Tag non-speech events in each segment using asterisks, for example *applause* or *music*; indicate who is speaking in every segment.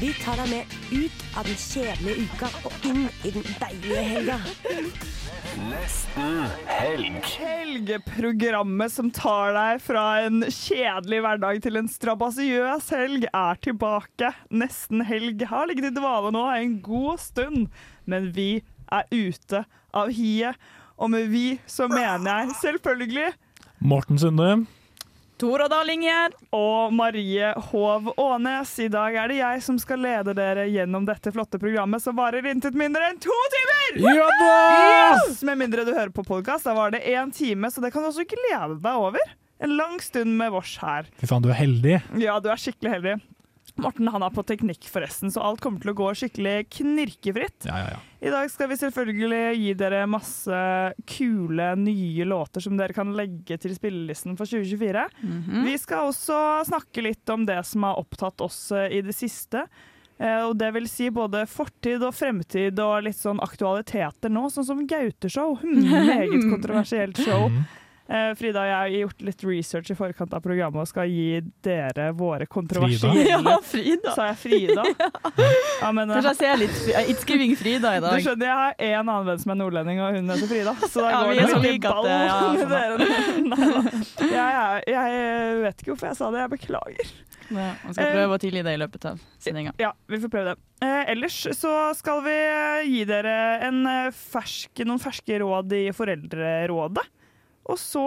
Speaker 1: Vi tar deg med ut av den kjedelige uka og inn i den deilige helga.
Speaker 2: Helgeprogrammet som tar deg fra en kjedelig hverdag til en strabasiøs helg, er tilbake. Nesten helg har ligget i dvale nå en god stund, men vi er ute av hiet. Og med vi så mener jeg selvfølgelig
Speaker 3: Morten Sunde.
Speaker 2: Tora Daling her og Marie Hov Aanes. I dag er det jeg som skal lede dere gjennom dette flotte programmet som varer intet mindre enn to timer!
Speaker 3: Ja da!
Speaker 2: Yes! Med mindre du hører på podkast, da var det én time, så det kan du også glede deg over. En lang stund med vårs her.
Speaker 3: Fy faen, du er heldig.
Speaker 2: Ja, du er skikkelig heldig. Morten han er på teknikk, forresten, så alt kommer til å gå skikkelig knirkefritt.
Speaker 3: Ja, ja, ja.
Speaker 2: I dag skal vi selvfølgelig gi dere masse kule, nye låter som dere kan legge til spillelisten for 2024.
Speaker 4: Mhm. Mm.
Speaker 2: Vi skal også snakke litt om det som har opptatt oss eh, i det siste. Eh, Og det vil si både fortid og fremtid og litt sånn aktualiteter nå, sånn som Gaute-show. Hmm,
Speaker 4: *laughs*
Speaker 2: Meget kontroversielt show.
Speaker 3: Mm.
Speaker 2: Eh, Frida og jeg har gjort litt research i forkant av programmet og skal gi dere våre kontroversielle
Speaker 4: *laughs* Ja, Frida.
Speaker 2: Sa jeg
Speaker 4: *laughs*
Speaker 2: Frida? Ja, men, eh,
Speaker 4: Kanskje jeg ser litt fri- eh, It's giving Frida i
Speaker 2: du
Speaker 4: dag.
Speaker 2: skjønner, jeg har én annen venn som er nordlending, og hun heter Frida. Så da
Speaker 4: Ja,
Speaker 2: går
Speaker 4: vi
Speaker 2: det
Speaker 4: er så
Speaker 2: veldig
Speaker 4: like at
Speaker 2: ball
Speaker 4: det- ja,
Speaker 2: med
Speaker 4: sånn da.
Speaker 2: dere. *laughs* Nei, da. jeg, er- jeg vet ikke hvorfor jeg sa det, jeg beklager.
Speaker 4: Ja, Man skal prøve å tilgi det i løpet av sendinga.
Speaker 2: Ja, vi får prøve det. Eh, ellers så skal vi eh, gi dere en eh, fersk, noen ferske råd i Foreldrerådet. Og så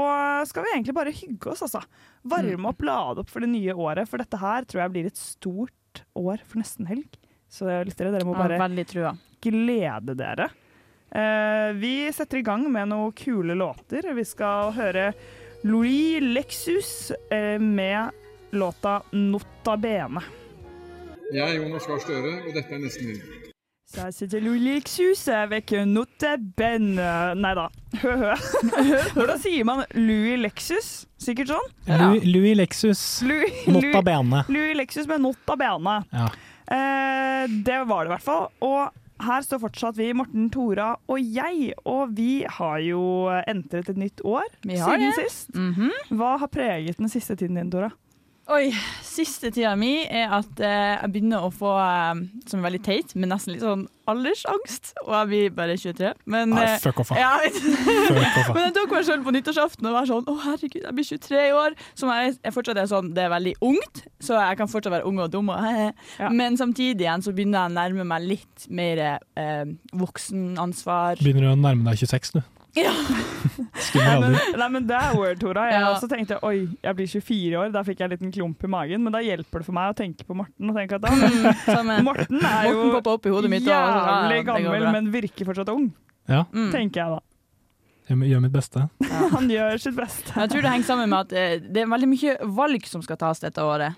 Speaker 2: skal vi egentlig bare hygge oss, altså. Varme opp, lade opp for det nye året. For dette her tror jeg blir et stort år for nesten helg. Så lyttere, dere må bare
Speaker 4: Veldig trua.
Speaker 2: glede dere. Eh, vi setter i gang med noen kule låter. Vi skal høre Louis Lexus eh, med låta 'Nota Bene'.
Speaker 5: Jeg er Jonas Gahr Støre, og dette er Nesten Helg.
Speaker 2: Så jeg sitter Louis Lexus avec euh, Nota Bene. Euh, Nei da, *laughs*
Speaker 4: *laughs*
Speaker 2: hø-hø. Hvordan sier man Louis Lexus? Sikkert sånn?
Speaker 3: Louis, Louis Lexus.
Speaker 2: Louis,
Speaker 3: Motta Bene.
Speaker 2: Louis Lexus med Nota Bene.
Speaker 3: Ja.
Speaker 2: Eh, det var det i hvert fall. Og her står fortsatt vi, Morten, Tora og jeg. Og vi har jo entret et nytt år
Speaker 4: Vi har
Speaker 2: siden
Speaker 4: det. Mhm.
Speaker 2: sist. Hva har preget den siste tiden din, Tora?
Speaker 4: Oi, siste tida mi er at eh, jeg begynner å få, eh, som er veldig teit, men nesten litt sånn aldersangst. Og jeg blir bare 23. Men
Speaker 3: Nei,
Speaker 4: eh,
Speaker 3: fuck off. da.
Speaker 4: ja, *laughs* jeg vet-
Speaker 3: Fuck off. da.
Speaker 4: Men jeg tok meg selv på nyttårsaften og var sånn Å, herregud, jeg blir 23 i år. Som jeg, jeg fortsatt er sånn, det er veldig ungt, så jeg kan fortsatt være ung og dum. Og,
Speaker 2: Ja.
Speaker 4: Men samtidig igjen så begynner jeg å nærme meg litt mer eh, voksenansvar.
Speaker 2: *laughs*
Speaker 3: Begynner du å nærme deg 26, du?
Speaker 4: Ja.
Speaker 3: Skummel
Speaker 2: Nei,
Speaker 3: alder.
Speaker 2: men, *laughs* nei, men det er word, Tora. Jeg
Speaker 4: Ja.
Speaker 2: også tenkte oi, jeg blir 24 år. Da fikk jeg en liten klump i magen. Men da hjelper det for meg å tenke på Morten. Og tenke at da,
Speaker 4: Mm, som, eh,
Speaker 2: Morten er
Speaker 4: Morten
Speaker 2: jo
Speaker 4: popper opp i hodet mitt. Og, sånn, ja,
Speaker 2: jævlig
Speaker 4: ja, det går
Speaker 2: gammel,
Speaker 4: bra.
Speaker 2: men virker fortsatt ung.
Speaker 3: Ja,
Speaker 4: Mm.
Speaker 2: Tenker jeg da.
Speaker 3: jeg må- gjør mitt beste.
Speaker 2: Han gjør sitt beste.
Speaker 4: Men Jeg tror det henger sammen med at eh, det er veldig mye valg som skal tas dette året.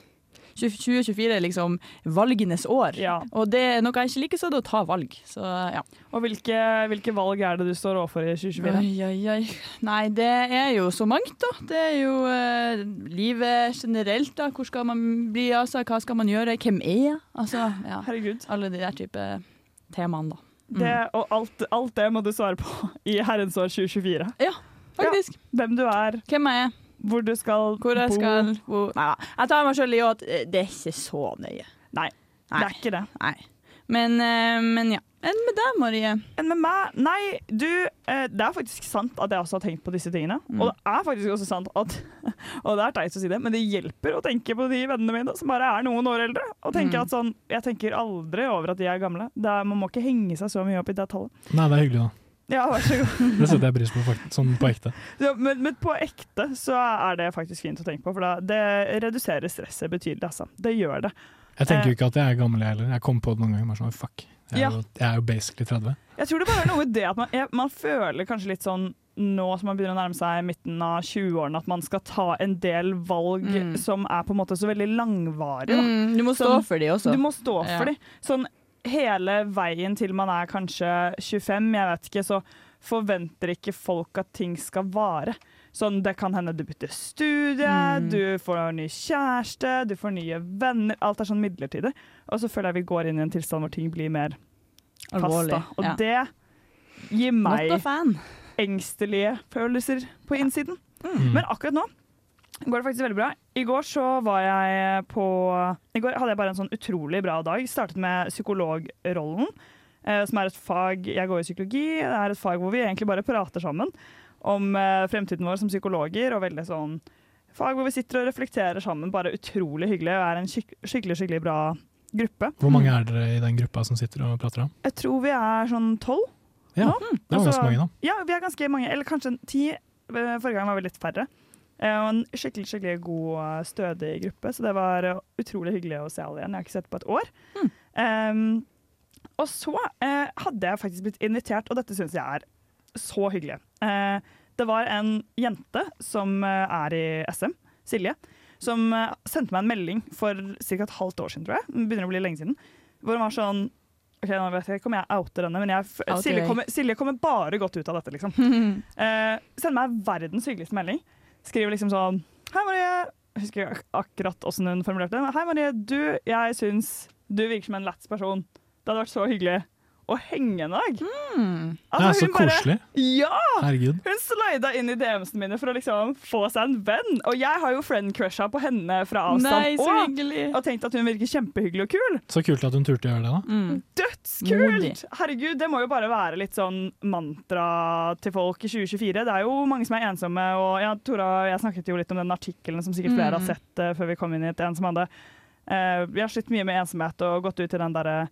Speaker 4: 2024 er liksom valgenes år,
Speaker 2: Ja.
Speaker 4: og det er noe jeg ikke liker, så er det å ta valg. Så ja.
Speaker 2: Og hvilke, hvilke valg er det du står overfor i 2024?
Speaker 4: Oi, oi, oi. Nei, det er jo så mangt, da. Det er jo eh, livet generelt, da. Hvor skal man bli av seg, hva skal man gjøre, hvem er jeg? Altså, ja.
Speaker 2: Herregud.
Speaker 4: Alle de der type temaene, da. Mm.
Speaker 2: Det, og alt, alt det må du svare på i herrens år 2024.
Speaker 4: Faktisk.
Speaker 2: Hvem du er,
Speaker 4: Hvem jeg er,
Speaker 2: hvor du skal
Speaker 4: hvor jeg
Speaker 2: bo.
Speaker 4: skal bo. Nei da. Jeg tar meg sjøl i at eh, det er ikke så nøye.
Speaker 2: Nei, det er ikke det.
Speaker 4: Nei. Men, eh, men ja. Enn med deg, Marie?
Speaker 2: Enn med meg Nei, du, eh, det er faktisk sant at jeg også har tenkt på disse tingene. Og det er faktisk også sant at *laughs* Og det er teit å si det, men det hjelper å tenke på de vennene mine som bare er noen år eldre. Og tenke at sånn Jeg tenker aldri over at de er gamle. Det er, man må ikke henge seg så mye opp i det tallet.
Speaker 3: Nei, det er hyggelig, da.
Speaker 2: Ja, vær så god. *laughs*
Speaker 3: Det setter jeg pris på, faktisk. Sånn på ekte.
Speaker 2: Ja, men, men på ekte så er det faktisk fint å tenke på, for da, det reduserer stresset betydelig. Altså. Det gjør det.
Speaker 3: Jeg tenker jo ikke at jeg er gammel, jeg heller. Jeg kom på det noen ganger. Bare sånn, fuck. Jeg er,
Speaker 2: Ja.
Speaker 3: jo, jeg er jo basically 30.
Speaker 2: Jeg tror det bare er noe med det at man, jeg, man føler kanskje litt sånn nå som man begynner å nærme seg midten av 20-årene, at man skal ta en del valg
Speaker 4: Mm.
Speaker 2: som er på en måte så veldig langvarige. da.
Speaker 4: Mm, du må stå
Speaker 2: Som-
Speaker 4: for de også.
Speaker 2: Du må stå
Speaker 4: Ja.
Speaker 2: for de. Sånn hele veien til man er kanskje 25, jeg vet ikke, så forventer ikke folk at ting skal vare. Sånn, Det kan hende du bytter studie,
Speaker 4: Mm.
Speaker 2: du får ny kjæreste, du får nye venner. Alt er sånn midlertidig. Og så føler jeg vi går inn i en tilstand hvor ting blir mer fast.
Speaker 4: Alvorlig.
Speaker 2: da. Og
Speaker 4: ja.
Speaker 2: det gir meg
Speaker 4: Not a fan. *laughs*
Speaker 2: engstelige følelser på innsiden. Mm.
Speaker 3: Mm.
Speaker 2: Men akkurat nå går det faktisk veldig bra. I går så var jeg på I går hadde jeg bare en sånn utrolig bra dag. Startet med psykologrollen, eh, som er et fag Jeg går i psykologi. Det er et fag hvor vi egentlig bare prater sammen om eh, fremtiden vår som psykologer, og veldig sånn fag hvor vi sitter og reflekterer sammen. Bare utrolig hyggelig. Og er en skik skikkelig, skikkelig bra gruppe.
Speaker 3: Hvor mange er dere i den gruppa som sitter og prater om?
Speaker 2: Jeg tror vi er sånn tolv.
Speaker 3: Ja, det var
Speaker 2: Altså-
Speaker 3: ganske mange, da.
Speaker 2: Ja, vi er ganske mange, eller kanskje en ti. Eh, Forrige gang var vi litt færre. Eh, Og en skikkelig skikkelig god, eh, stødig gruppe, så det var eh, utrolig hyggelig å se alle igjen. Jeg har ikke sett på et år. Ehm, og så eh, hadde jeg faktisk blitt invitert, og dette syns jeg er så hyggelig. Eh, det var en jente som eh, er i SM, Silje, som eh, sendte meg en melding for ca. et halvt år siden, tror jeg. Det Begynner å bli lenge siden. Hvor hun var sånn Ok, nå vet jeg ikke om jeg outer henne, men jeg, f-
Speaker 4: Outer
Speaker 2: Silje,
Speaker 4: deg.
Speaker 2: kommer, Silje kommer bare godt ut av dette, liksom.
Speaker 4: Mm.
Speaker 2: Eh, sender meg verdens hyggeligste melding. Skriver liksom sånn Hei, Marie. Jeg husker ikke ak- akkurat åssen hun formulerte det. men Hei, Marie. Du, jeg syns du virker som en lættis person. Det hadde vært så hyggelig å henge en dag.
Speaker 3: Det er så
Speaker 2: hun altså, bare
Speaker 3: koselig.
Speaker 2: Ja!
Speaker 3: Herregud.
Speaker 2: Hun slida inn i DM-ene mine for å liksom få seg en venn. Og jeg har jo friend-crusha på henne fra
Speaker 4: Nei,
Speaker 2: avstand. Altså,
Speaker 4: så
Speaker 2: også,
Speaker 4: hyggelig.
Speaker 2: og tenkt at hun virker kjempehyggelig og kul.
Speaker 3: Så kult at hun turte å gjøre det, da.
Speaker 4: Mm. Modig.
Speaker 2: Dødskult! Herregud, det må jo bare være litt sånn mantra til folk i 2024. Det er jo mange som er ensomme, og ja, Tora og jeg snakket jo litt om den artikkelen som sikkert flere
Speaker 4: Mm.
Speaker 2: har sett eh, før vi kom inn hit, en som hadde eh, Vi har slitt mye med ensomhet og gått ut i den derre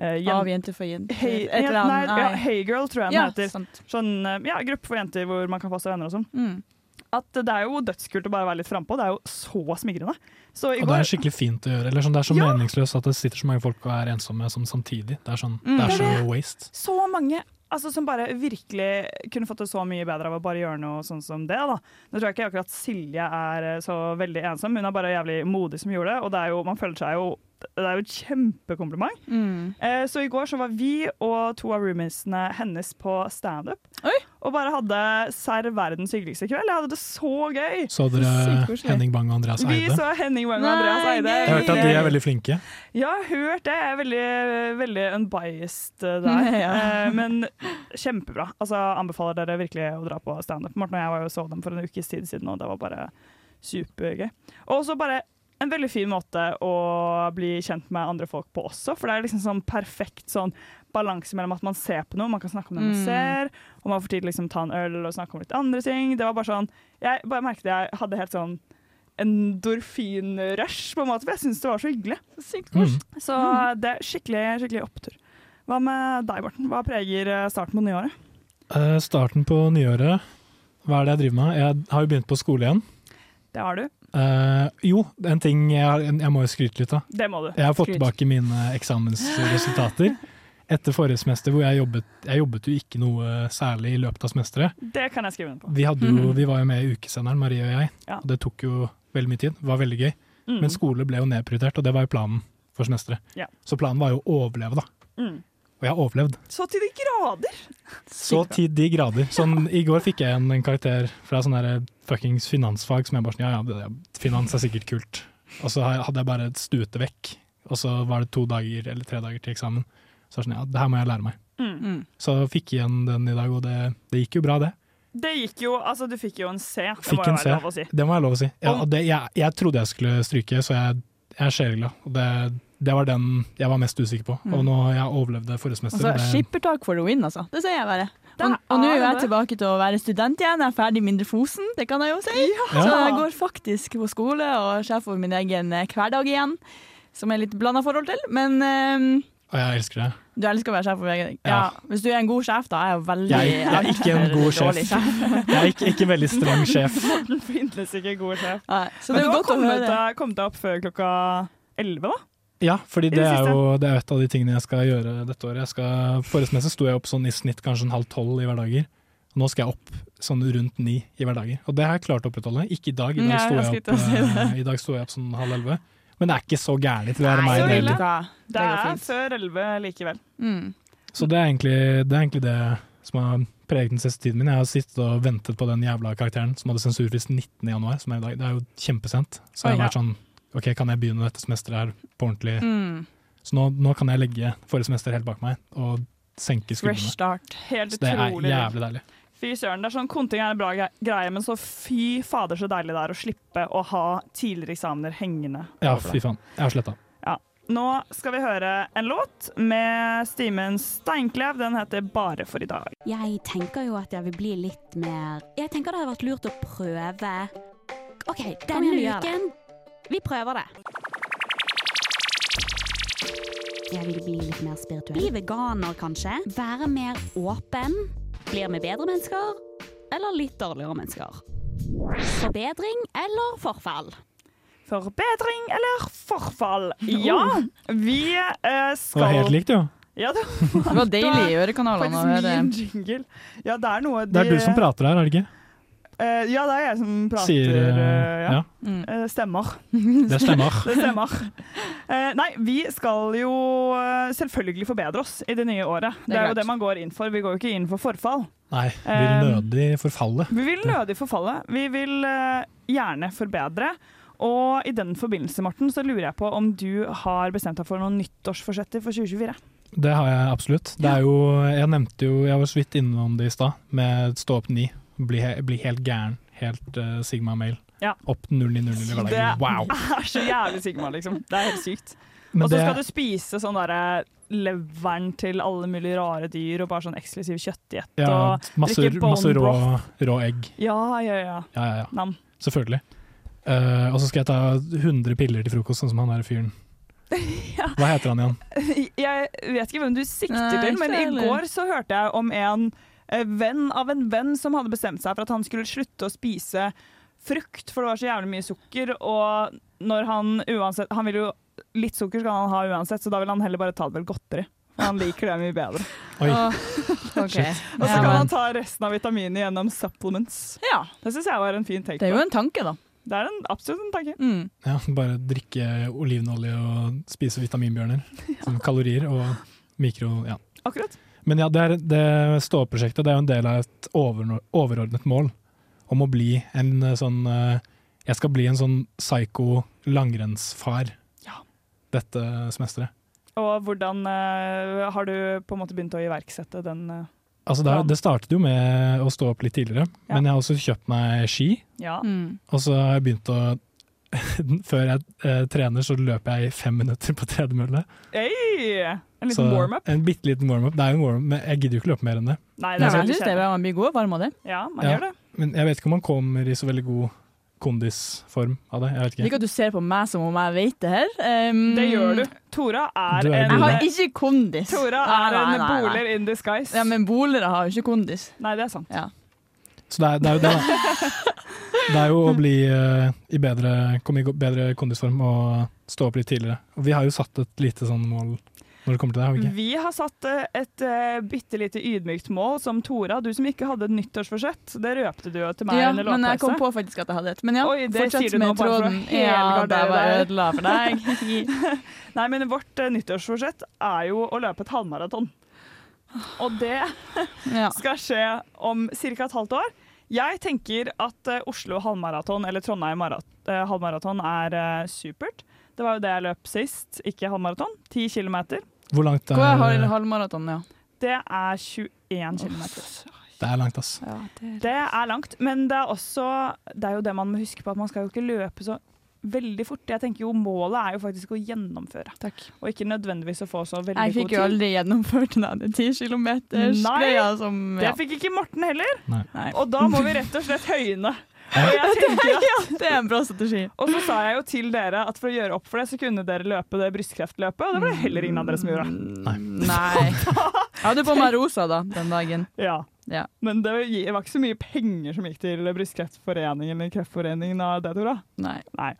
Speaker 2: uh,
Speaker 4: Av jente for jente.
Speaker 2: Hey,
Speaker 4: et eller
Speaker 2: nei,
Speaker 4: annet.
Speaker 2: ja, hey girl, tror jeg den
Speaker 4: Ja,
Speaker 2: heter.
Speaker 4: sant.
Speaker 2: Sånn, eh, ja, gruppe for jenter hvor man kan få seg venner og sånn.
Speaker 4: Mm.
Speaker 2: At det er jo dødskult å bare være litt frampå. Det er jo så smigrende. Så i
Speaker 3: Og det
Speaker 2: går
Speaker 3: er skikkelig fint å gjøre. Eller sånn, det er så
Speaker 2: Ja!
Speaker 3: meningsløst at det sitter så mange folk og er ensomme som samtidig. Det er, sånn,
Speaker 4: Mm.
Speaker 3: det er
Speaker 2: Det
Speaker 3: så
Speaker 2: er
Speaker 3: waste.
Speaker 2: så mange altså, som bare virkelig kunne fått det så mye bedre av å bare gjøre noe sånn som det. da. Nå tror jeg ikke akkurat Silje er eh, så veldig ensom, hun er bare jævlig modig som gjorde det. Og det er jo, man føler seg jo Det er jo et kjempekompliment.
Speaker 4: Mm.
Speaker 2: Eh, så i går så var vi og to av roomiesene hennes på standup.
Speaker 4: Oi.
Speaker 2: Og bare hadde serr verdens hyggeligste kveld. Jeg hadde det så gøy!
Speaker 3: Så dere
Speaker 4: Sykt koselig.
Speaker 3: Henning Bang og Andreas
Speaker 2: Vi
Speaker 3: Eide?
Speaker 2: så Henning Wang og
Speaker 4: Nei,
Speaker 2: Andreas Eide.
Speaker 4: gøy!
Speaker 3: Jeg har hørt at de er veldig flinke.
Speaker 2: Ja, jeg har hørt det. Jeg er veldig, veldig unbiased
Speaker 4: *laughs*
Speaker 2: eh, der.
Speaker 4: Ja.
Speaker 2: Eh, Men kjempebra. Altså, anbefaler dere virkelig å dra på standup. Morten og jeg var jo og så dem for en ukes tid siden, og det var bare supergøy. Og også bare en veldig fin måte å bli kjent med andre folk på også, for det er liksom sånn perfekt sånn balanse mellom at man ser på noe, man kan snakke om det man
Speaker 4: Mm.
Speaker 2: ser, og man får tid til å liksom ta en øl og snakke om litt andre ting. Det var bare sånn Jeg bare merket jeg hadde helt sånn endorfinrush, på en måte, for jeg syntes det var så hyggelig.
Speaker 4: Så sykt
Speaker 3: Mm.
Speaker 4: koselig.
Speaker 2: Så det er skikkelig, skikkelig opptur. Hva med deg, Morten? Hva preger eh, starten på nyåret?
Speaker 3: Eh, starten på nyåret, hva er det jeg driver med? Jeg har jo begynt på skole igjen.
Speaker 2: Det har du.
Speaker 3: Eh, jo, en ting jeg, har- jeg må jo skryte litt av.
Speaker 2: Det må du.
Speaker 3: Jeg har fått
Speaker 4: Skryt.
Speaker 3: tilbake mine eksamensresultater. Etter forrige semester, hvor jeg jobbet, jeg jobbet jo ikke noe særlig i løpet av semesteret.
Speaker 2: Det kan jeg skrive under på.
Speaker 3: Vi, hadde jo, vi var jo med i ukesenderen, Marie og jeg.
Speaker 2: Mm. Ja.
Speaker 3: Det tok jo veldig mye tid. Det var veldig gøy.
Speaker 2: Mm.
Speaker 3: Men skole ble jo nedprioritert, og det var jo planen for semesteret.
Speaker 2: Ja.
Speaker 3: Så planen var jo å overleve, da.
Speaker 2: Mm.
Speaker 3: Og jeg har overlevd.
Speaker 2: Så til de grader!
Speaker 3: Så til de grader. Sånn, I går fikk jeg en, en karakter fra sånn derre fuckings finansfag som jeg bare sånn Ja ja, det, det- finans er sikkert kult. Og så har- hadde jeg bare stuet det vekk. Og så var det to dager eller tre dager til eksamen. Så jeg var sånn, ja, det her må jeg lære meg.
Speaker 4: Mm.
Speaker 3: Så jeg fikk igjen den i dag, og det, det gikk jo bra, det.
Speaker 2: Det gikk jo Altså, du fikk jo en C. Det
Speaker 3: Fikk
Speaker 2: må jo
Speaker 3: en
Speaker 2: være
Speaker 3: C.
Speaker 2: lov å si. *laughs*
Speaker 3: Det må jeg lov å si. Ja,
Speaker 2: Om-
Speaker 3: og det, jeg, jeg trodde jeg skulle stryke, så jeg, jeg er sjeleglad. Og Det, det var den jeg var mest usikker på. Og nå jeg overlevde forrige semester.
Speaker 4: Altså,
Speaker 3: og det,
Speaker 4: Skippertak for the win, altså. Det sier jeg bare.
Speaker 2: Det
Speaker 4: Og, og nå
Speaker 2: er
Speaker 4: er jeg
Speaker 2: det.
Speaker 4: tilbake til å være student igjen. Jeg er ferdig i Mindre Fosen, det kan jeg jo si. Så jeg går faktisk på skole og sjef over min egen eh, hverdag igjen. Som jeg er litt blanda forhold til, men eh,
Speaker 3: og jeg elsker det.
Speaker 4: du elsker å være sjef over egen ja.
Speaker 3: Ja.
Speaker 4: Hvis du er en god sjef, da. Jeg er jo veldig
Speaker 3: Jeg- jeg er ikke en god sjef.
Speaker 4: dårlig sjef.
Speaker 3: Jeg er ikke, ikke en veldig streng sjef.
Speaker 2: Morten finnes ikke god sjef.
Speaker 4: Nei, så
Speaker 2: Men
Speaker 4: det
Speaker 2: du
Speaker 4: er jo
Speaker 2: har
Speaker 4: godt å
Speaker 2: kommet
Speaker 4: høre.
Speaker 2: deg, kommet deg opp før klokka 11, da?
Speaker 3: Ja, fordi det
Speaker 2: I det
Speaker 3: er jo det er et av de tingene jeg skal gjøre dette året. Jeg skal, forrige semester sto jeg opp sånn i snitt kanskje en halv tolv i hverdager. Nå skal jeg opp sånn rundt ni i hverdager. Og det har jeg klart å opprettholde. Ikke i dag. I dag
Speaker 4: Nei,
Speaker 3: sto
Speaker 4: jeg
Speaker 3: jeg
Speaker 4: skulle
Speaker 3: opp,
Speaker 4: til å si det.
Speaker 3: eh, i dag sto jeg opp sånn halv elleve. Men det er ikke så gærent til å være meg.
Speaker 2: så
Speaker 3: det
Speaker 2: ille.
Speaker 3: heller.
Speaker 2: Det
Speaker 4: går
Speaker 2: er
Speaker 4: fint.
Speaker 2: før 11 likevel.
Speaker 4: Mm.
Speaker 3: Så det er, egentlig, det er egentlig det som har preget den siste tiden min. Jeg har sittet og ventet på den jævla karakteren som hadde sensurfrist 19. januar, som er i dag. Det er jo kjempesent. Så
Speaker 2: Oi,
Speaker 3: jeg har
Speaker 2: ja.
Speaker 3: vært sånn OK, kan jeg begynne dette semesteret her på ordentlig?
Speaker 4: Mm.
Speaker 3: Så nå, nå kan jeg legge forrige semester helt bak meg og senke
Speaker 4: Fresh
Speaker 3: skuldrene.
Speaker 4: start.
Speaker 2: Helt
Speaker 3: Så det er
Speaker 2: utrolig. digg.
Speaker 3: jævlig deilig.
Speaker 2: Fy søren, det er sånn Konting er en bra gre- greie, men så fy fader så deilig det er å slippe å ha tidligere eksamener hengende.
Speaker 3: Ja,
Speaker 2: over
Speaker 3: fy
Speaker 2: deg.
Speaker 3: faen. Jeg har sletta.
Speaker 2: Nå skal vi høre en låt med Stimen Steinklev. Den heter 'Bare for i dag'.
Speaker 6: Jeg tenker jo at jeg vil bli litt mer Jeg tenker det hadde vært lurt å prøve. OK, denne
Speaker 7: igjen, vi gjør det.
Speaker 6: uken Vi prøver det. Jeg vil bli litt mer spirituell. Bli veganer, kanskje. Være mer åpen. Blir vi bedre mennesker? Eller litt dårligere mennesker? Forbedring eller forfall?
Speaker 2: Forbedring eller forfall? Ja, vi eh,
Speaker 3: Oh. Det var helt
Speaker 2: skal
Speaker 3: likt, jo.
Speaker 2: Ja, det
Speaker 4: Det var deilig i ørekanalene å
Speaker 2: faktisk
Speaker 4: høre.
Speaker 2: min jingle. Ja, det er noe
Speaker 3: Det er du som prater her, er det ikke?
Speaker 2: Eh, ja, det er jeg som prater.
Speaker 3: Sier eh,
Speaker 2: eh, ja.
Speaker 3: Ja,
Speaker 4: Mm.
Speaker 2: Eh, stemmer.
Speaker 3: det stemmer.
Speaker 2: *laughs* Det stemmer.
Speaker 3: *laughs*
Speaker 2: Eh, nei, vi skal jo eh, selvfølgelig forbedre oss i det nye året.
Speaker 4: Det er
Speaker 2: Det er jo
Speaker 4: klart.
Speaker 2: det man går inn for. Vi går jo ikke inn for forfall.
Speaker 3: Nei, vil
Speaker 2: Eh,
Speaker 3: nødig forfalle.
Speaker 2: Vi vil nødig forfalle. Vi vil eh, gjerne forbedre. Og i den forbindelse, Morten, så lurer jeg på om du har bestemt deg for noen nyttårsforsetter for *laughs* 2024?
Speaker 3: Det har jeg absolutt. Det er jo, jeg nevnte jo, jeg var så vidt innom det i stad, med stå opp ni. Bli, he- bli helt gæren. Helt eh, Sigma Mail.
Speaker 2: Ja.
Speaker 3: Opp 0900 i
Speaker 2: Det
Speaker 3: hverdagen.
Speaker 2: *laughs*
Speaker 3: Wow!
Speaker 2: er så jævlig Sigma, liksom. Det er helt sykt. Og
Speaker 3: Men
Speaker 2: så
Speaker 3: det,
Speaker 2: skal du spise sånn derre leveren til alle mulige rare dyr, og bare sånn eksklusiv kjøttdiett.
Speaker 3: ja,
Speaker 2: og-
Speaker 3: masse,
Speaker 2: drikke bone
Speaker 3: masse rå,
Speaker 2: broth.
Speaker 3: rå egg.
Speaker 2: Ja, ja, ja.
Speaker 3: Ja, ja, ja.
Speaker 2: Nam.
Speaker 3: Selvfølgelig. Eh, og så skal jeg ta 100 piller til frokost, sånn som han
Speaker 2: *laughs*
Speaker 3: der fyren. Hva heter han igjen?
Speaker 2: Jeg vet ikke hvem du sikter
Speaker 4: Nei,
Speaker 2: til,
Speaker 4: ikke
Speaker 2: men i
Speaker 4: heller.
Speaker 2: går så hørte jeg om en eh, venn av en venn som hadde bestemt seg for at han skulle slutte å spise frukt, for det var så jævlig mye sukker, og når han uansett Han vil jo Litt sukker skal han ha uansett, så da vil han heller bare ta det vel godteri. For han liker det mye
Speaker 4: *laughs*
Speaker 2: bedre.
Speaker 3: Oi.
Speaker 4: Åh, ok.
Speaker 2: Og så kan
Speaker 4: Ja,
Speaker 2: han ta resten av vitaminet gjennom supplements.
Speaker 4: ja,
Speaker 2: Det syns jeg var en fin take.
Speaker 4: det er jo
Speaker 2: på.
Speaker 4: en tanke, da.
Speaker 2: Det er en, absolutt en tanke.
Speaker 4: Mm.
Speaker 3: Ja, bare drikke olivenolje og spise
Speaker 2: *laughs*
Speaker 3: vitaminbjørner. Som kalorier og mikro... Ja.
Speaker 2: Akkurat.
Speaker 3: Men ja, det, er, det ståprosjektet det er jo en del av et overno- overordnet mål om å bli en eh, sånn eh, Jeg skal bli en sånn psyko langrennsfar
Speaker 2: Ja.
Speaker 3: dette semesteret.
Speaker 2: Og hvordan eh, har du på en måte begynt å iverksette den eh,
Speaker 3: Altså det, er-
Speaker 2: Ja.
Speaker 3: det startet jo med å stå opp litt tidligere,
Speaker 2: Ja.
Speaker 3: men jeg har også kjøpt meg ski.
Speaker 2: Ja.
Speaker 4: Mm.
Speaker 3: Og så har jeg begynt å *laughs* Før jeg eh, trener, så løper jeg i fem minutter på tredemølle.
Speaker 2: Hey! En liten
Speaker 3: Så
Speaker 2: warm-up.
Speaker 3: En bitte liten warm-up. Det er jo en warm-up, men jeg gidder jo ikke løpe mer enn det.
Speaker 2: Nei, det
Speaker 4: Nei,
Speaker 2: er
Speaker 4: men jeg
Speaker 2: veldig
Speaker 4: synes det er
Speaker 2: kjedelig.
Speaker 4: bra. Man blir god og varm av det.
Speaker 2: Ja, man
Speaker 3: Ja.
Speaker 2: gjør det.
Speaker 3: Men jeg vet ikke om man kommer i så veldig god kondisform av det. Jeg vet ikke.
Speaker 4: Ikke at du ser på meg som om jeg vet det her. Um,
Speaker 2: Det gjør du. Tora er,
Speaker 3: Du er
Speaker 4: Jeg
Speaker 2: en
Speaker 4: har ikke kondis.
Speaker 2: Tora
Speaker 4: Nei,
Speaker 2: er
Speaker 4: nei,
Speaker 2: en
Speaker 4: nei, nei.
Speaker 2: boler in disguise.
Speaker 4: Ja, men bolere har jo ikke kondis.
Speaker 2: Nei, det er sant.
Speaker 3: Så det er, det er jo det, da. Det er jo å bli eh, i bedre, komme i go- bedre kondisform og stå opp litt tidligere. Og vi har jo satt et lite sånn mål når det kommer til det.
Speaker 4: Mm.
Speaker 3: har vi ikke?
Speaker 2: Vi har satt eh, et uh, bitte lite ydmykt mål som Tora, du som ikke hadde et nyttårsforsett. Det røpte du jo til meg
Speaker 4: Ja,
Speaker 2: under
Speaker 4: men jeg kom
Speaker 2: låtpausen.
Speaker 4: på faktisk at jeg hadde et. Men ja,
Speaker 2: Oi, det sier
Speaker 4: fortsett
Speaker 2: du nå
Speaker 4: med
Speaker 2: bare for å
Speaker 4: tråden. Ja, det
Speaker 2: helgardere
Speaker 4: var
Speaker 2: deg.
Speaker 4: ødela for
Speaker 2: *laughs*
Speaker 4: deg.
Speaker 2: Nei, men vårt eh, nyttårsforsett er jo å løpe et halvmaraton. Og det
Speaker 4: Ja.
Speaker 2: skal skje om ca. et halvt år. Jeg tenker at eh, Oslo halvmaraton eller Trondheim marat- eh, halvmaraton er eh, supert. Det var jo det jeg løp sist, ikke halvmaraton. 10 km.
Speaker 3: Hvor langt
Speaker 4: Hvor er hal-
Speaker 3: er
Speaker 4: halvmaraton, ja.
Speaker 2: Det er 21 km.
Speaker 3: Det er langt, ass.
Speaker 4: ja det...
Speaker 2: Det er langt, men det er også Det er jo det man må huske på, at man skal jo ikke løpe så veldig fort. Jeg tenker jo Målet er jo faktisk å gjennomføre,
Speaker 4: Takk.
Speaker 2: og ikke nødvendigvis å få så veldig
Speaker 4: Jeg
Speaker 2: god
Speaker 4: fikk jo
Speaker 2: tid.
Speaker 4: aldri gjennomført den 10 km-greia som
Speaker 2: Det
Speaker 4: ja.
Speaker 2: fikk ikke Morten heller,
Speaker 3: Nei.
Speaker 4: Nei.
Speaker 2: og da må vi rett og slett høyne. Og jeg tenker at *laughs*
Speaker 4: Det er en bra strategi.
Speaker 2: Og så sa jeg jo til dere at for å gjøre opp for det, så kunne dere løpe det brystkreftløpet, og det var det heller ingen av dere som gjorde.
Speaker 4: Nei. *laughs* Jeg hadde på meg rosa da, den dagen.
Speaker 2: Ja.
Speaker 4: Ja.
Speaker 2: Men det gi- det var ikke så mye penger som gikk til Brystkreftforeningen eller Kreftforeningen av det,
Speaker 4: *laughs*
Speaker 2: Tora.
Speaker 4: Nei.
Speaker 2: Nei.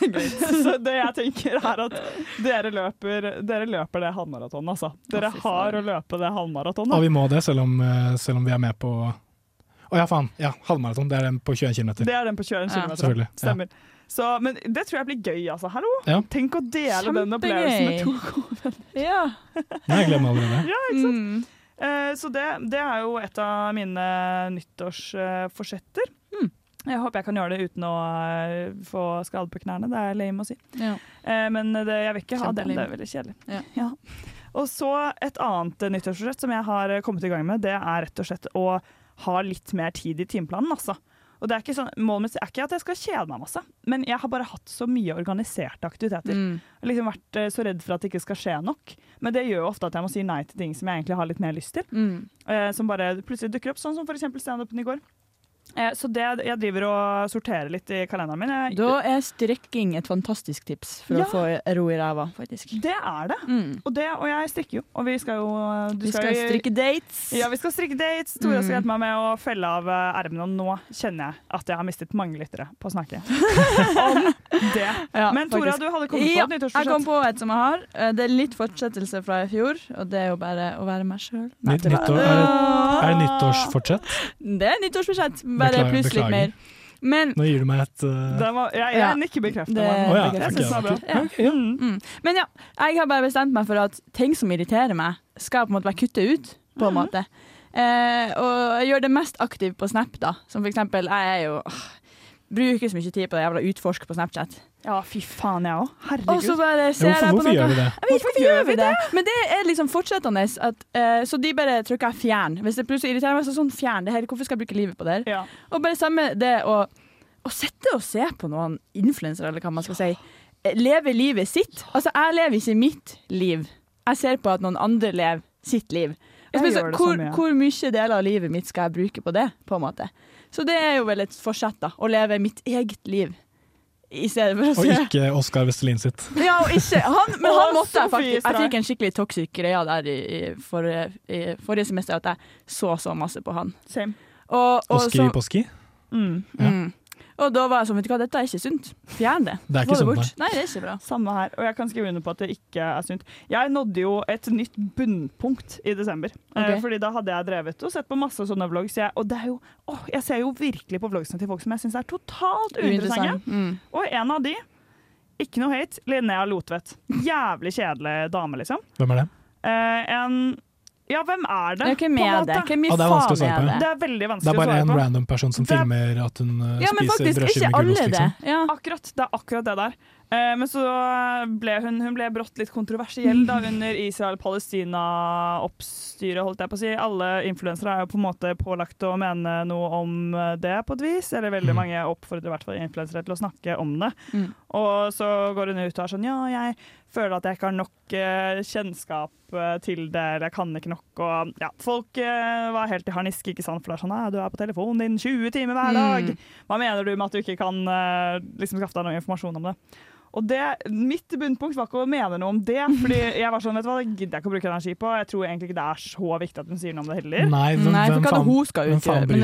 Speaker 2: Greit. *laughs* Så det jeg tenker er at dere løper, dere løper det halvmaratonet, altså. Dere
Speaker 4: Å, fy faen.
Speaker 2: har å løpe det
Speaker 3: Og
Speaker 2: halvmaratonet.
Speaker 3: vi må det, selv om, eh, selv om vi er med på Å ja, faen. Ja, halvmaraton. Det er den på 21 km.
Speaker 2: Det er den på 21
Speaker 4: Ja.
Speaker 2: km.
Speaker 3: Selvfølgelig. Ja.
Speaker 2: Stemmer. Så, men det tror jeg blir gøy, altså. Hallo!
Speaker 3: Ja.
Speaker 2: Tenk å dele den opplevelsen med to gode venner.
Speaker 4: Ja.
Speaker 3: Nei, jeg gleder meg allerede.
Speaker 2: Ja, ikke sant?
Speaker 4: Mm.
Speaker 2: Eh, så det, det er jo et av mine nyttårsforsetter.
Speaker 4: Hmm.
Speaker 2: Jeg håper jeg kan gjøre det uten å eh, få skade på knærne. Det er lame å si.
Speaker 4: Ja.
Speaker 2: Eh, men det, jeg vil ikke ha den.
Speaker 4: Kjempelame.
Speaker 2: Det er veldig kjedelig.
Speaker 4: Ja.
Speaker 2: Ja. Og så et annet eh, nyttårsforsett som jeg har eh, kommet i gang med, det er rett og slett å ha litt mer tid i timeplanen, altså. Og det er ikke sånn, målet mitt er ikke at jeg skal kjede meg masse, men jeg har bare hatt så mye organiserte aktiviteter.
Speaker 4: Mm.
Speaker 2: Jeg har liksom vært eh, så redd for at det ikke skal skje nok. Men det gjør jo ofte at jeg må si nei til ting som jeg egentlig har litt mer lyst til.
Speaker 4: Mm.
Speaker 2: eh, Som bare plutselig dukker opp, sånn som f.eks. standupen i går. Eh, Så det, jeg driver og sorterer litt i kalenderen min. Jeg,
Speaker 4: Da er strekking et fantastisk tips for
Speaker 2: Ja. Mm.
Speaker 4: å få ro i ræva, faktisk. Mm.
Speaker 2: Det er det. Og, det. og jeg strikker jo. Og vi skal jo du
Speaker 4: Vi skal strikke dates.
Speaker 2: Ja, vi skal strikke dates. Tora skal
Speaker 4: Mm.
Speaker 2: hjelpe meg med å felle av eh, ermene, og nå kjenner jeg at jeg har mistet mange lyttere på å
Speaker 4: *laughs*
Speaker 2: snakke om det.
Speaker 4: Ja,
Speaker 2: Men Tora,
Speaker 4: faktisk.
Speaker 2: du hadde kommet på
Speaker 4: ja,
Speaker 2: et
Speaker 4: Jeg kom
Speaker 2: nyttårsforsett.
Speaker 4: på et som jeg har. Eh, Det er litt fortsettelse fra i fjor, og det er jo bare å være meg sjøl.
Speaker 3: Nytt, nyttår, er, det- er det nyttårsfortsett?
Speaker 4: Det er nyttårsbudsjett, bare
Speaker 3: Beklager,
Speaker 4: pluss litt
Speaker 3: beklager.
Speaker 4: mer. Men
Speaker 3: Nå gir du meg et eh,
Speaker 2: Den var, jeg jeg
Speaker 4: Ja.
Speaker 2: nikker bekreftende.
Speaker 4: Det-
Speaker 2: Maren.
Speaker 3: Å ja,
Speaker 2: Jeg synes
Speaker 3: ok,
Speaker 2: den var bra.
Speaker 3: ok. Ja, ok, ja.
Speaker 4: Mm. Men ja, jeg har bare bestemt meg for at ting som irriterer meg, skal på en måte være kuttet ut. På
Speaker 3: Mhm.
Speaker 4: en måte. Eh, og jeg gjør det mest aktivt på Snap, da. Som for eksempel, jeg er jo åh, Bruker så mye tid på det jævla utforsk på Snapchat.
Speaker 2: Ja, fy faen, jeg òg.
Speaker 4: Og så
Speaker 2: Herregud.
Speaker 4: bare
Speaker 3: Ja,
Speaker 4: ser jeg
Speaker 3: Hvorfor,
Speaker 4: på
Speaker 3: hvorfor
Speaker 4: noe
Speaker 3: gjør vi det?
Speaker 4: Jeg vet ikke hvorfor gjør vi det? Men det er liksom fortsettende. At, eh, så de bare trykker jeg 'fjern'. Hvis det plutselig irriterer meg, så sånn 'fjern det her'. Hvorfor skal jeg bruke livet på det her?
Speaker 2: Ja.
Speaker 4: Og bare samme det å, å sitte og se på noen influensere, eller hva man skal si. eh, Leve livet sitt. Altså, jeg lever ikke mitt liv. Jeg ser på at noen andre lever sitt liv. Og
Speaker 2: Jeg
Speaker 4: så blir
Speaker 2: gjør
Speaker 4: det sånn,
Speaker 2: det
Speaker 4: hvor,
Speaker 2: samme, ja.
Speaker 4: hvor mye deler av livet mitt skal jeg bruke på det? på en måte? Så det er jo vel et forsett, da. Å leve mitt eget liv. I stedet for å
Speaker 3: Og
Speaker 4: *laughs* se
Speaker 3: ikke Oskar Vestelin sitt.
Speaker 4: ja, og ikke han,
Speaker 2: *laughs*
Speaker 4: Men han
Speaker 2: Å,
Speaker 4: måtte
Speaker 2: Sofie
Speaker 4: jeg faktisk Jeg
Speaker 2: Stray.
Speaker 4: fikk en skikkelig toxic greie der i, i, forrige, i forrige semester at jeg så så masse på han.
Speaker 2: Same.
Speaker 4: Og, og,
Speaker 3: Oski
Speaker 4: så,
Speaker 3: på ski.
Speaker 2: Mm.
Speaker 4: mm, og da var jeg sånn, vet du hva, dette er ikke sunt. Fjern det.
Speaker 3: Det er
Speaker 4: Få
Speaker 3: ikke sånn,
Speaker 4: bort.
Speaker 3: nei.
Speaker 4: Nei, det er ikke bra.
Speaker 2: Samme her. Og jeg kan skrive under på at det ikke er sunt. Jeg nådde jo et nytt bunnpunkt i desember. Eh,
Speaker 4: Ok.
Speaker 2: Fordi da hadde jeg drevet og sett på masse sånne vlogs. Jeg, og det er jo, åh, jeg ser jo virkelig på vlogsene til folk som jeg syns er totalt uinteressante.
Speaker 4: Uinteressant. Mm.
Speaker 2: Og en av de, ikke noe hate, Linnea Lotvedt. Jævlig kjedelig dame, liksom.
Speaker 3: Hvem er det?
Speaker 2: Eh, en Ja, hvem er det?
Speaker 4: Ja, hvem
Speaker 2: på en
Speaker 4: er
Speaker 2: måte?
Speaker 4: det? Hvem i
Speaker 3: Ja, det er vanskelig å
Speaker 4: faen
Speaker 3: svare
Speaker 4: er
Speaker 3: på,
Speaker 4: det?
Speaker 2: Det er veldig
Speaker 3: Det
Speaker 2: vanskelig
Speaker 3: er bare
Speaker 2: å
Speaker 3: en
Speaker 2: svare på.
Speaker 3: random person som
Speaker 2: Det er-
Speaker 3: filmer at hun eh,
Speaker 4: Ja, men
Speaker 3: spiser
Speaker 4: faktisk,
Speaker 3: brødskive
Speaker 4: ikke
Speaker 3: med
Speaker 4: alle
Speaker 3: gulost,
Speaker 4: det.
Speaker 3: liksom.
Speaker 4: Ja.
Speaker 2: Akkurat, det er akkurat det der. Eh, men så ble hun, hun ble brått litt kontroversiell
Speaker 4: *laughs*
Speaker 2: da, under Israel-Palestina-oppstyret, holdt jeg på å si. Alle influensere er jo på en måte pålagt å mene noe om eh, det på et vis. Eller veldig
Speaker 3: Mm.
Speaker 2: mange oppfordrer i hvert fall influensere til å snakke om det.
Speaker 4: Mm.
Speaker 2: Og så går hun ut og er sånn Ja, jeg føler at jeg ikke har nok eh, kjennskap eh, til det, eller jeg kan ikke nok. Og ja, folk eh, var helt i harnisk, ikke sant, for det er sånn «Nei, du er på telefonen din 20 timer hver dag.
Speaker 4: Mm.
Speaker 2: Hva mener du med at du ikke kan eh, liksom skaffe deg noe informasjon om det? Og det, Mitt bunnpunkt var ikke å mene noe om det. Fordi
Speaker 4: *laughs*
Speaker 2: jeg var sånn, vet du hva, Det gidder jeg ikke å bruke energi på. Jeg tror egentlig ikke det er så viktig at hun sier noe om det heller.
Speaker 3: Nei, hvem,
Speaker 4: Nei, for
Speaker 3: hvem
Speaker 4: hva
Speaker 3: faen,
Speaker 4: hun skal
Speaker 3: hvem faen
Speaker 4: utgjøre.
Speaker 3: bryr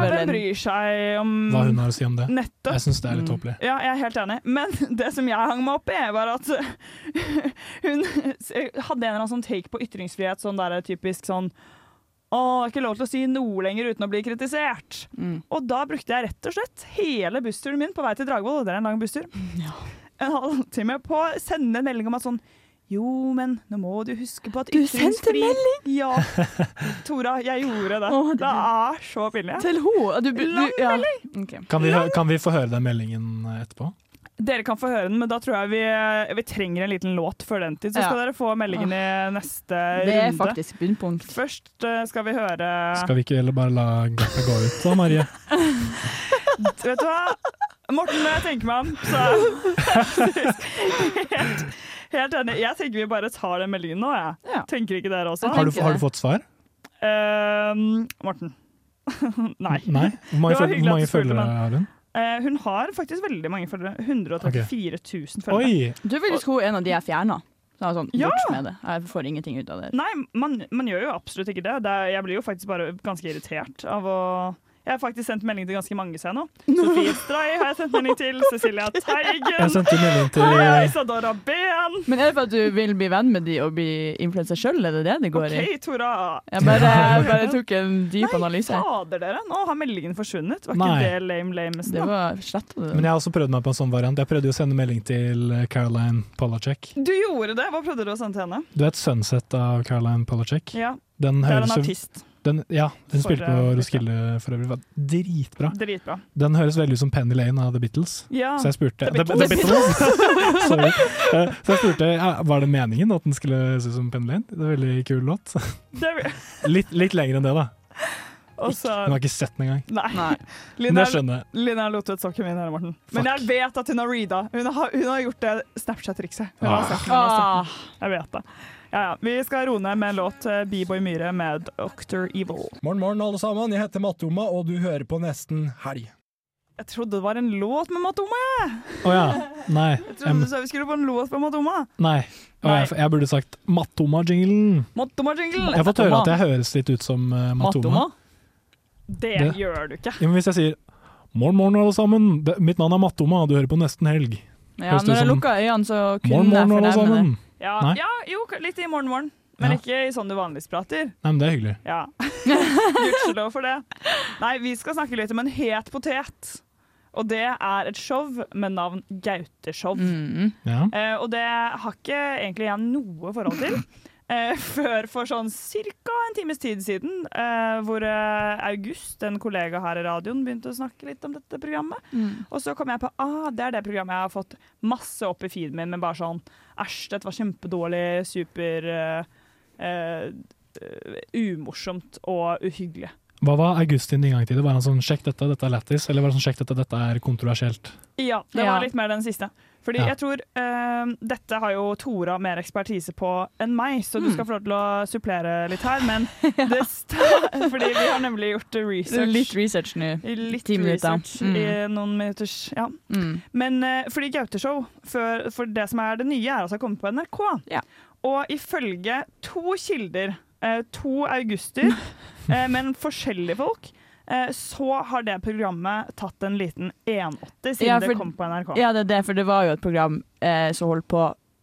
Speaker 4: Men
Speaker 2: Ja,
Speaker 4: ja, hun er
Speaker 3: seg om
Speaker 4: vel
Speaker 2: Hvem
Speaker 4: en-
Speaker 2: bryr seg om
Speaker 3: hva hun har å si om det?
Speaker 2: Nettopp. Mm.
Speaker 3: Jeg syns det er litt tåpelig.
Speaker 2: Ja, jeg er helt enig. Men *laughs* det som jeg hang meg opp i, var at *laughs* hun hadde en eller annen sånn take på ytringsfrihet, sånn der typisk sånn Å, det er ikke lov til å si noe lenger uten å bli kritisert.
Speaker 4: Mm.
Speaker 2: Og da brukte jeg rett og slett hele bussturen min på vei til Dragvoll, og det er en lang
Speaker 4: *laughs*
Speaker 2: busstur, en halvtime på å sende en melding om at sånn jo, men nå må du huske på at
Speaker 4: Du sendte
Speaker 2: Ja. Tora, jeg gjorde det.
Speaker 4: Å, det-
Speaker 2: det er så pinlig.
Speaker 4: Til henne? Du, du,
Speaker 2: Lang
Speaker 4: ja. Ok.
Speaker 3: Kan vi, hø- kan vi få høre den meldingen eh, etterpå?
Speaker 2: Dere kan få høre den, men da tror jeg vi, vi trenger en liten låt før den tid. Så
Speaker 4: Ja.
Speaker 2: skal dere få meldingen i neste
Speaker 4: Det er
Speaker 2: runde.
Speaker 4: faktisk bunnpunkt.
Speaker 2: Først eh, skal vi høre
Speaker 3: Skal vi ikke heller bare la gapet gå ut da,
Speaker 2: *laughs*
Speaker 3: Marie?
Speaker 2: Vet du hva? Morten, når jeg tenker meg om, så er jeg
Speaker 4: *laughs*
Speaker 2: faktisk helt, helt enig. Jeg tenker vi bare tar den meldingen nå, jeg.
Speaker 4: Ja.
Speaker 2: Tenker ikke dere også?
Speaker 3: Har du,
Speaker 4: tenker
Speaker 3: har
Speaker 4: det.
Speaker 3: du fått svar?
Speaker 2: Ehm, Morten. *laughs* Nei.
Speaker 3: Nei? Hvor mange,
Speaker 2: Det var
Speaker 3: føl
Speaker 2: hyggelig
Speaker 3: hvor
Speaker 2: at
Speaker 3: mange
Speaker 2: du spurte,
Speaker 3: følgere
Speaker 2: men-
Speaker 3: har hun?
Speaker 2: Eh, hun har faktisk veldig mange følgere. 134 000 følgere.
Speaker 3: Oi!
Speaker 4: Du er faktisk hun en av de jeg fjerna. Så jeg er sånn,
Speaker 2: Ja.
Speaker 4: bort med det. Jeg får ingenting ut av det.
Speaker 2: Nei, man, man gjør jo absolutt ikke det. det er, jeg blir jo faktisk bare ganske irritert av å Jeg Jeg har faktisk sendt melding til ganske mange, ser jeg nå. Sofie Stray har jeg sendt melding til. Cecilia Teigen.
Speaker 3: Jeg sendte melding til- eh,
Speaker 2: Hei, Isadora Ben.
Speaker 4: Men er det for at du vil bli venn med de og bli influenser sjøl, er det det det går
Speaker 2: OK,
Speaker 4: i?
Speaker 2: Tora.
Speaker 4: Jeg bare,
Speaker 3: *laughs*
Speaker 4: jeg bare tok en dyp analyse.
Speaker 2: Nei, fader dere. Nå har meldingen forsvunnet. Var ikke
Speaker 3: Nei.
Speaker 2: det lame lamesten?
Speaker 4: Det var slett
Speaker 3: Men jeg har også prøvd meg på en sånn variant. Jeg prøvde jo å sende melding til eh, Caroline Polacek.
Speaker 2: Du gjorde det. Hva prøvde du å sende til henne?
Speaker 3: Du vet 'Sunset' av Caroline Polacek?
Speaker 2: Ja.
Speaker 3: Den
Speaker 2: Det er
Speaker 3: høres
Speaker 2: en
Speaker 3: jo-
Speaker 2: artist.
Speaker 3: Den, ja, hun
Speaker 2: For,
Speaker 3: spilte
Speaker 2: eh,
Speaker 3: på Roskilde for øvrig. Det var Dritbra.
Speaker 2: Dritbra.
Speaker 3: Den høres veldig ut som Penny Lane av The Beatles.
Speaker 2: Ja.
Speaker 3: Så jeg spurte
Speaker 2: The
Speaker 3: The- The
Speaker 2: Beatles.
Speaker 3: Beatles. *laughs* Sorry. Eh, Så jeg spurte ja, var det meningen at den skulle se ut som Penny Lane. Det er en veldig kul låt.
Speaker 2: *laughs*
Speaker 3: *laughs*
Speaker 2: Det-
Speaker 3: Litt, litt lenger enn det, da.
Speaker 2: Og så-
Speaker 3: Hun har ikke sett den engang.
Speaker 2: Nei.
Speaker 3: Men jeg skjønner.
Speaker 2: Linnea Lotvedt så ikke min her, Morten. Men jeg vet at hun har reada. Hun har, hun har gjort det Snapchat-trikset. Hun har
Speaker 3: Ah.
Speaker 2: sett den, hun har sett den. Jeg vet det. Ja, ja. Vi skal roe ned med en låt, eh, B-Boy Myhre med Octor Evil.
Speaker 8: Morgen, morgen, alle sammen. Jeg heter Matoma, og du hører på Nesten Helg.
Speaker 2: Jeg trodde det var en låt med Matoma, jeg!
Speaker 3: Å ja. Nei.
Speaker 2: Jeg trodde
Speaker 3: em,
Speaker 2: du sa vi skulle på en låt med Matoma.
Speaker 3: nei. Å, jeg, jeg burde sagt Matoma-jinglen.
Speaker 2: Matoma-jingle!
Speaker 3: Jeg har fått høre at jeg høres litt ut som eh, Matoma.
Speaker 2: Det,
Speaker 3: Det-
Speaker 2: gjør du ikke.
Speaker 3: Ja, men hvis jeg sier 'morgen, morgen, alle sammen', det, mitt navn er Matoma, og du hører på Nesten Helg.
Speaker 4: Ja, når jeg lukka øynene, så kunne
Speaker 3: Morgen, morgen, alle
Speaker 4: jeg fornemme
Speaker 3: sammen.
Speaker 4: det.
Speaker 2: Ja,
Speaker 3: Nei?
Speaker 2: ja, jo, litt i morgen morgen. Men ikke i sånn du vanligvis prater.
Speaker 3: Nei, men det er hyggelig.
Speaker 2: Ja. Gudskjelov for det. Nei, vi skal snakke litt om en het potet. Og det er et show med navn Gauteshow.
Speaker 4: Mm.
Speaker 3: Ja.
Speaker 2: Eh, og det har ikke egentlig jeg noe forhold til. Eh, før for sånn ca. en times tid siden, eh, hvor eh, August, en kollega her i radioen, begynte å snakke litt om dette programmet.
Speaker 4: Mm.
Speaker 2: Og så kom jeg på ah, det er det programmet jeg har fått masse opp i feeden min, men bare sånn Æsj, dette var kjempedårlig, super eh, eh, Umorsomt og uhyggelig.
Speaker 3: Hva var Augustin din gang til? Var han sånn 'sjekk dette, dette er lættis', eller var han sånn 'sjekk dette, dette er kontroversielt'?
Speaker 2: Ja, det
Speaker 4: Ja.
Speaker 2: var litt mer den siste. Fordi
Speaker 3: Ja.
Speaker 2: jeg tror eh, Dette har jo Tora mer ekspertise på enn meg, så du skal få lov til å supplere litt her. Men det sta- *laughs* Fordi vi har nemlig gjort research.
Speaker 4: Litt research nå.
Speaker 2: Litt
Speaker 4: Ti minutter.
Speaker 2: research i noen minutters Ja.
Speaker 4: Mm.
Speaker 2: Men eh, fordi Gauteshow, for, for det som er det nye, er altså kommet på NRK. Og ifølge to kilder, eh, to
Speaker 4: *laughs*
Speaker 2: auguster, eh, men forskjellige folk, eh, så har det programmet tatt en liten 180 siden
Speaker 4: Ja, for-
Speaker 2: det kom på NRK.
Speaker 4: Ja, det er det, for det var jo et program eh, som holdt på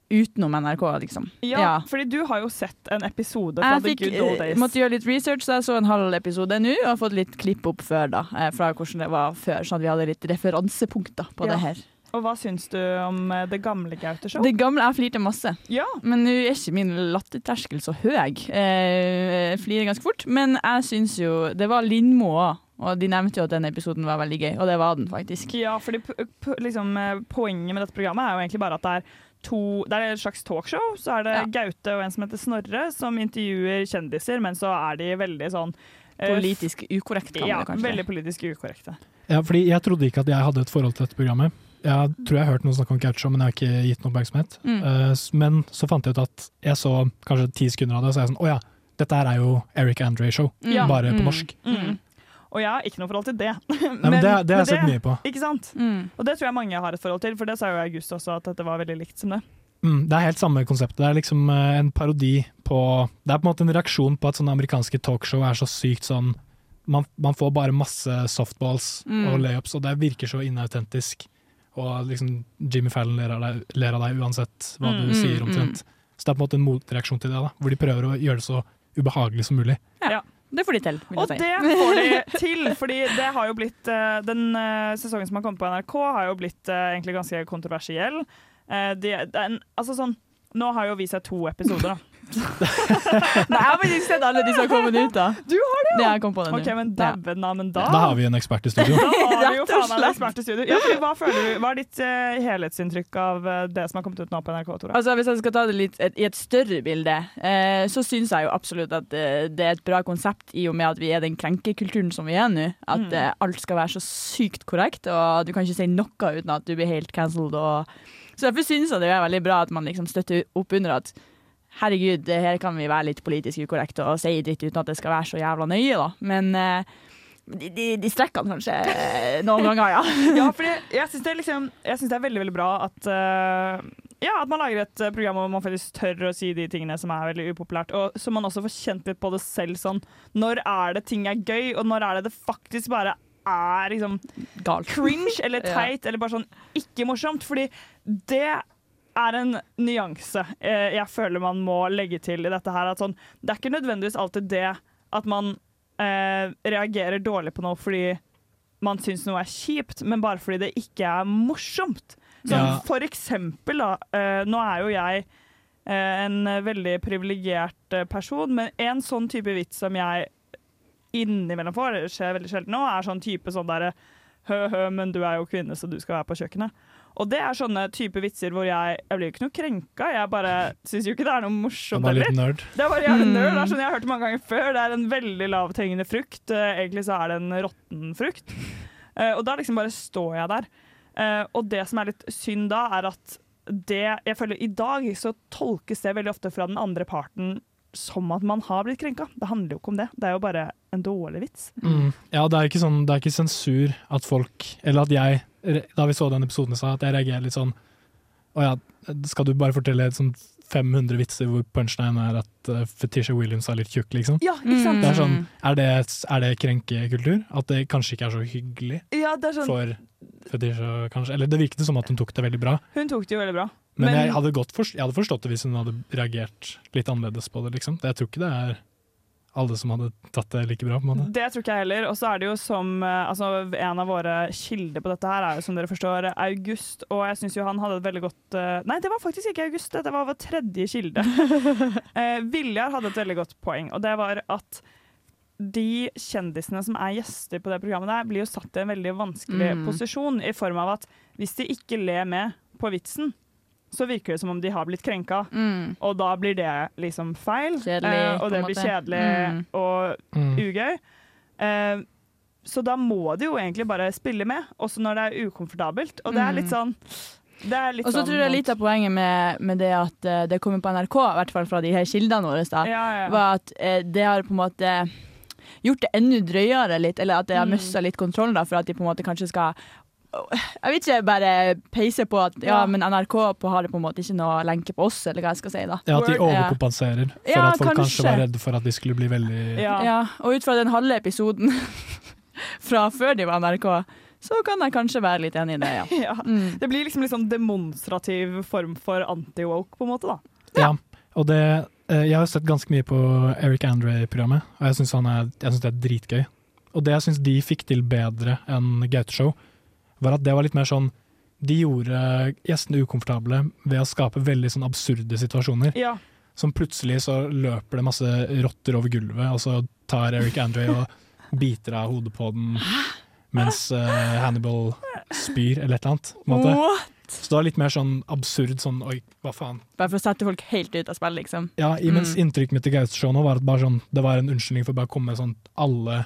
Speaker 4: utenom NRK, liksom.
Speaker 2: Ja, fordi du har jo sett en episode fra
Speaker 4: Jeg fikk,
Speaker 2: The Good Old
Speaker 4: eh,
Speaker 2: Days.
Speaker 4: måtte gjøre litt research, så jeg så en halv episode nå og har fått litt klipp opp før, da. eh, Fra hvordan det var før, sånn at vi hadde litt referansepunkter på
Speaker 2: Ja.
Speaker 4: det her.
Speaker 2: Og hva syns du om eh, det gamle Gauteshow?
Speaker 4: Det gamle, jeg flirte masse. Men nå er ikke min latterterskel så høy. Eh, Jeg flirer ganske fort. Men jeg syns jo Det var Lindmo òg, og de nevnte jo at den episoden var veldig gøy. Og det var den, faktisk.
Speaker 2: Ja, fordi p- p- liksom, eh, poenget med dette programmet er jo egentlig bare at det er to Det er et slags talkshow. Så er det Gaute og en som heter Snorre, som intervjuer kjendiser, men så er de veldig sånn eh,
Speaker 4: Politisk ukorrekt, kan man
Speaker 2: ja,
Speaker 4: kanskje si.
Speaker 2: Veldig politisk ukorrekte.
Speaker 3: Ja, fordi jeg trodde ikke at jeg hadde et forhold til dette programmet. Jeg tror jeg har hørt noen snakke om Gaucho, men jeg har ikke gitt noen oppmerksomhet.
Speaker 2: Mm.
Speaker 3: Eh, s- men så fant jeg ut at jeg så kanskje ti sekunder av det, og så er jeg sånn 'å ja, dette her er jo Eric Andre Show',
Speaker 2: Ja.
Speaker 3: bare på
Speaker 2: Mm.
Speaker 3: norsk.
Speaker 2: Mm. Og jeg har ikke noe forhold til det. *laughs* men,
Speaker 3: det- det har jeg sett mye på.
Speaker 2: Ikke sant?
Speaker 4: Mm.
Speaker 2: Og det tror jeg mange har et forhold til, for det sa jo August også, at dette var veldig likt som det.
Speaker 3: Mm, det er helt samme konseptet. Det er liksom eh, en parodi på Det er på en måte en reaksjon på at sånne amerikanske talkshow er så sykt sånn Man, man får bare masse softballs
Speaker 9: Mm.
Speaker 3: og layups, og det virker så inautentisk. Og liksom Jimmy Fallon ler av deg, ler av deg uansett hva
Speaker 2: Mm, mm,
Speaker 3: du sier,
Speaker 2: mm.
Speaker 3: omtrent. Så det er på en måte en motreaksjon til det, da, hvor de prøver å gjøre det så ubehagelig som mulig.
Speaker 2: Ja.
Speaker 4: Det får de til, vil
Speaker 2: Og
Speaker 4: jeg si.
Speaker 2: det får de til, fordi det har jo blitt eh, Den eh, sesongen som har kommet på NRK, har jo blitt eh, egentlig ganske kontroversiell. Eh, de, den, altså sånn Nå har jo vi sett to episoder, da.
Speaker 4: Nei, jeg har faktisk sett alle de som har kommet ut, da.
Speaker 2: *laughs* Du har det,
Speaker 4: Det jeg kom på det nå.
Speaker 2: OK, men dæven da, men da
Speaker 3: Da har vi en ekspert i
Speaker 2: *laughs*
Speaker 3: studio.
Speaker 2: Da har vi jo
Speaker 4: *laughs* Rett og
Speaker 2: faen meg en
Speaker 4: slett.
Speaker 2: ekspert i studio. Ja, fordi hva, føler du, hva er ditt eh, helhetsinntrykk av eh, det som har kommet ut nå på NRK, Tora?
Speaker 4: Altså, hvis jeg skal ta det litt et, i et større bilde, eh, så syns jeg jo absolutt at eh, det er et bra konsept i og med at vi er den krenkekulturen som vi er nå. At
Speaker 2: Mm.
Speaker 4: eh, alt skal være så sykt korrekt, og du kan ikke si noe uten at du blir helt cancelled. Og... Så derfor syns jeg det er veldig bra at man liksom støtter opp under at herregud, det her kan vi være litt politisk ukorrekte og si dritt uten at det skal være så jævla nøye, da. Men eh, de, de, de strekkene kanskje eh, noen ganger, ja.
Speaker 2: ja, fordi jeg syns det, er liksom, jeg synes det er veldig veldig bra at eh, Ja, at man lager et eh, program hvor man faktisk tør å si de tingene som er veldig upopulært, og så man også får kjent litt på det selv. Sånn, når er det ting er gøy, og når er det det faktisk bare er liksom cringe eller
Speaker 4: Ja.
Speaker 2: teit eller bare sånn ikke morsomt? Fordi det er en nyanse eh, jeg føler man må legge til i dette her. At sånn, det er ikke nødvendigvis alltid det at man eh, reagerer dårlig på noe fordi man syns noe er kjipt, men bare fordi det ikke er morsomt. Sånn,
Speaker 3: Ja.
Speaker 2: For eksempel, da. eh, nå er jo jeg eh, en veldig privilegert eh, person, men en sånn type vits som jeg innimellom får, det skjer veldig sjelden nå, er sånn type sånn derre Hø-hø, men du er jo kvinne, så du skal være på kjøkkenet. Og det er sånne type vitser hvor jeg Jeg blir jo ikke noe krenka, jeg bare syns jo ikke det er noe
Speaker 3: Jeg er
Speaker 2: morsomt
Speaker 3: bare
Speaker 2: heller.
Speaker 3: litt nerd.
Speaker 2: Det er bare jævlig
Speaker 3: Mm.
Speaker 2: nerd. Det er sånn jeg har hørt det mange ganger før. Det er en veldig lavthengende frukt. Eh, Egentlig så er det en råtten frukt. Eh, Og da liksom bare står jeg der. Eh, Og det som er litt synd da, er at det Jeg føler i dag så tolkes det veldig ofte fra den andre parten som at man har blitt krenka. Det handler jo ikke om det. Det er jo bare en dårlig vits.
Speaker 3: Mm. Ja, det er ikke sånn, det er ikke sensur at folk Eller at jeg, re- da vi så den episoden i stad, at jeg reagerer litt sånn Å ja, skal du bare fortelle sånn 500 vitser hvor punchline er at uh, Fetisha Williams er litt tjukk, liksom?
Speaker 2: Ja, ikke sant?
Speaker 3: Det er sånn, er det, er det krenkekultur? At det kanskje ikke er så hyggelig
Speaker 2: Ja, det er sånn
Speaker 3: for Fetisha, kanskje? Eller det virket som at hun tok det veldig bra.
Speaker 2: Hun tok det jo veldig bra.
Speaker 3: Men, jeg, hadde godt forstått, jeg hadde forstått det hvis hun hadde reagert litt annerledes på det, liksom. Jeg tror ikke det er alle som hadde tatt det like bra, på en måte.
Speaker 2: Det tror ikke jeg heller. Og så er det jo som eh, altså, En av våre kilder på dette her er jo som dere forstår August, og jeg syns jo han hadde et veldig godt eh, Nei, det var faktisk ikke August, det var vår tredje kilde. Eh, Viljar hadde et veldig godt poeng, og det var at de kjendisene som er gjester på det programmet der, blir jo satt i en veldig vanskelig
Speaker 4: Mm.
Speaker 2: posisjon, i form av at hvis de ikke ler med på vitsen, så virker det som om de har blitt krenka,
Speaker 4: Mm.
Speaker 2: og da blir det liksom feil.
Speaker 4: Kjedelig,
Speaker 2: eh,
Speaker 4: på
Speaker 2: og det
Speaker 4: en
Speaker 2: blir
Speaker 4: måte.
Speaker 2: kjedelig
Speaker 4: Mm.
Speaker 2: og
Speaker 4: Mm.
Speaker 2: ugøy. Eh, så da må de jo egentlig bare spille med, også når det er ukomfortabelt. Og det er litt sånn det er litt
Speaker 4: Mm. Og så
Speaker 2: sånn
Speaker 4: tror jeg litt av poenget med, med det at eh, det kommer på NRK, i hvert fall fra de her kildene våre, da, var at eh, det har på en måte gjort det enda drøyere litt, eller at det har
Speaker 2: Mm.
Speaker 4: mista litt kontrollen, da, for at de på en måte kanskje skal jeg vil ikke bare peise på at ja,
Speaker 2: Ja.
Speaker 4: men NRK på har det på en måte ikke noe lenke på oss, eller hva jeg skal si. da.
Speaker 3: Ja, at de
Speaker 4: Ja.
Speaker 3: overkompenserer. For
Speaker 4: Ja,
Speaker 3: at folk kanskje.
Speaker 4: kanskje.
Speaker 3: var redde for at de skulle bli veldig
Speaker 4: Ja. og ut fra den halve episoden *laughs* fra før de var NRK, så kan jeg kanskje være litt enig i det,
Speaker 2: *laughs*
Speaker 4: ja.
Speaker 2: *laughs*
Speaker 4: Mm.
Speaker 2: ja. Det blir liksom litt sånn demonstrativ form for anti-woke, på en måte, da.
Speaker 3: Ja. Og det eh, Jeg har sett ganske mye på Eric Andre-programmet, og jeg syns det er dritgøy. Og det jeg syns de fikk til bedre enn Gaute-show, var at det var litt mer sånn De gjorde gjestene ukomfortable ved å skape veldig sånn absurde situasjoner.
Speaker 2: Ja.
Speaker 3: Som plutselig så løper det masse rotter over gulvet, og så tar Eric Andre og biter av hodet på den mens eh, Hannibal spyr, eller et eller annet. på en måte.
Speaker 4: What?
Speaker 3: Så det var litt mer sånn absurd sånn oi, hva faen.
Speaker 4: Bare for å sette folk helt ut av spill, liksom.
Speaker 3: Ja, i- mens
Speaker 4: Mm.
Speaker 3: inntrykket mitt i Gaute-showet nå var at bare sånn, det var en unnskyldning for bare å komme med sånn alle,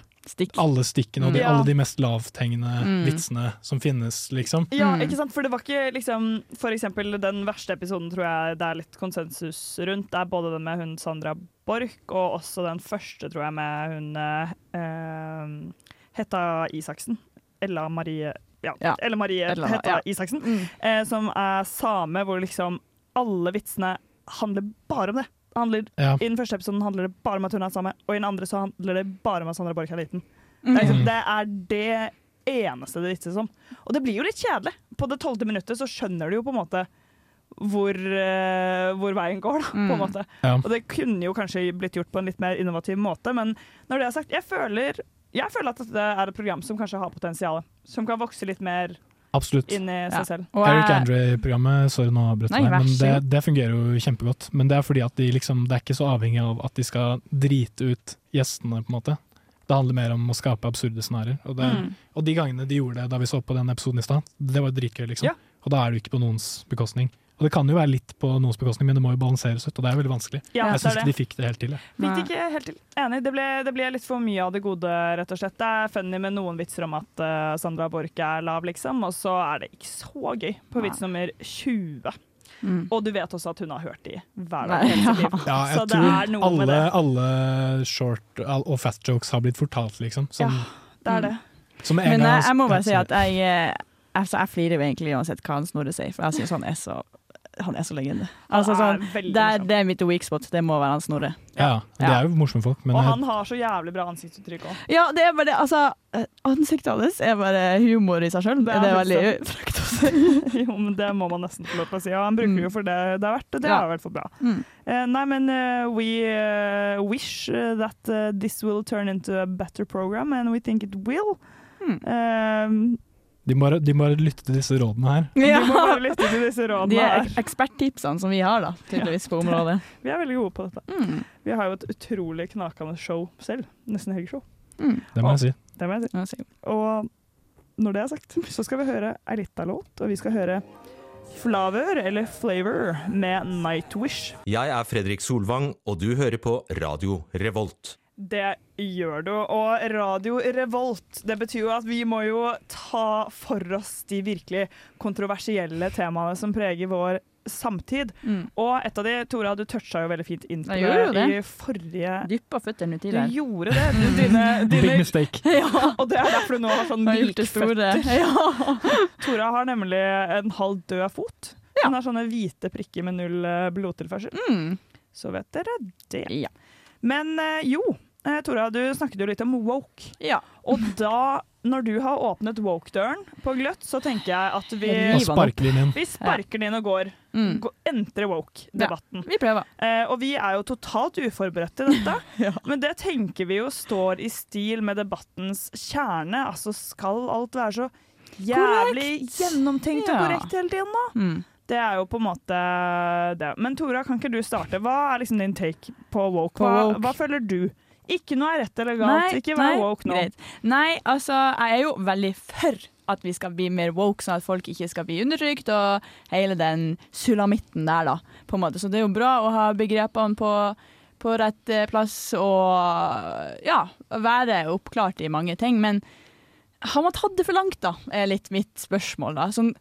Speaker 3: alle stikkene og de,
Speaker 2: Mm. Ja.
Speaker 3: alle de mest lavthengende
Speaker 2: Mm.
Speaker 3: vitsene som finnes, liksom.
Speaker 2: Ja,
Speaker 4: Mm.
Speaker 2: ikke sant? For det var ikke liksom For eksempel den verste episoden tror jeg det er litt konsensus rundt. Det er både den med hun Sandra Borch, og også den første, tror jeg, med hun eh, eh, Hetta Isaksen. Ella Marie Ja,
Speaker 4: Ja.
Speaker 2: Ella Marie
Speaker 4: Ella,
Speaker 2: Hetta
Speaker 4: ja.
Speaker 2: Isaksen. Eh, som er same, hvor liksom alle vitsene handler bare om det. Det Handler,
Speaker 3: Ja.
Speaker 2: I den første episoden handler det bare om at hun er same, og i den andre så handler det bare om at Sandra Borch er liten. Det er, liksom,
Speaker 3: Mm.
Speaker 2: det er det eneste det vitses om. Og det blir jo litt kjedelig. På det tolvte minuttet så skjønner du jo på en måte hvor, eh, hvor veien går, da, på en måte.
Speaker 3: Ja.
Speaker 2: Og det kunne jo kanskje blitt gjort på en litt mer innovativ måte, men når det er sagt, jeg føler, jeg føler at det er et program som kanskje har potensial, som kan vokse litt mer
Speaker 3: Absolutt.
Speaker 2: inn i
Speaker 4: Ja.
Speaker 2: seg selv.
Speaker 4: Og
Speaker 3: Eric
Speaker 4: jeg-
Speaker 3: Andre-programmet sorry nå avbrøt
Speaker 2: Nei,
Speaker 3: jeg,
Speaker 2: vær
Speaker 3: men
Speaker 2: så
Speaker 3: det,
Speaker 2: god.
Speaker 3: det fungerer jo kjempegodt. Men det er fordi at de liksom, det er ikke så avhengig av at de skal drite ut gjestene, på en måte. Det handler mer om å skape absurde scenarioer. Og, det-
Speaker 2: Mm.
Speaker 3: og de gangene de gjorde det da vi så på den episoden i stad, det var dritgøy, liksom. Og da er det jo ikke på noens bekostning. Og det kan jo være litt på noens bekostning, men det må jo balanseres ut, og det er veldig vanskelig.
Speaker 2: Ja,
Speaker 3: jeg
Speaker 2: det er
Speaker 3: syns ikke de
Speaker 2: det.
Speaker 3: fikk det helt til. jeg.
Speaker 2: Fikk det ikke helt til. Enig. Det ble, det ble litt for mye av det gode, rett og slett. Det er funny med noen vitser om at eh, Sandra Borch er lav, liksom, og så er det ikke så gøy på vits nummer 20.
Speaker 4: Mm.
Speaker 2: Og du vet også at hun har hørt de hver dag.
Speaker 4: Nei,
Speaker 2: hele sitt
Speaker 4: ja.
Speaker 2: *laughs* liv.
Speaker 3: Ja,
Speaker 2: så
Speaker 3: jeg
Speaker 2: det er
Speaker 3: tror
Speaker 2: noe med
Speaker 3: alle,
Speaker 2: det.
Speaker 3: alle short all- og fast jokes har blitt fortalt, liksom.
Speaker 2: Sånn.
Speaker 3: Som,
Speaker 2: Det er det.
Speaker 3: som med en
Speaker 4: Men
Speaker 3: gang-
Speaker 4: jeg, jeg må
Speaker 3: Ja,
Speaker 4: bare si
Speaker 3: sorry.
Speaker 4: at jeg, eh, altså, jeg flirer jo egentlig uansett hva han Snorre sier, for jeg syns han er så Han er så legende. Altså, sånn, det, er, det er mitt weak spot. Det må være han Snorre.
Speaker 3: Ja, det er jo morsomme folk, men
Speaker 2: Og han har så jævlig bra ansiktsuttrykk òg.
Speaker 4: Ja, det er bare det. Altså, ansiktet hans er bare humor i seg sjøl. Det
Speaker 2: er
Speaker 4: er, veldig
Speaker 2: helt
Speaker 4: frekt å
Speaker 2: *laughs* jo, men det må man nesten få lov til å si. Og han bruker jo for det det er verdt, og det
Speaker 4: Ja.
Speaker 2: er i hvert fall bra.
Speaker 4: *laughs* Mm.
Speaker 2: Eh, nei, men eh, we eh, wish eh, that eh, this will turn into a better program, and we think it will. Eh,
Speaker 3: de må, de må lytte til disse rådene her.
Speaker 2: Vi må bare lytte til disse
Speaker 4: *laughs* De
Speaker 2: rådene
Speaker 4: er
Speaker 2: her.
Speaker 4: ek eksperttipsene som vi har, da, tydeligvis, på området.
Speaker 2: Vi er veldig gode på dette. Vi har jo et utrolig knakende show selv. Nesten helgeshow.
Speaker 4: Mm.
Speaker 3: Det må jeg si.
Speaker 2: Det må jeg si. Og når det er sagt, så skal vi høre ei lita låt, og vi skal høre Flavor, eller Flavor, med Nightwish.
Speaker 10: Jeg er Fredrik Solvang, og du hører på Radio Revolt.
Speaker 2: Det gjør du. Og Radio Revolt, det betyr jo at vi må jo ta for oss de virkelig kontroversielle temaene som preger vår samtid. Og et av de, Tora, du toucha jo veldig fint inn på
Speaker 4: Jeg gjorde
Speaker 2: det
Speaker 4: jo
Speaker 2: i
Speaker 4: det.
Speaker 2: forrige
Speaker 4: Dyppa føttene uti
Speaker 2: Du
Speaker 4: *laughs* der.
Speaker 2: gjorde det! Du, dine, dine,
Speaker 3: Big mistake.
Speaker 2: ja, og det *laughs* er derfor du nå har sånn
Speaker 4: Har gjort det store.
Speaker 2: milkføtter. Tora har nemlig en halv død fot. Hun har sånne hvite prikker med null eh, blodtilførsel.
Speaker 4: Mm.
Speaker 2: Så vet dere det. Men eh, jo, eh, Tora, du snakket jo litt om woke. Og da, når du har åpnet woke-døren på gløtt, så tenker jeg at vi
Speaker 3: Riv han opp. Og sparker den inn.
Speaker 2: Vi sparker den inn og går. Gå- Entrer woke-debatten.
Speaker 4: vi prøver.
Speaker 2: Eh, og vi er jo totalt uforberedt til
Speaker 4: *laughs*
Speaker 2: dette. Men det tenker vi jo står i stil med debattens kjerne. Altså, skal alt være så jævlig
Speaker 4: Korrekt.
Speaker 2: gjennomtenkt og
Speaker 4: Ja.
Speaker 2: korrekt hele tiden, da?
Speaker 4: Mm.
Speaker 2: Det er jo på en måte det. Men Tora, kan ikke du starte? Hva er liksom din take på woke?
Speaker 4: På
Speaker 2: Hva,
Speaker 4: woke.
Speaker 2: hva føler du? Ikke noe er rett eller galt. ikke vær woke nå.
Speaker 4: greit. Nei, altså, jeg er jo veldig for at vi skal bli mer woke, sånn at folk ikke skal bli undertrykt, og hele den sulamitten der, da, på en måte. Så det er jo bra å ha begrepene på, på rett eh, plass, og ja, være oppklart i mange ting. Men har man tatt det for langt, da, er litt mitt spørsmål, da. Sånn,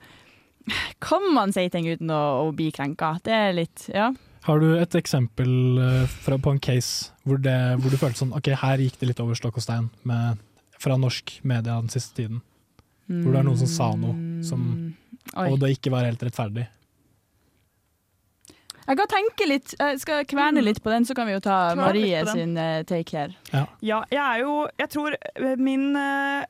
Speaker 4: kan man si ting uten å, å bli krenka? Det er litt, ja.
Speaker 3: Har du et eksempel eh, fra, på en case hvor, det, hvor du følte sånn Ok, her gikk det litt over stokk og stein med, fra norsk media den siste tiden. Hvor det er noen som sa noe, som,
Speaker 4: Mm. Oi.
Speaker 3: og det ikke var helt rettferdig.
Speaker 4: Jeg kan tenke litt, jeg skal kverne Mm. litt på den, så kan vi jo ta
Speaker 2: Kverne
Speaker 4: Marie
Speaker 2: litt på den.
Speaker 4: sin eh, take her.
Speaker 2: Ja, jeg er jo Jeg tror eh, min eh,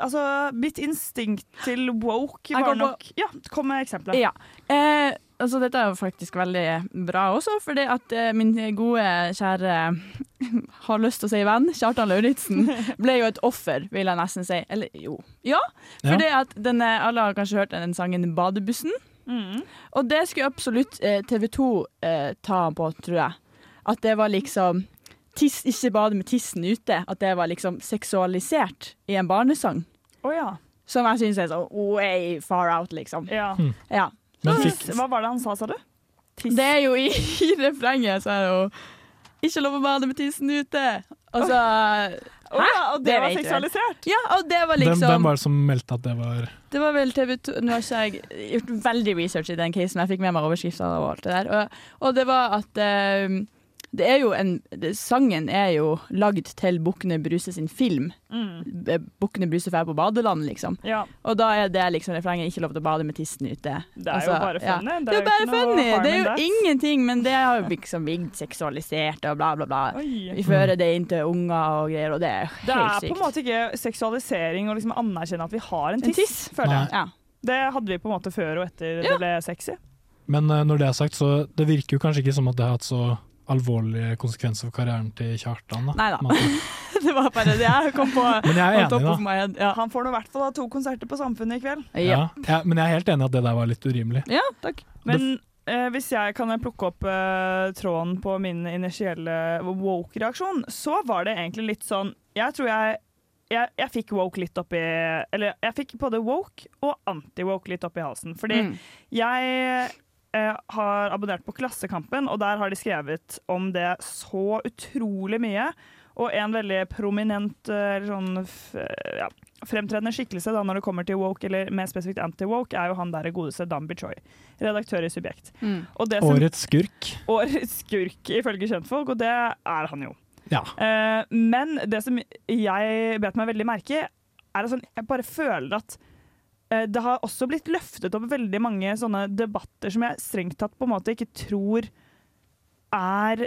Speaker 2: Altså, mitt instinkt til woke
Speaker 4: Jeg
Speaker 2: var
Speaker 4: kom på-
Speaker 2: nok Ja, kom med eksempler.
Speaker 4: Ja. Eh, altså, dette er jo faktisk veldig bra også, fordi at eh, min gode, kjære *laughs* har lyst til å si venn, Kjartan *laughs* Lauritzen, ble jo et offer, vil jeg nesten si. Eller jo. Ja,
Speaker 11: Ja.
Speaker 4: fordi at denne, alle har kanskje hørt den sangen 'Badebussen'.
Speaker 2: Mm.
Speaker 4: Og det skulle absolutt eh, TV 2 eh, ta han på, tror jeg. At det var liksom tiss, Ikke bade med tissen ute. At det var liksom seksualisert i en barnesang.
Speaker 2: Å ja.
Speaker 4: Som jeg syns er sånn way far out, liksom.
Speaker 2: Ja.
Speaker 3: Mm.
Speaker 4: ja.
Speaker 3: Men
Speaker 2: Så,
Speaker 3: fikk-
Speaker 2: Hva var det han sa, sa du?
Speaker 4: Det er jo i, *laughs* i refrenget, så er det jo ikke lov å bade med tissen ute. Altså
Speaker 2: Å ja, og det var
Speaker 4: vet du vel.
Speaker 2: seksualisert?
Speaker 4: Ja, og det var
Speaker 3: Hvem,
Speaker 4: liksom
Speaker 3: hvem var det som meldte at det var
Speaker 4: Det var vel TV 2 Nå har ikke jeg gjort veldig research i den casen, men jeg fikk med meg overskriftene og alt det der. Og, og det var at eh, det er jo en det, Sangen er jo lagd til Bukkene Bruse sin film.
Speaker 2: Mm.
Speaker 4: B- Bukkene Bruse drar på badeland, liksom.
Speaker 2: Ja.
Speaker 4: Og da er det liksom refrenget 'ikke lov til å bade med tissen ute'. Altså,
Speaker 2: Det er jo bare funny.
Speaker 4: Ja.
Speaker 2: Det
Speaker 4: Det er
Speaker 2: er jo
Speaker 4: jo bare
Speaker 2: ikke noe
Speaker 4: funny!
Speaker 2: harm
Speaker 4: Det
Speaker 2: in
Speaker 4: er jo
Speaker 2: that.
Speaker 4: ingenting, men det har jo liksom blitt seksualisert og bla, bla, bla.
Speaker 2: Oi.
Speaker 4: Vi fører det inn til unger og greier, og det er helt sykt.
Speaker 2: Det er på en måte ikke seksualisering å liksom anerkjenne at vi har en
Speaker 4: En
Speaker 2: tiss,
Speaker 4: tiss?
Speaker 2: føler jeg.
Speaker 3: Nei.
Speaker 2: Det hadde vi på en måte før og etter det ble sexy.
Speaker 3: Men eh, når det er sagt, så det virker jo kanskje ikke som at det har hatt så alvorlige konsekvenser for karrieren til Kjartan. Da.
Speaker 4: Neida.
Speaker 3: Men-
Speaker 4: *laughs* det var bare det jeg kom på.
Speaker 3: Men jeg er
Speaker 4: on top
Speaker 3: enig, da.
Speaker 4: of my head. Ja.
Speaker 2: Han får nå i hvert fall ha to konserter på Samfunnet i kveld.
Speaker 3: Ja. Ja, men jeg er helt enig i at det der var litt urimelig.
Speaker 4: Ja, takk.
Speaker 2: Men eh, hvis jeg kan plukke opp eh, tråden på min initielle woke-reaksjon, så var det egentlig litt sånn Jeg tror jeg jeg, jeg fikk woke litt oppi Eller jeg fikk både woke og anti-woke litt oppi halsen. Fordi
Speaker 4: Mm.
Speaker 2: jeg eh, har abonnert på Klassekampen, og der har de skrevet om det så utrolig mye. Og en veldig prominent eh, eller sånn, f, ja, fremtredende skikkelse da, når det kommer til woke, eller mer spesifikt anti-woke, er jo han der godeste Danby Choi, redaktør i Subjekt. Og det som-
Speaker 3: Årets skurk.
Speaker 2: *laughs* Årets skurk, ifølge kjentfolk, og det er han jo.
Speaker 3: Ja.
Speaker 2: Eh, men det som jeg bet meg veldig merke i, er at sånn, jeg bare føler at eh, det har også blitt løftet opp veldig mange sånne debatter som jeg strengt tatt på en måte ikke tror er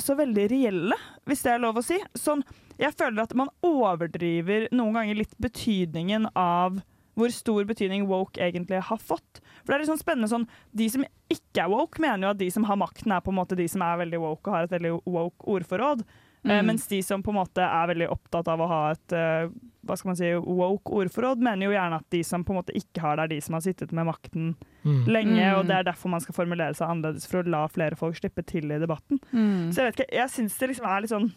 Speaker 2: så veldig reelle, hvis det er lov å si. Sånn, jeg føler at man overdriver noen ganger litt betydningen av hvor stor betydning woke egentlig har fått. For det er litt sånn spennende sånn, De som ikke er woke, mener jo at de som har makten, er på en måte de som er veldig woke og har et veldig woke ordforråd. Eh,
Speaker 11: Mm.
Speaker 2: mens de som på en måte er veldig opptatt av å ha et eh, hva skal man si, woke ordforråd, mener jo gjerne at de som på en måte ikke har det, er de som har sittet med makten
Speaker 11: Mm.
Speaker 2: lenge.
Speaker 11: Mm.
Speaker 2: Og det er derfor man skal formulere seg annerledes, for å la flere folk slippe til i debatten.
Speaker 11: Mm.
Speaker 2: Så jeg vet ikke, jeg syns det liksom er litt sånn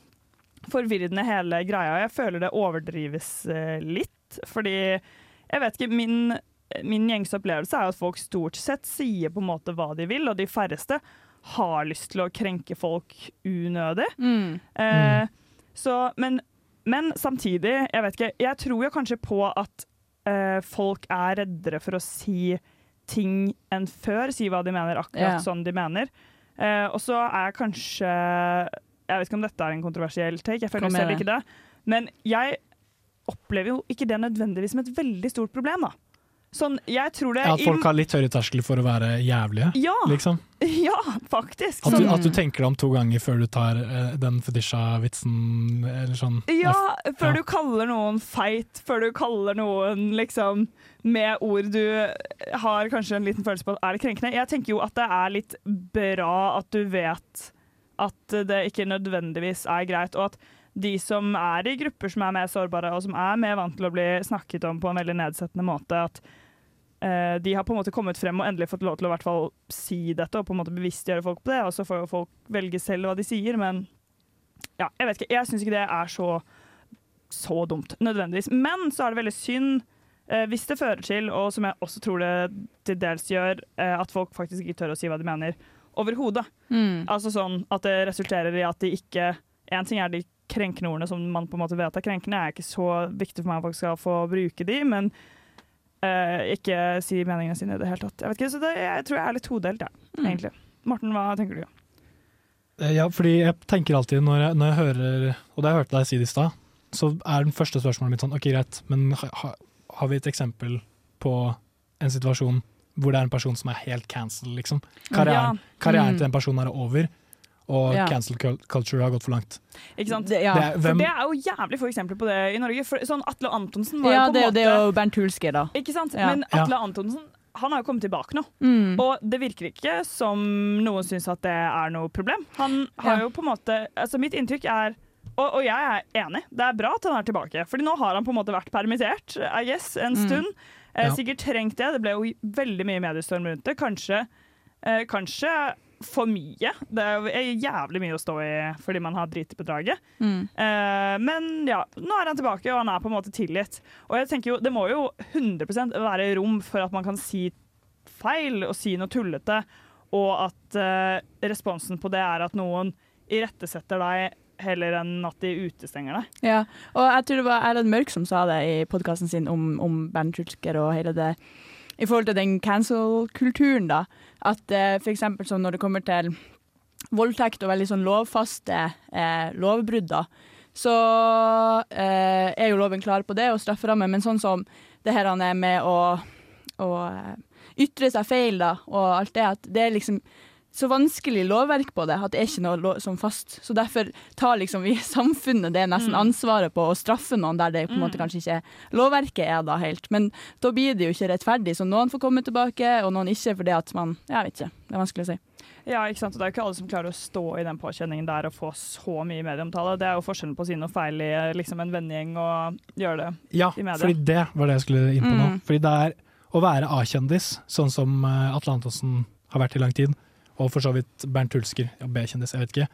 Speaker 2: forvirrende hele greia, og jeg føler det overdrives eh, litt. Fordi jeg vet ikke, min, min gjengse opplevelse er jo at folk stort sett sier på en måte hva de vil, og de færreste har lyst til å krenke folk unødig.
Speaker 11: Mm.
Speaker 2: Eh, så, men, men samtidig, jeg vet ikke, jeg tror jo kanskje på at eh, folk er reddere for å si ting enn før, si hva de mener akkurat
Speaker 11: Ja.
Speaker 2: sånn de mener. Eh, og så er jeg kanskje Jeg vet ikke om dette er en kontroversiell take, jeg føler
Speaker 11: Kom med
Speaker 2: selv
Speaker 11: det.
Speaker 2: ikke det. Men jeg opplever jo ikke det nødvendigvis som et veldig stort problem, da. Sånn, jeg tror det
Speaker 3: Ja, at folk
Speaker 2: i-
Speaker 3: har litt høyere terskel for å være jævlige,
Speaker 2: Ja. *laughs*
Speaker 3: liksom.
Speaker 2: Ja, faktisk.
Speaker 3: At du,
Speaker 2: Sånn-
Speaker 3: at du tenker deg om to ganger før du tar eh, den fetisja-vitsen, eller sånn.
Speaker 2: Ja, før
Speaker 3: Ja.
Speaker 2: du kaller noen feit, før du kaller noen liksom med ord du har kanskje en liten følelse på at er det krenkende. Jeg tenker jo at det er litt bra at du vet at det ikke nødvendigvis er greit, og at de som er i grupper som er mer sårbare, og som er mer vant til å bli snakket om på en veldig nedsettende måte, at eh, de har på en måte kommet frem og endelig fått lov til å i hvert fall si dette, og på en måte bevisstgjøre folk på det, og så får jo folk velge selv hva de sier, men ja, jeg vet ikke. Jeg syns ikke det er så, så dumt, nødvendigvis. Men så er det veldig synd eh, hvis det fører til, og som jeg også tror det til dels gjør, eh, at folk faktisk ikke tør å si hva de mener overhodet.
Speaker 4: Mm.
Speaker 2: Altså sånn at det resulterer i at de ikke En ting er de krenkende ordene som man på en måte vet er krenkende, er ikke så viktig for meg at folk skal få bruke de, men eh, ikke si meningene sine i det hele tatt. Jeg vet ikke, så det, jeg tror jeg er litt todelt, jeg, egentlig. Morten, hva tenker du?
Speaker 3: Eh, Ja, fordi jeg tenker alltid når jeg, når jeg hører Og da jeg hørte deg si det i stad, så er den første spørsmålet mitt sånn OK, greit, men ha, ha, har vi et eksempel på en situasjon hvor det er en person som er helt cancel, liksom?
Speaker 2: Ja.
Speaker 3: Karrieren, karrieren
Speaker 2: Mm.
Speaker 3: til den personen er over, og
Speaker 2: Ja.
Speaker 3: cancel cul- culture har gått for langt.
Speaker 2: Ikke sant?
Speaker 4: Det- ja.
Speaker 3: Det er- hvem-
Speaker 2: For det er jo jævlig få eksempler på det i Norge. For, sånn Atle Antonsen var
Speaker 4: Ja,
Speaker 2: jo på
Speaker 4: det er
Speaker 2: en
Speaker 4: jo
Speaker 2: måte
Speaker 4: det og Bernt Hulske, da.
Speaker 2: Ikke sant?
Speaker 4: Ja.
Speaker 2: Men
Speaker 4: Ja.
Speaker 2: Atle Antonsen han har jo kommet tilbake nå.
Speaker 4: Mm.
Speaker 2: Og det virker ikke som noen syns at det er noe problem. Han har
Speaker 4: Ja.
Speaker 2: jo på en måte Altså, mitt inntrykk er og, og jeg er enig, det er bra at han er tilbake. Fordi nå har han på en måte vært permittert I guess, en
Speaker 11: Mm.
Speaker 2: stund. Eh,
Speaker 11: Ja.
Speaker 2: Sikkert trengt det. Det ble jo veldig mye mediestorm rundt det. Kanskje, eh, kanskje for mye. Det er jo eh, jævlig mye å stå i fordi man har driti på draget.
Speaker 4: Mm.
Speaker 2: Eh, men ja, nå er han tilbake, og han er på en måte tilgitt. Og jeg tenker jo, det må jo 100 være rom for at man kan si feil og si noe tullete, og at eh, responsen på det er at noen irettesetter deg heller enn at de utestenger deg.
Speaker 4: Ja, og jeg tror det var Erlend Mørk som sa det i podkasten sin om, om Bernt Hulsker og hele det I forhold til den cancel-kulturen, da. At eh, for eksempel sånn når det kommer til voldtekt og veldig sånn lovfaste eh, lovbrudd, da, så eh, er jo loven klar på det og strafferammer, men sånn som det her han er med å, å eh, ytre seg feil, da, og alt det, at det er liksom så vanskelig lovverk på det, at det er ikke noe lov som fast. Så derfor tar liksom vi i *laughs* samfunnet det nesten
Speaker 2: Mm.
Speaker 4: ansvaret på å straffe noen der det på en måte kanskje ikke lovverket er da helt. Men da blir det jo ikke rettferdig, så noen får komme tilbake, og noen ikke, fordi at man Jeg vet ikke, det er vanskelig å si.
Speaker 2: Ja, ikke sant? Og det er jo ikke alle som klarer å stå i den påkjenningen der og få så mye medieomtale. Det er jo forskjellen på å si noe feil i eh, liksom en vennegjeng og gjøre det
Speaker 3: Ja,
Speaker 2: i media.
Speaker 3: fordi det var det jeg skulle inn på nå.
Speaker 2: Mm.
Speaker 3: Fordi det er å være A-kjendis, sånn som eh, Atle Antonsen har vært i lang tid, og for så vidt Bernt Hulsker, ja, B-kjendis, jeg vet ikke,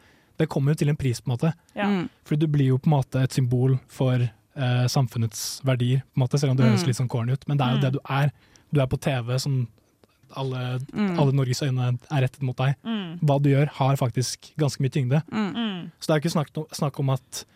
Speaker 3: det kommer jo til en pris, på en måte.
Speaker 2: Ja. Mm.
Speaker 3: Fordi du blir jo på en måte et symbol for eh, samfunnets verdier, på en måte, selv om det
Speaker 8: Mm.
Speaker 3: høres litt sånn corny ut, men det er jo
Speaker 8: Mm.
Speaker 3: det du er. Du er på TV, som alle,
Speaker 8: Mm.
Speaker 3: alle Norges øyne er rettet mot deg.
Speaker 8: Mm.
Speaker 3: Hva du gjør, har faktisk ganske mye tyngde.
Speaker 8: Mm.
Speaker 3: Så det er jo ikke snakk, no- snakk om at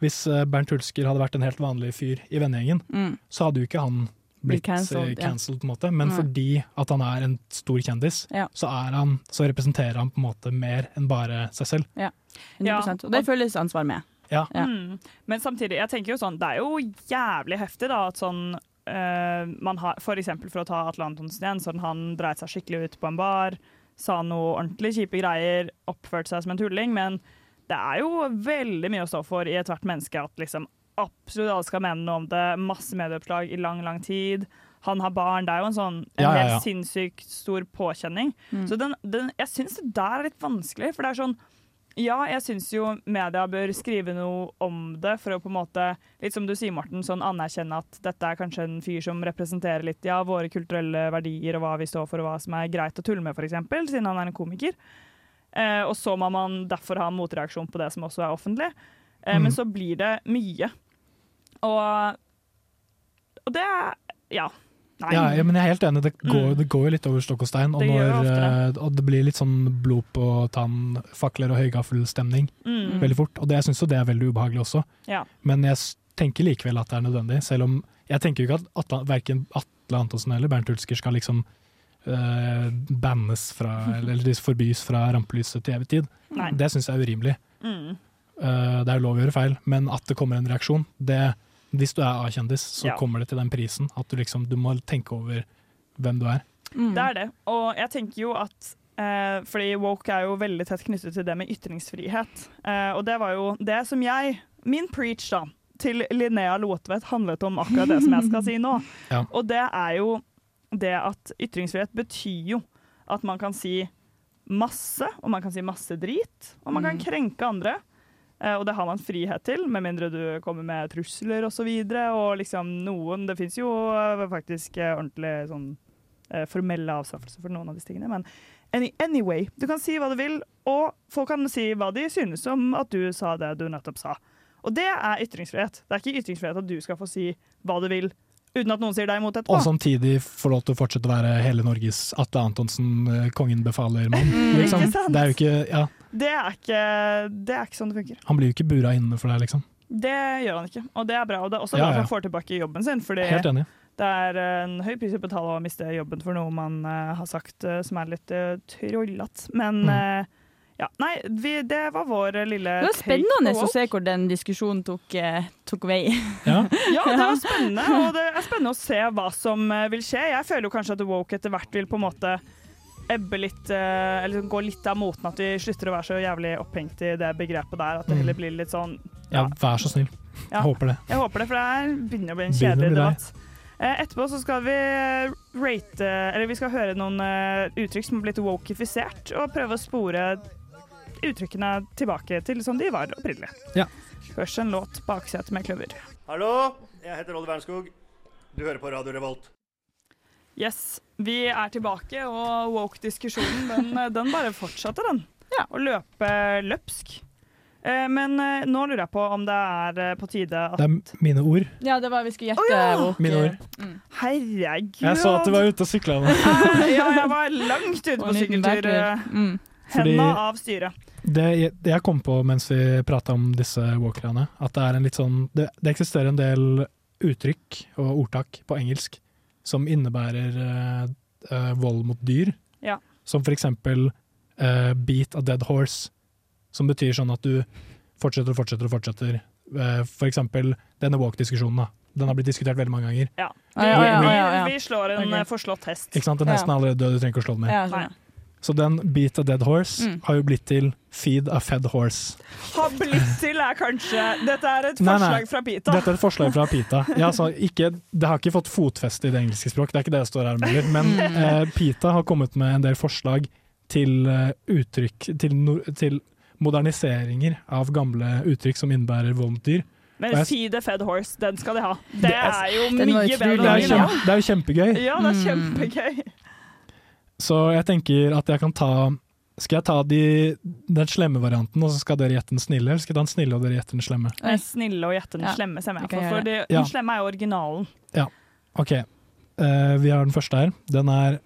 Speaker 3: hvis eh, Bernt Hulsker hadde vært en helt vanlig fyr i vennegjengen,
Speaker 4: Mm.
Speaker 3: så hadde jo ikke han
Speaker 4: Blitt
Speaker 3: blitt
Speaker 4: cancelled,
Speaker 3: cancelled,
Speaker 4: ja.
Speaker 3: cancelled på en måte. Men
Speaker 4: Nei.
Speaker 3: fordi at han er en stor kjendis,
Speaker 4: Ja.
Speaker 3: så, er han, så representerer han på en måte mer enn bare seg selv.
Speaker 4: Ja, 100
Speaker 2: Ja,
Speaker 4: Og det føles ansvar med.
Speaker 3: Ja.
Speaker 2: Mm. Men samtidig, jeg tenker jo sånn, det er jo jævlig heftig da, at sånn eh, man har, for eksempel for å ta Atle Antonsen igjen, sånn han dreit seg skikkelig ut på en bar, sa noe ordentlig kjipe greier, oppførte seg som en tulling, men det er jo veldig mye å stå for i ethvert menneske at liksom absolutt alle skal mene noe om det, masse medieoppslag i lang, lang tid. Han har barn, det er jo en sånn en
Speaker 3: Ja, ja, ja.
Speaker 2: helt sinnssykt stor påkjenning.
Speaker 3: Mm.
Speaker 2: Så den, den, jeg syns det der er litt vanskelig, for det er sånn ja, jeg syns jo media bør skrive noe om det, for å på en måte, litt som du sier, Morten, sånn anerkjenne at dette er kanskje en fyr som representerer litt ja, våre kulturelle verdier og hva vi står for og hva som er greit å tulle med, f.eks., siden han er en komiker. Eh, og så må man derfor ha en motreaksjon på det som også er offentlig. Eh,
Speaker 3: Mm.
Speaker 2: Men så blir det mye. Og, og det er Ja. Nei.
Speaker 3: Ja, ja, men jeg er helt enig, det går, det går jo litt over stokk og stein. Og,
Speaker 2: Mm. Det gjør
Speaker 3: når,
Speaker 2: det ofte.
Speaker 3: eh, og det blir litt sånn blod på tann, fakler og høygaffelstemning
Speaker 2: Mm.
Speaker 3: veldig fort. Og det, jeg syns jo det er veldig ubehagelig også,
Speaker 2: Ja.
Speaker 3: men jeg s- tenker likevel at det er nødvendig. Selv om jeg tenker jo ikke at Atle, verken Atle Antonsen eller Bernt Hulsker skal liksom eh, bannes fra,
Speaker 2: *laughs*
Speaker 3: eller, eller forbys fra rampelyset til evig tid.
Speaker 2: Nei.
Speaker 3: Det syns jeg er urimelig.
Speaker 2: Mm.
Speaker 3: Eh, det er jo lov å gjøre feil, men at det kommer en reaksjon det, Hvis du er A-kjendis, så
Speaker 2: Ja.
Speaker 3: kommer det til den prisen. At du liksom, du må tenke over hvem du er.
Speaker 4: Mm.
Speaker 2: Det er det. Og jeg tenker jo at eh, Fordi woke er jo veldig tett knyttet til det med ytringsfrihet. Eh, og det var jo det som jeg Min preach da, til Linnea Lotvedt handlet om akkurat det som jeg skal si nå.
Speaker 3: Ja.
Speaker 2: Og det er jo det at ytringsfrihet betyr jo at man kan si masse, og man kan si masse drit, og man kan
Speaker 11: Mm.
Speaker 2: krenke andre. Eh, Og det har man frihet til, med mindre du kommer med trusler osv. Og, så videre, og liksom noen Det fins jo eh, faktisk eh, ordentlig sånn eh, formelle avstraffelser for noen av disse tingene. Men any, anyway, du kan si hva du vil, og folk kan si hva de synes om at du sa det du nettopp sa. Og det er ytringsfrihet. Det er ikke ytringsfrihet at du skal få si hva du vil uten at noen sier deg imot etterpå.
Speaker 3: Og samtidig få lov til å fortsette å være hele Norges Atle Antonsen, eh, kongen befaler-mann.
Speaker 2: Mm,
Speaker 3: Liksom.
Speaker 2: ikke sant?
Speaker 3: Det er jo ikke, ja,
Speaker 2: Det er ikke, det er ikke sånn det funker.
Speaker 3: han blir jo ikke bura inne for deg, liksom.
Speaker 2: Det gjør han ikke, og det er bra. Og det er også
Speaker 3: Ja,
Speaker 2: bra at
Speaker 3: ja.
Speaker 2: han får tilbake jobben sin, fordi
Speaker 3: Helt enig.
Speaker 2: det er en høy pris å betale å miste jobben for noe man eh, har sagt eh, som er litt uh, trollete.
Speaker 3: Mm.
Speaker 2: Men eh, ja, nei, vi, det var vår eh, lille
Speaker 4: Det var
Speaker 2: take
Speaker 4: spennende
Speaker 2: på
Speaker 4: å
Speaker 2: woke.
Speaker 4: se hvor den diskusjonen tok, eh, tok vei. *laughs*
Speaker 2: Ja, det var spennende, og det er spennende å se hva som eh, vil skje. Jeg føler jo kanskje at woke etter hvert vil på en måte ebbe litt, eh, eller gå litt av moten, at vi slutter å være så jævlig opphengt i det begrepet der, at det heller blir litt sånn
Speaker 3: Ja, vær så snill.
Speaker 2: Ja.
Speaker 3: Jeg håper det.
Speaker 2: Jeg håper det, for det her begynner å bli en
Speaker 3: Begynner å bli
Speaker 2: kjedelig
Speaker 3: lei.
Speaker 2: debatt. Eh, Etterpå så skal vi eh, rate Eller vi skal høre noen eh, uttrykk som har blitt wokeifisert, og prøve å spore uttrykkene tilbake til som de var opprinnelig.
Speaker 3: Ja.
Speaker 2: Først en låt 'Baksete med kløver'.
Speaker 12: Hallo, jeg heter Odd Wernskog. Du hører på Radio Revolt.
Speaker 2: Yes, vi er tilbake, og woke-diskusjonen
Speaker 3: *laughs*
Speaker 2: den, den bare fortsatte, den. Å løpe løpsk. Eh, Men eh, nå lurer jeg på om det er eh, på tide at
Speaker 3: Det er mine ord.
Speaker 4: Ja, det var vi skulle gjette. eh, woke.
Speaker 3: Mine ord.
Speaker 2: Herregud. Ah,
Speaker 3: Jeg så at du var ute og sykla nå.
Speaker 2: ja, jeg var langt
Speaker 3: *laughs*
Speaker 2: ute på
Speaker 4: Og en liten
Speaker 2: sykkeltur. eh,
Speaker 4: bærtur. Mm.
Speaker 3: Fordi-
Speaker 2: Henda av styret.
Speaker 3: Det jeg- det jeg kom på mens vi prata om disse walkerne, at det er en litt sånn det, det eksisterer en del uttrykk og ordtak på engelsk som innebærer eh, eh, vold mot dyr.
Speaker 2: Ja.
Speaker 3: Som for eksempel eh, 'beat a dead horse', som betyr sånn at du fortsetter og fortsetter og fortsetter. Eh, for eksempel denne walk-diskusjonen, da. Den har blitt diskutert veldig mange ganger.
Speaker 2: Ja.
Speaker 3: Ah, ja, ja, ja,
Speaker 4: ja, ja.
Speaker 2: Vi, vi slår en
Speaker 4: Ok.
Speaker 2: eh, forslått hest.
Speaker 3: Ikke sant? Den hesten er allerede død, du trenger ikke å slå den ned.
Speaker 4: Ja, sånn, ja.
Speaker 3: Så den 'beat a dead horse'
Speaker 2: Mm.
Speaker 3: har jo blitt til 'feed a fed horse'.
Speaker 2: Har blitt til er kanskje Dette er et
Speaker 3: Nei,
Speaker 2: forslag
Speaker 3: nei.
Speaker 2: fra Pita.
Speaker 3: Dette er et forslag fra Pita. Ja, altså, ikke, det har ikke fått fotfeste i det engelske språk, det er ikke det jeg står her med heller. Men eh, Pita har kommet med en del forslag til eh, uttrykk til, no, til moderniseringer av gamle uttrykk som innebærer vold mot dyr.
Speaker 2: Men
Speaker 3: Og jeg-
Speaker 2: feed the fed horse, den skal de ha. Det,
Speaker 3: Det er-
Speaker 2: er jo
Speaker 3: Den var
Speaker 2: mye
Speaker 3: utrolig.
Speaker 2: bedre
Speaker 3: Mm. Det er kjem- det er jo kjempegøy.
Speaker 2: Ja, det er kjempegøy.
Speaker 3: Så jeg tenker at jeg kan ta Skal jeg ta de, den slemme varianten, og så skal dere gjette den snille? Eller skal jeg ta den snille og dere gjette den slemme?
Speaker 2: Den snille og gjette den
Speaker 4: Ja,
Speaker 2: slemme, stemmer jeg
Speaker 4: vi kan
Speaker 2: for.
Speaker 4: gjøre
Speaker 2: for det,
Speaker 4: det.
Speaker 2: den
Speaker 3: Ja.
Speaker 2: slemme er jo originalen.
Speaker 3: Ja, OK. Eh, vi har den første her. Den er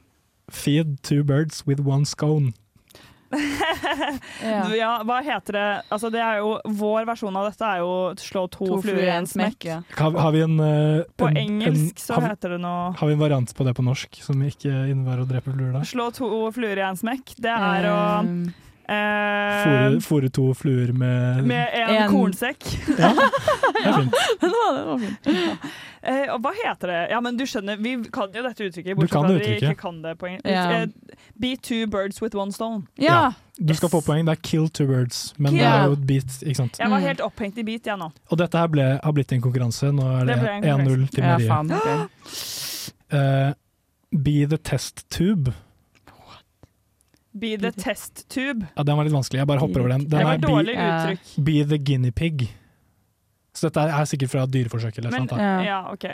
Speaker 3: 'Feed two birds with one scone'.
Speaker 2: ja. hva heter det Altså, det er jo Vår versjon av dette er jo slå to,
Speaker 4: To fluer i en smekk. ja.
Speaker 3: Har, har vi en eh,
Speaker 2: På
Speaker 3: en-
Speaker 2: engelsk
Speaker 3: en-
Speaker 2: så
Speaker 3: har vi-
Speaker 2: heter det noe
Speaker 3: Har vi en variant på det på norsk som ikke innebærer å drepe fluer da?
Speaker 2: *laughs*
Speaker 4: Um,
Speaker 2: Slå to fluer i en smekk. Det er å Eh,
Speaker 3: Fôre, fôre to fluer med
Speaker 2: med en, kornsekk.
Speaker 3: Ja, det er fint.
Speaker 2: Eh, og hva heter det? Ja, men du skjønner, Vi kan jo dette uttrykket,
Speaker 3: Du
Speaker 2: bortsett
Speaker 3: kan
Speaker 2: fra at
Speaker 3: det
Speaker 2: vi
Speaker 3: uttrykket.
Speaker 2: ikke kan det på engelsk.
Speaker 4: Ja.
Speaker 2: Eh, Be two birds with one stone.
Speaker 3: Ja. Du skal få poeng. Det er 'kill two birds', men det er jo et beat. ikke sant?
Speaker 4: Mm.
Speaker 2: Jeg var helt opphengt i beat, jeg nå.
Speaker 3: Og dette her ble, har blitt en konkurranse. Nå er det,
Speaker 2: Det ble en
Speaker 3: 1-0 til
Speaker 2: konkurranse.
Speaker 3: Marie.
Speaker 2: Ja, faen, ok.
Speaker 3: Eh, be the test tube.
Speaker 2: Be the
Speaker 4: Mm.
Speaker 2: test tube.
Speaker 3: Ja, den var litt vanskelig. Jeg bare hopper over den.
Speaker 2: Det
Speaker 3: den
Speaker 2: var
Speaker 3: er
Speaker 2: dårlig
Speaker 3: be,
Speaker 2: uttrykk.
Speaker 3: be the guinea pig. Så dette er sikkert fra dyreforsøk, eller
Speaker 2: Men,
Speaker 3: sånt, da.
Speaker 2: ja, ok.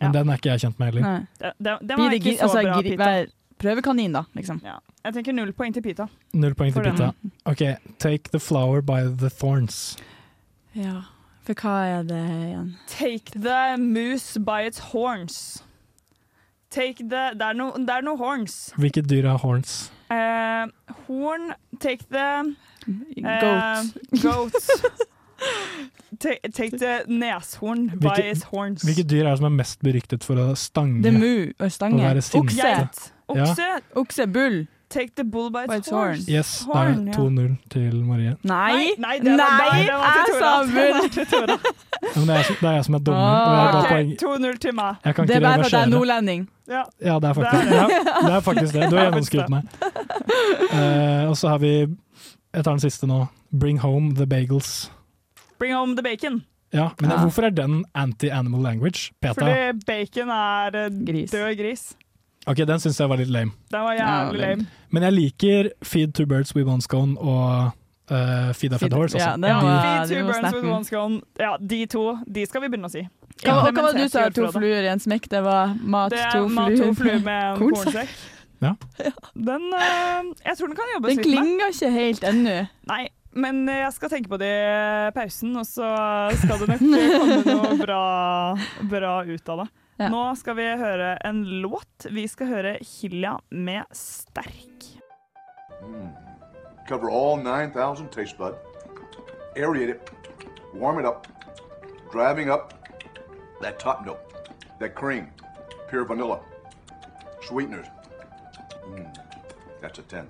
Speaker 3: men den er ikke jeg kjent med heller.
Speaker 2: Den, den, den
Speaker 4: Blir
Speaker 2: var
Speaker 4: det
Speaker 2: ikke
Speaker 4: gi-
Speaker 2: så
Speaker 4: altså,
Speaker 2: bra,
Speaker 4: gir-
Speaker 2: Pita.
Speaker 4: vær- Prøvekanin, da, liksom.
Speaker 2: Jeg tenker null poeng til Pita.
Speaker 3: Null poeng til
Speaker 2: For den.
Speaker 3: Pita. OK, take the flower by the thorns.
Speaker 4: Ja. For hva er det igjen?
Speaker 2: Take the moose by its horns. Take the Det er noe det er noe horns.
Speaker 3: Hvilket dyr har horns?
Speaker 2: Eh, horn Take the eh,
Speaker 4: Goat.
Speaker 2: *laughs* goat. take, take the neshorn by
Speaker 3: Hvilket-
Speaker 2: its horns.
Speaker 3: Hvilket dyr er det som er mest beryktet for å stange?
Speaker 4: Det er mu og
Speaker 3: Å
Speaker 4: stange.
Speaker 3: være sinte.
Speaker 4: Okse.
Speaker 3: Geit. Ja.
Speaker 2: Okse.
Speaker 4: Okse, bull.
Speaker 2: Take the bull by its,
Speaker 4: By its horn.
Speaker 2: horns.
Speaker 3: Yes, da er
Speaker 2: Horn,
Speaker 3: det
Speaker 2: ja.
Speaker 3: 2-0 til Marie.
Speaker 4: Nei!
Speaker 2: Nei, det var- nei, *laughs* det var
Speaker 4: jeg
Speaker 2: til
Speaker 4: sa
Speaker 2: Tora.
Speaker 4: bull!
Speaker 3: Ja, Men det er, det er jeg som er dommer. Og jeg ga
Speaker 2: Ok,
Speaker 3: poeng.
Speaker 2: 2-0 til meg.
Speaker 3: Jeg kan
Speaker 4: Det
Speaker 3: ikke
Speaker 4: er bare for at jeg er
Speaker 3: reversere.
Speaker 4: nordlending.
Speaker 2: Ja.
Speaker 3: Ja, det er faktisk
Speaker 4: Det
Speaker 3: det.
Speaker 4: er det.
Speaker 3: *laughs* Ja, det, er faktisk det. Du har gjennomskuet meg. Eh, og så har vi Jeg tar den siste nå. Bring home the bagels.
Speaker 2: Bring home the bacon.
Speaker 3: Ja, men
Speaker 2: Ja.
Speaker 3: Hvorfor er den anti-animal language? PETA.
Speaker 2: Fordi bacon er eh, død gris.
Speaker 3: Ok, Den syns jeg var litt lame.
Speaker 2: Den var jævlig lame.
Speaker 3: Men jeg liker Feed two birds with one scone og eh, Feed a fed horse. Altså.
Speaker 4: ja, det var-
Speaker 2: Feed two
Speaker 4: det var
Speaker 2: burns with
Speaker 4: snappen.
Speaker 2: one scone. Ja, de to de skal vi begynne å si.
Speaker 4: Hva, og hva var det du sa?
Speaker 2: Implementert i
Speaker 4: To
Speaker 2: ordforrådet.
Speaker 4: fluer i en smekk? Det var mat,
Speaker 2: Det er
Speaker 4: to
Speaker 2: mat, to
Speaker 4: fluer
Speaker 2: fluer med en kornsekk. *laughs*
Speaker 3: Ja.
Speaker 2: Den eh, Jeg tror den kan jobbes
Speaker 4: *laughs* Den
Speaker 2: litt med.
Speaker 4: klinger ikke helt ennå.
Speaker 3: *laughs*
Speaker 2: Nei, men eh, jeg skal tenke på det i pausen, og så skal det nok komme noe
Speaker 4: *laughs*
Speaker 2: bra, bra ut av det.
Speaker 4: Ja.
Speaker 2: Nå skal vi høre en låt. Vi skal høre Hilja med 'Sterk'.
Speaker 11: Cover all 9,000 taste bud. Aerate it. Warm it up. Driving up that top note, that cream, pure vanilla, sweeteners. Mm, that's a 10.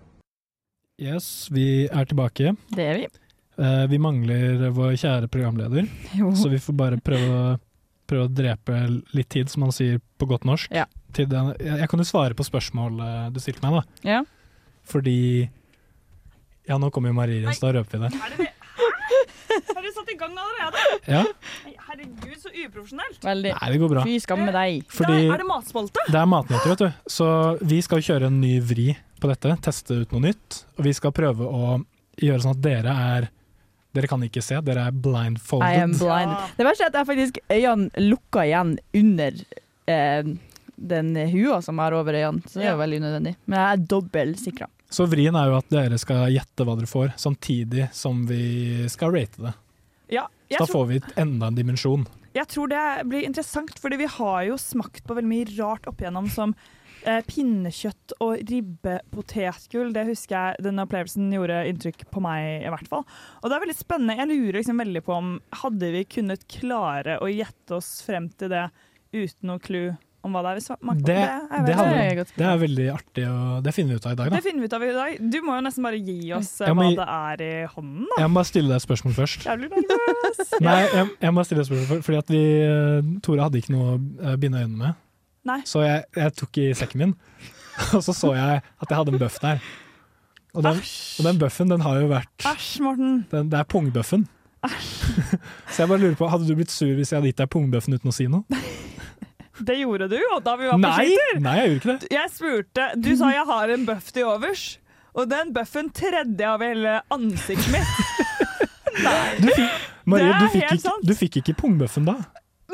Speaker 3: Yes, vi er tilbake.
Speaker 4: Det er vi.
Speaker 3: Eh, vi mangler vår kjære programleder,
Speaker 4: Jo.
Speaker 3: så vi får bare prøve å, prøve å drepe litt tid, som han sier på godt norsk.
Speaker 4: Ja.
Speaker 3: Til den, jeg, jeg kan jo svare på spørsmålet du stilte meg, da.
Speaker 4: Ja.
Speaker 3: Fordi Ja, nå kommer jo Marie inn, så da røper vi det.
Speaker 2: Har du satt i gang allerede?
Speaker 4: *laughs*
Speaker 3: Ja.
Speaker 2: Nei, Herregud, så uprofesjonelt.
Speaker 4: Veldig.
Speaker 3: Nei, det går bra.
Speaker 4: Fy skamme deg.
Speaker 3: Fordi
Speaker 2: Der er det matspalte.
Speaker 3: det er matnyheter, vet du. Så vi skal kjøre en ny vri på dette, teste ut noe nytt. Og vi skal prøve å gjøre sånn at dere er Dere kan ikke se, dere er blindfolded.
Speaker 4: I am blind. Det verste er at jeg faktisk øynene lukka igjen under eh, den hua som jeg har over øynene, så det er jo veldig unødvendig. Men jeg er dobbeltsikra.
Speaker 3: Så vrien er jo at dere skal gjette hva dere får, samtidig som vi skal rate det.
Speaker 2: Ja,
Speaker 3: Så
Speaker 2: jeg
Speaker 3: da
Speaker 2: tror-
Speaker 3: får vi et- enda en dimensjon.
Speaker 2: Jeg tror det blir interessant, fordi vi har jo smakt på veldig mye rart opp igjennom, som eh, pinnekjøtt og ribbepotetgull. Det husker jeg den opplevelsen gjorde inntrykk på meg, i hvert fall. Og det er veldig spennende. Jeg lurer liksom veldig på om hadde vi kunnet klare å gjette oss frem til det uten noe clou om hva det er vi smaker på?
Speaker 3: Det, det,
Speaker 2: er veldig-
Speaker 3: hadde, det er veldig artig, og det finner vi ut av i dag.
Speaker 2: Det
Speaker 3: da.
Speaker 2: finner vi ut av i dag. Du må jo nesten bare gi oss eh,
Speaker 3: Jeg
Speaker 2: hva
Speaker 3: må gi-
Speaker 2: det er i hånden, da.
Speaker 3: Jeg må bare stille deg et spørsmål
Speaker 2: *laughs*
Speaker 3: først.
Speaker 2: Jeg blir nervøs.
Speaker 3: Nei, jeg, jeg må stille deg et spørsmål for- fordi at vi, eh, Tore hadde ikke noe å eh, binde øynene med,
Speaker 2: Nei.
Speaker 3: så jeg, jeg tok i sekken min, *laughs* og så så jeg at jeg hadde en bøff der. Og *laughs* den, og den bøffen, den har jo vært
Speaker 2: Æsj, Morten.
Speaker 3: den, Det er pungbøffen. *laughs* Så jeg bare lurer på, hadde du blitt sur hvis jeg hadde gitt deg pungbøffen uten å si noe?
Speaker 2: Det gjorde du, og da vi var på
Speaker 3: Nei,
Speaker 2: skyter.
Speaker 3: nei, jeg gjorde ikke det.
Speaker 2: Jeg spurte Du sa jeg har en bøff til overs, og den bøffen tredde jeg over hele ansiktet mitt. *laughs*
Speaker 3: Du fikk,
Speaker 2: Det
Speaker 3: Marie,
Speaker 2: er
Speaker 3: du fikk,
Speaker 2: helt
Speaker 3: ikke, du fikk ikke pungbøffen da.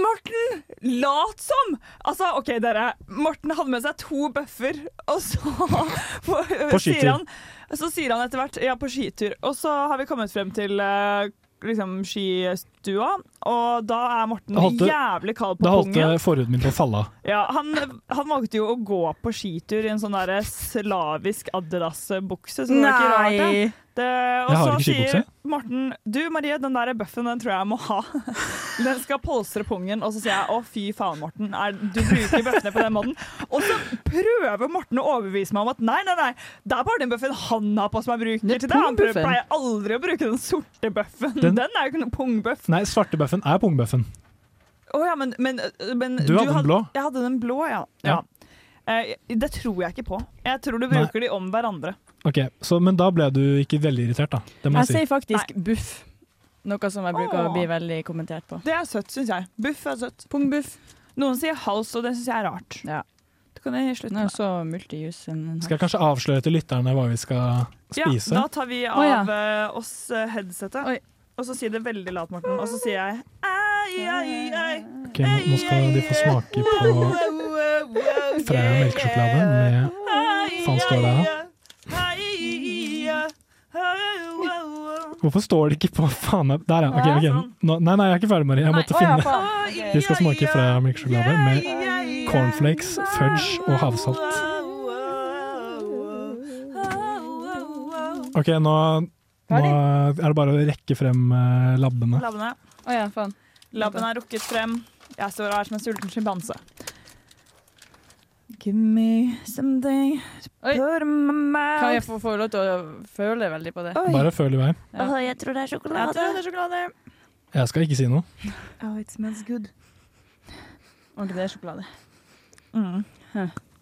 Speaker 2: Morten, lat som! Altså, OK, dere. Morten hadde med seg to bøffer, og så *laughs*
Speaker 3: På
Speaker 2: sier
Speaker 3: skitur.
Speaker 2: han Så sier han etter hvert Ja, på skitur. Og så har vi kommet frem til eh, liksom skistua, og da er Morten
Speaker 3: Da holdt det-
Speaker 2: jævlig kald på
Speaker 3: Da holdt
Speaker 2: pungen.
Speaker 3: eh, forhuden min på å falle av.
Speaker 2: Ja, han, han valgte jo å gå på skitur i en sånn der slavisk Adidas-bukse, så det var ikke
Speaker 4: Nei.
Speaker 2: rart. det. Det,
Speaker 3: Jeg
Speaker 2: og
Speaker 3: har
Speaker 2: så
Speaker 3: ikke skibukse.
Speaker 2: sier Morten Du Marie, den der buffen den tror jeg jeg må ha. *laughs* Den skal polstre pungen. Og så sier jeg å fy faen, Morten. Er, du bruker bøffene på den måten. Og så prøver Morten å overbevise meg om at nei, nei, nei. Det er bare den bøffen han har på som jeg bruker til det. Han prøver,
Speaker 3: pungbuffen.
Speaker 2: pleier aldri å bruke den sorte bøffen.
Speaker 3: Den-
Speaker 2: Den, er jo ikke noen pungbøff.
Speaker 3: Nei, svartebøffen er pungbuffen.
Speaker 2: Å ja, men, men, eh, men
Speaker 3: Du hadde den blå.
Speaker 2: Jeg hadde den blå, ja. ja. Eh, det tror jeg ikke på. Jeg tror du bruker de om hverandre.
Speaker 3: Ok, så, Men da ble du ikke veldig irritert, da. Det må
Speaker 4: Jeg
Speaker 3: jeg,
Speaker 4: sier faktisk buff. Noe som jeg bruker å bli veldig kommentert på.
Speaker 2: Det er søtt, syns jeg. Buff er søtt. Pungbuff. Noen sier hals, og det syns jeg er rart. Det kan jeg slutte med.
Speaker 4: Så multijus en
Speaker 3: si. Skal jeg kanskje avsløre til lytterne hva vi skal spise?
Speaker 2: Ja, da tar vi av
Speaker 4: Å, ja.
Speaker 2: eh, oss eh, headsetet, og så sier det veldig lavt, Morten. Og så sier jeg ei, ei, ei.
Speaker 3: Ok, nå, nå skal de få smake på Freia melkesjokolade med Faen, står det her? Hvorfor står det ikke på faen meg Der, ja. Ok,
Speaker 2: Ja,
Speaker 3: ok. Nå, nei, nei, jeg er ikke ferdig, Marie. Jeg måtte
Speaker 2: sånn. Å, ja,
Speaker 3: finne
Speaker 2: faen. Ok.
Speaker 3: De skal smake Freia melkesjokolade med cornflakes, fudge og havsalt. Ok, nå, nå er det bare å rekke frem eh, labbene.
Speaker 2: Labbene. Labben er rukket frem. Jeg står her som en sulten sjimpanse. Give me something to put in my mouth.
Speaker 4: Kan jeg få, få lov til å føle veldig på det?
Speaker 3: Bare føl i vei.
Speaker 4: Åh, jeg tror det er sjokolade.
Speaker 2: Jeg tror det er sjokolade.
Speaker 3: Jeg skal ikke si noe.
Speaker 2: Oh, it smells good.
Speaker 4: Ok, det er sjokolade.
Speaker 2: Mm.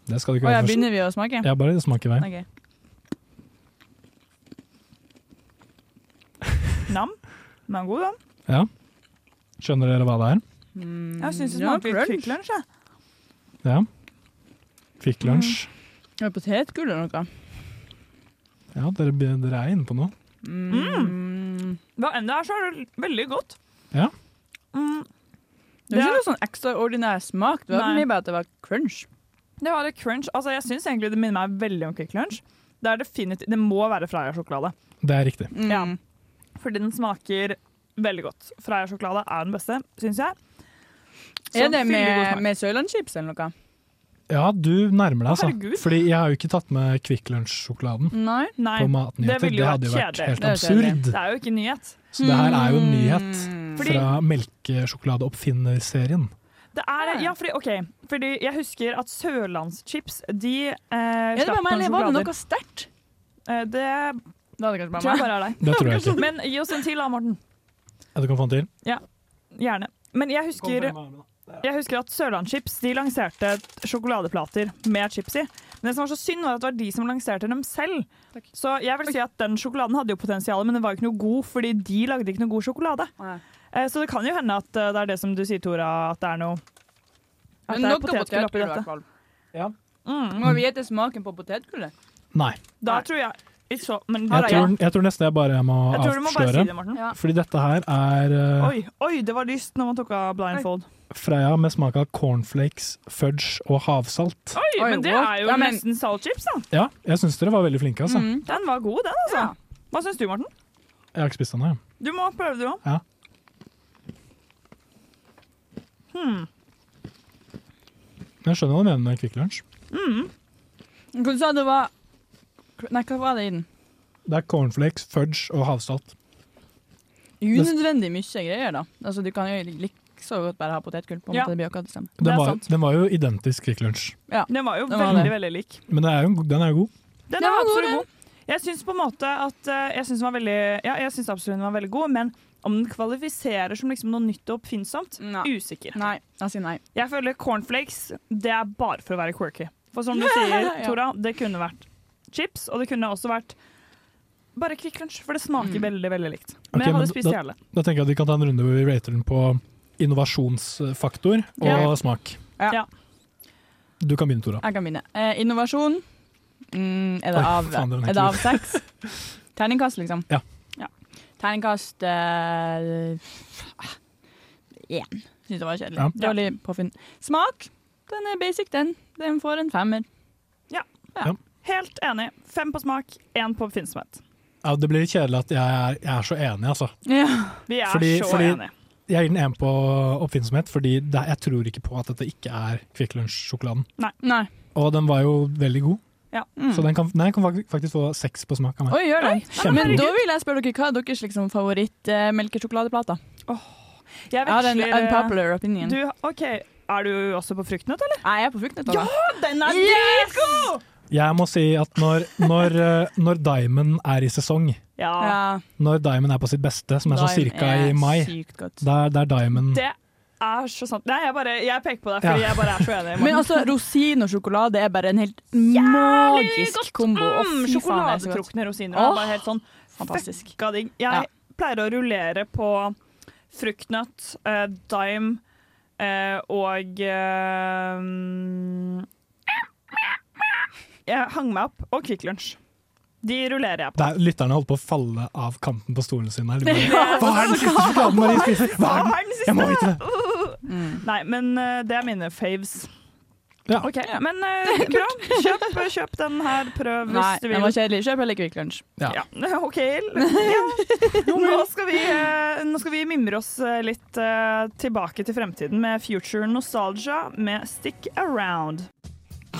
Speaker 3: Det skal du ikke
Speaker 4: Å, ja,
Speaker 3: gjøre først.
Speaker 4: begynner vi å smake?
Speaker 3: Ja, bare smak i vei.
Speaker 4: Ok.
Speaker 2: Nam. Den er god, den.
Speaker 3: Ja. Skjønner dere hva det er?
Speaker 2: Jeg syns det
Speaker 4: ja,
Speaker 2: smaker litt
Speaker 4: crunch.
Speaker 2: Kvikk Lunsj. jeg.
Speaker 3: Ja. Kvikk Lunsj.
Speaker 4: Er det potetgull eller noe?
Speaker 3: Ja, dere, dere er inne på noe.
Speaker 2: Mm. Hva enn det er, så er det veldig godt.
Speaker 3: Ja.
Speaker 2: Mm.
Speaker 4: Det er
Speaker 2: Ja.
Speaker 4: ikke noe sånn ekstraordinær smak. Det var
Speaker 2: Nei.
Speaker 4: mye bare at det var crunch.
Speaker 2: Det var litt crunch. Altså, jeg syns egentlig det minner meg veldig om Kvikk Lunsj. Det, er definitivt- det må være Freia-sjokolade.
Speaker 3: Det er riktig.
Speaker 2: Ja.
Speaker 4: Mm.
Speaker 2: Fordi den smaker veldig godt. Freia-sjokolade er den beste, syns jeg. Så
Speaker 4: er det
Speaker 2: fyldig god
Speaker 4: med,
Speaker 2: smak.
Speaker 4: med Sørlandschips eller noe?
Speaker 3: Ja, du nærmer deg, altså.
Speaker 4: Herregud.
Speaker 3: Fordi jeg har jo ikke tatt med Kvikk Lunsj-sjokoladen.
Speaker 4: Nei.
Speaker 3: På matnyheter.
Speaker 2: ville
Speaker 3: Det hadde jo vært
Speaker 2: kjedelig.
Speaker 3: helt
Speaker 2: Det er kjedelig.
Speaker 3: absurd.
Speaker 2: Det er jo ikke nyhet.
Speaker 3: Så det her er jo en nyhet
Speaker 4: Mm.
Speaker 2: Fordi-
Speaker 3: fra melkesjokoladeoppfinnerserien.
Speaker 2: Det er, ja, fordi, ok, fordi jeg husker at sørlandschips, de eh,
Speaker 4: det
Speaker 2: slapp
Speaker 4: bare meg,
Speaker 2: noen
Speaker 4: eller var det
Speaker 2: sjokolader.
Speaker 4: noe
Speaker 2: sterkt? Eh, det
Speaker 4: Da hadde det kanskje
Speaker 2: tror jeg bare er deg.
Speaker 3: Det tror jeg
Speaker 2: *laughs*
Speaker 3: ikke.
Speaker 2: Men gi oss en til da, Morten.
Speaker 3: Ja, du kan få den til.
Speaker 2: Ja, gjerne. Men jeg husker, jeg husker at Sørlandschips de lanserte sjokoladeplater med chips i. Men det som var så synd, var at det var de som lanserte dem selv. Så jeg vil si at den sjokoladen hadde jo potensial, men den var jo ikke noe god, fordi de lagde ikke noe god sjokolade. Eh, Så det kan jo hende at eh, det er det som du sier, Tora, at det er noe at
Speaker 4: Men
Speaker 2: det er
Speaker 4: noe
Speaker 2: potetgull oppi
Speaker 4: potetgull i
Speaker 2: dette.
Speaker 4: hvert fall. Mm,
Speaker 3: Ja.
Speaker 4: Må vi gjette smaken på potetgullet?
Speaker 3: Nei.
Speaker 2: Da tror jeg It's so, men,
Speaker 3: Jeg tror, jeg tror nesten jeg bare må
Speaker 2: Jeg tror du må bare si
Speaker 3: avsløre.
Speaker 2: det, Morten. Ja.
Speaker 3: Fordi dette her er eh,
Speaker 2: Oi, oi, det var lyst når man tok av blindfold.
Speaker 3: Freia med smak av cornflakes, fudge og havsalt.
Speaker 2: Oi, men det
Speaker 4: what?
Speaker 2: er jo
Speaker 4: Ja, men- Mm.
Speaker 2: nesten saltchips, da.
Speaker 3: Ja, jeg syns dere var veldig flinke, altså.
Speaker 2: Den var god, den, altså. Hva syns du, Morten?
Speaker 3: Jeg har ikke spist den, jeg.
Speaker 2: Du må prøve, du òg.
Speaker 3: Ja.
Speaker 2: Hmm.
Speaker 3: Men Jeg skjønner hva du mener med Kvikk Lunsj.
Speaker 4: Mm. Hva du sa det var Nei, hva var det i den?
Speaker 3: Det er cornflakes, fudge og havsalt.
Speaker 4: Unødvendig mye greier, da. Altså, du kan jo like så godt bare ha potetgull. på en
Speaker 2: Ja.
Speaker 4: måte, det blir jo akkurat det samme.
Speaker 3: Den var, den var jo identisk Kvikk Lunsj.
Speaker 4: Ja.
Speaker 2: Den var jo
Speaker 4: Den var
Speaker 2: veldig,
Speaker 4: det.
Speaker 2: veldig lik.
Speaker 3: Men det er jo, en go- den er jo god.
Speaker 2: Den er absolutt god. Jeg syns på en måte at eh, Jeg syns den var veldig Ja, jeg syns absolutt den var veldig god, men om den kvalifiserer som liksom noe nytt og oppfinnsomt, usikker.
Speaker 4: Nei, jeg sier nei.
Speaker 2: Jeg føler cornflakes, det er bare for å være quirky. For som du sier,
Speaker 4: *laughs* Ja.
Speaker 2: Tora, det kunne vært chips, og det kunne også vært bare Kvikk Lunsj, for det smaker
Speaker 4: Mm.
Speaker 2: veldig, veldig likt. Men
Speaker 3: Ok,
Speaker 2: jeg hadde
Speaker 3: men
Speaker 2: spist
Speaker 3: da-
Speaker 2: hele.
Speaker 3: Da tenker jeg at vi kan ta en runde hvor vi rater den på innovasjonsfaktor og
Speaker 4: Ja.
Speaker 3: smak.
Speaker 4: Ja.
Speaker 3: Du kan begynne, Tora.
Speaker 4: Jeg kan begynne. Eh, innovasjon. Mm, er, det
Speaker 3: Oi,
Speaker 4: av,
Speaker 3: faen, den er
Speaker 4: er det av
Speaker 3: kul.
Speaker 4: seks? Terningkast, liksom?
Speaker 3: Ja.
Speaker 4: Terningkast eh, én. Syns det var kjedelig.
Speaker 3: Ja.
Speaker 4: Dårlig påfunn. Smak. Den er basic, den. Den får en femmer.
Speaker 2: Ja.
Speaker 3: Ja.
Speaker 2: Helt enig. Fem på smak, én på oppfinnsomhet.
Speaker 3: Ja, det blir litt kjedelig at jeg er, jeg er så enig, altså.
Speaker 2: Vi er
Speaker 3: Fordi-
Speaker 2: så
Speaker 3: fordi-
Speaker 2: enige.
Speaker 3: Jeg gir den én på oppfinnsomhet, fordi det, jeg tror ikke på at dette ikke er Kvikk Lunsj-sjokoladen.
Speaker 2: Nei.
Speaker 4: Nei. mm.
Speaker 3: Og den var jo veldig god.
Speaker 2: Ja.
Speaker 3: Så den kan, den kan fak- faktisk få seks på smak av meg.
Speaker 4: Oi, gjør den.
Speaker 3: Kjempe-
Speaker 4: Men da vil jeg spørre dere hva er deres liksom, favoritt-melkesjokoladeplater?
Speaker 2: Jeg
Speaker 4: har en
Speaker 2: veksler, eh,
Speaker 4: unpopular opinion.
Speaker 2: Du, ok, Er du også på fruktnøtt, eller?
Speaker 4: Nei, jeg er på fruktnøtt.
Speaker 2: Ja, den er
Speaker 4: Yes!
Speaker 2: dritgod!
Speaker 3: Jeg må si at når,
Speaker 4: *laughs*
Speaker 3: når, eh, når Diamond er i sesong,
Speaker 2: Ja.
Speaker 3: når Diamond er på sitt beste, som er sånn
Speaker 4: Diamond
Speaker 3: cirka
Speaker 4: er
Speaker 3: i mai,
Speaker 4: sykt godt.
Speaker 3: der, der Diamond
Speaker 2: Det er så sant. Nei, jeg, bare, jeg peker på deg fordi
Speaker 3: Ja.
Speaker 2: jeg bare er så enig. i
Speaker 4: Men
Speaker 2: Morten.
Speaker 4: altså, rosin og sjokolade er bare en helt magisk kombo. Å,
Speaker 2: Mm,
Speaker 4: fy faen, det er så godt.
Speaker 2: sjokoladetrukne rosiner. Det er
Speaker 4: Åh,
Speaker 2: bare helt sånn
Speaker 4: fantastisk.
Speaker 2: fucka digg. Jeg pleier å rullere på fruktnøtt, eh, dime eh, og eh, mm, Jeg hang meg opp. Og Kvikk Lunsj. De rullerer jeg på.
Speaker 3: der, Lytterne holdt på å falle av kanten på stolen sin. Her. De
Speaker 2: Ja,
Speaker 3: Bare, Hva er den siste sjokoladen Marie spiser? Hva er den? Jeg må vite det!
Speaker 2: Nei, men eh, det er mine faves.
Speaker 3: Ja.
Speaker 2: OK, men *laughs* eh, bra. Kjøp, *laughs* kjøp den her, prøv hvis
Speaker 4: Nei,
Speaker 2: du
Speaker 4: den
Speaker 2: vil.
Speaker 4: var kjedelig. Kjøp heller Kvikk Lunsj.
Speaker 2: Ja. *laughs* OK. Ja. Nå, skal vi, eh, nå skal vi mimre oss eh, litt eh, tilbake til fremtiden med Future Nostalgia med Stick Around.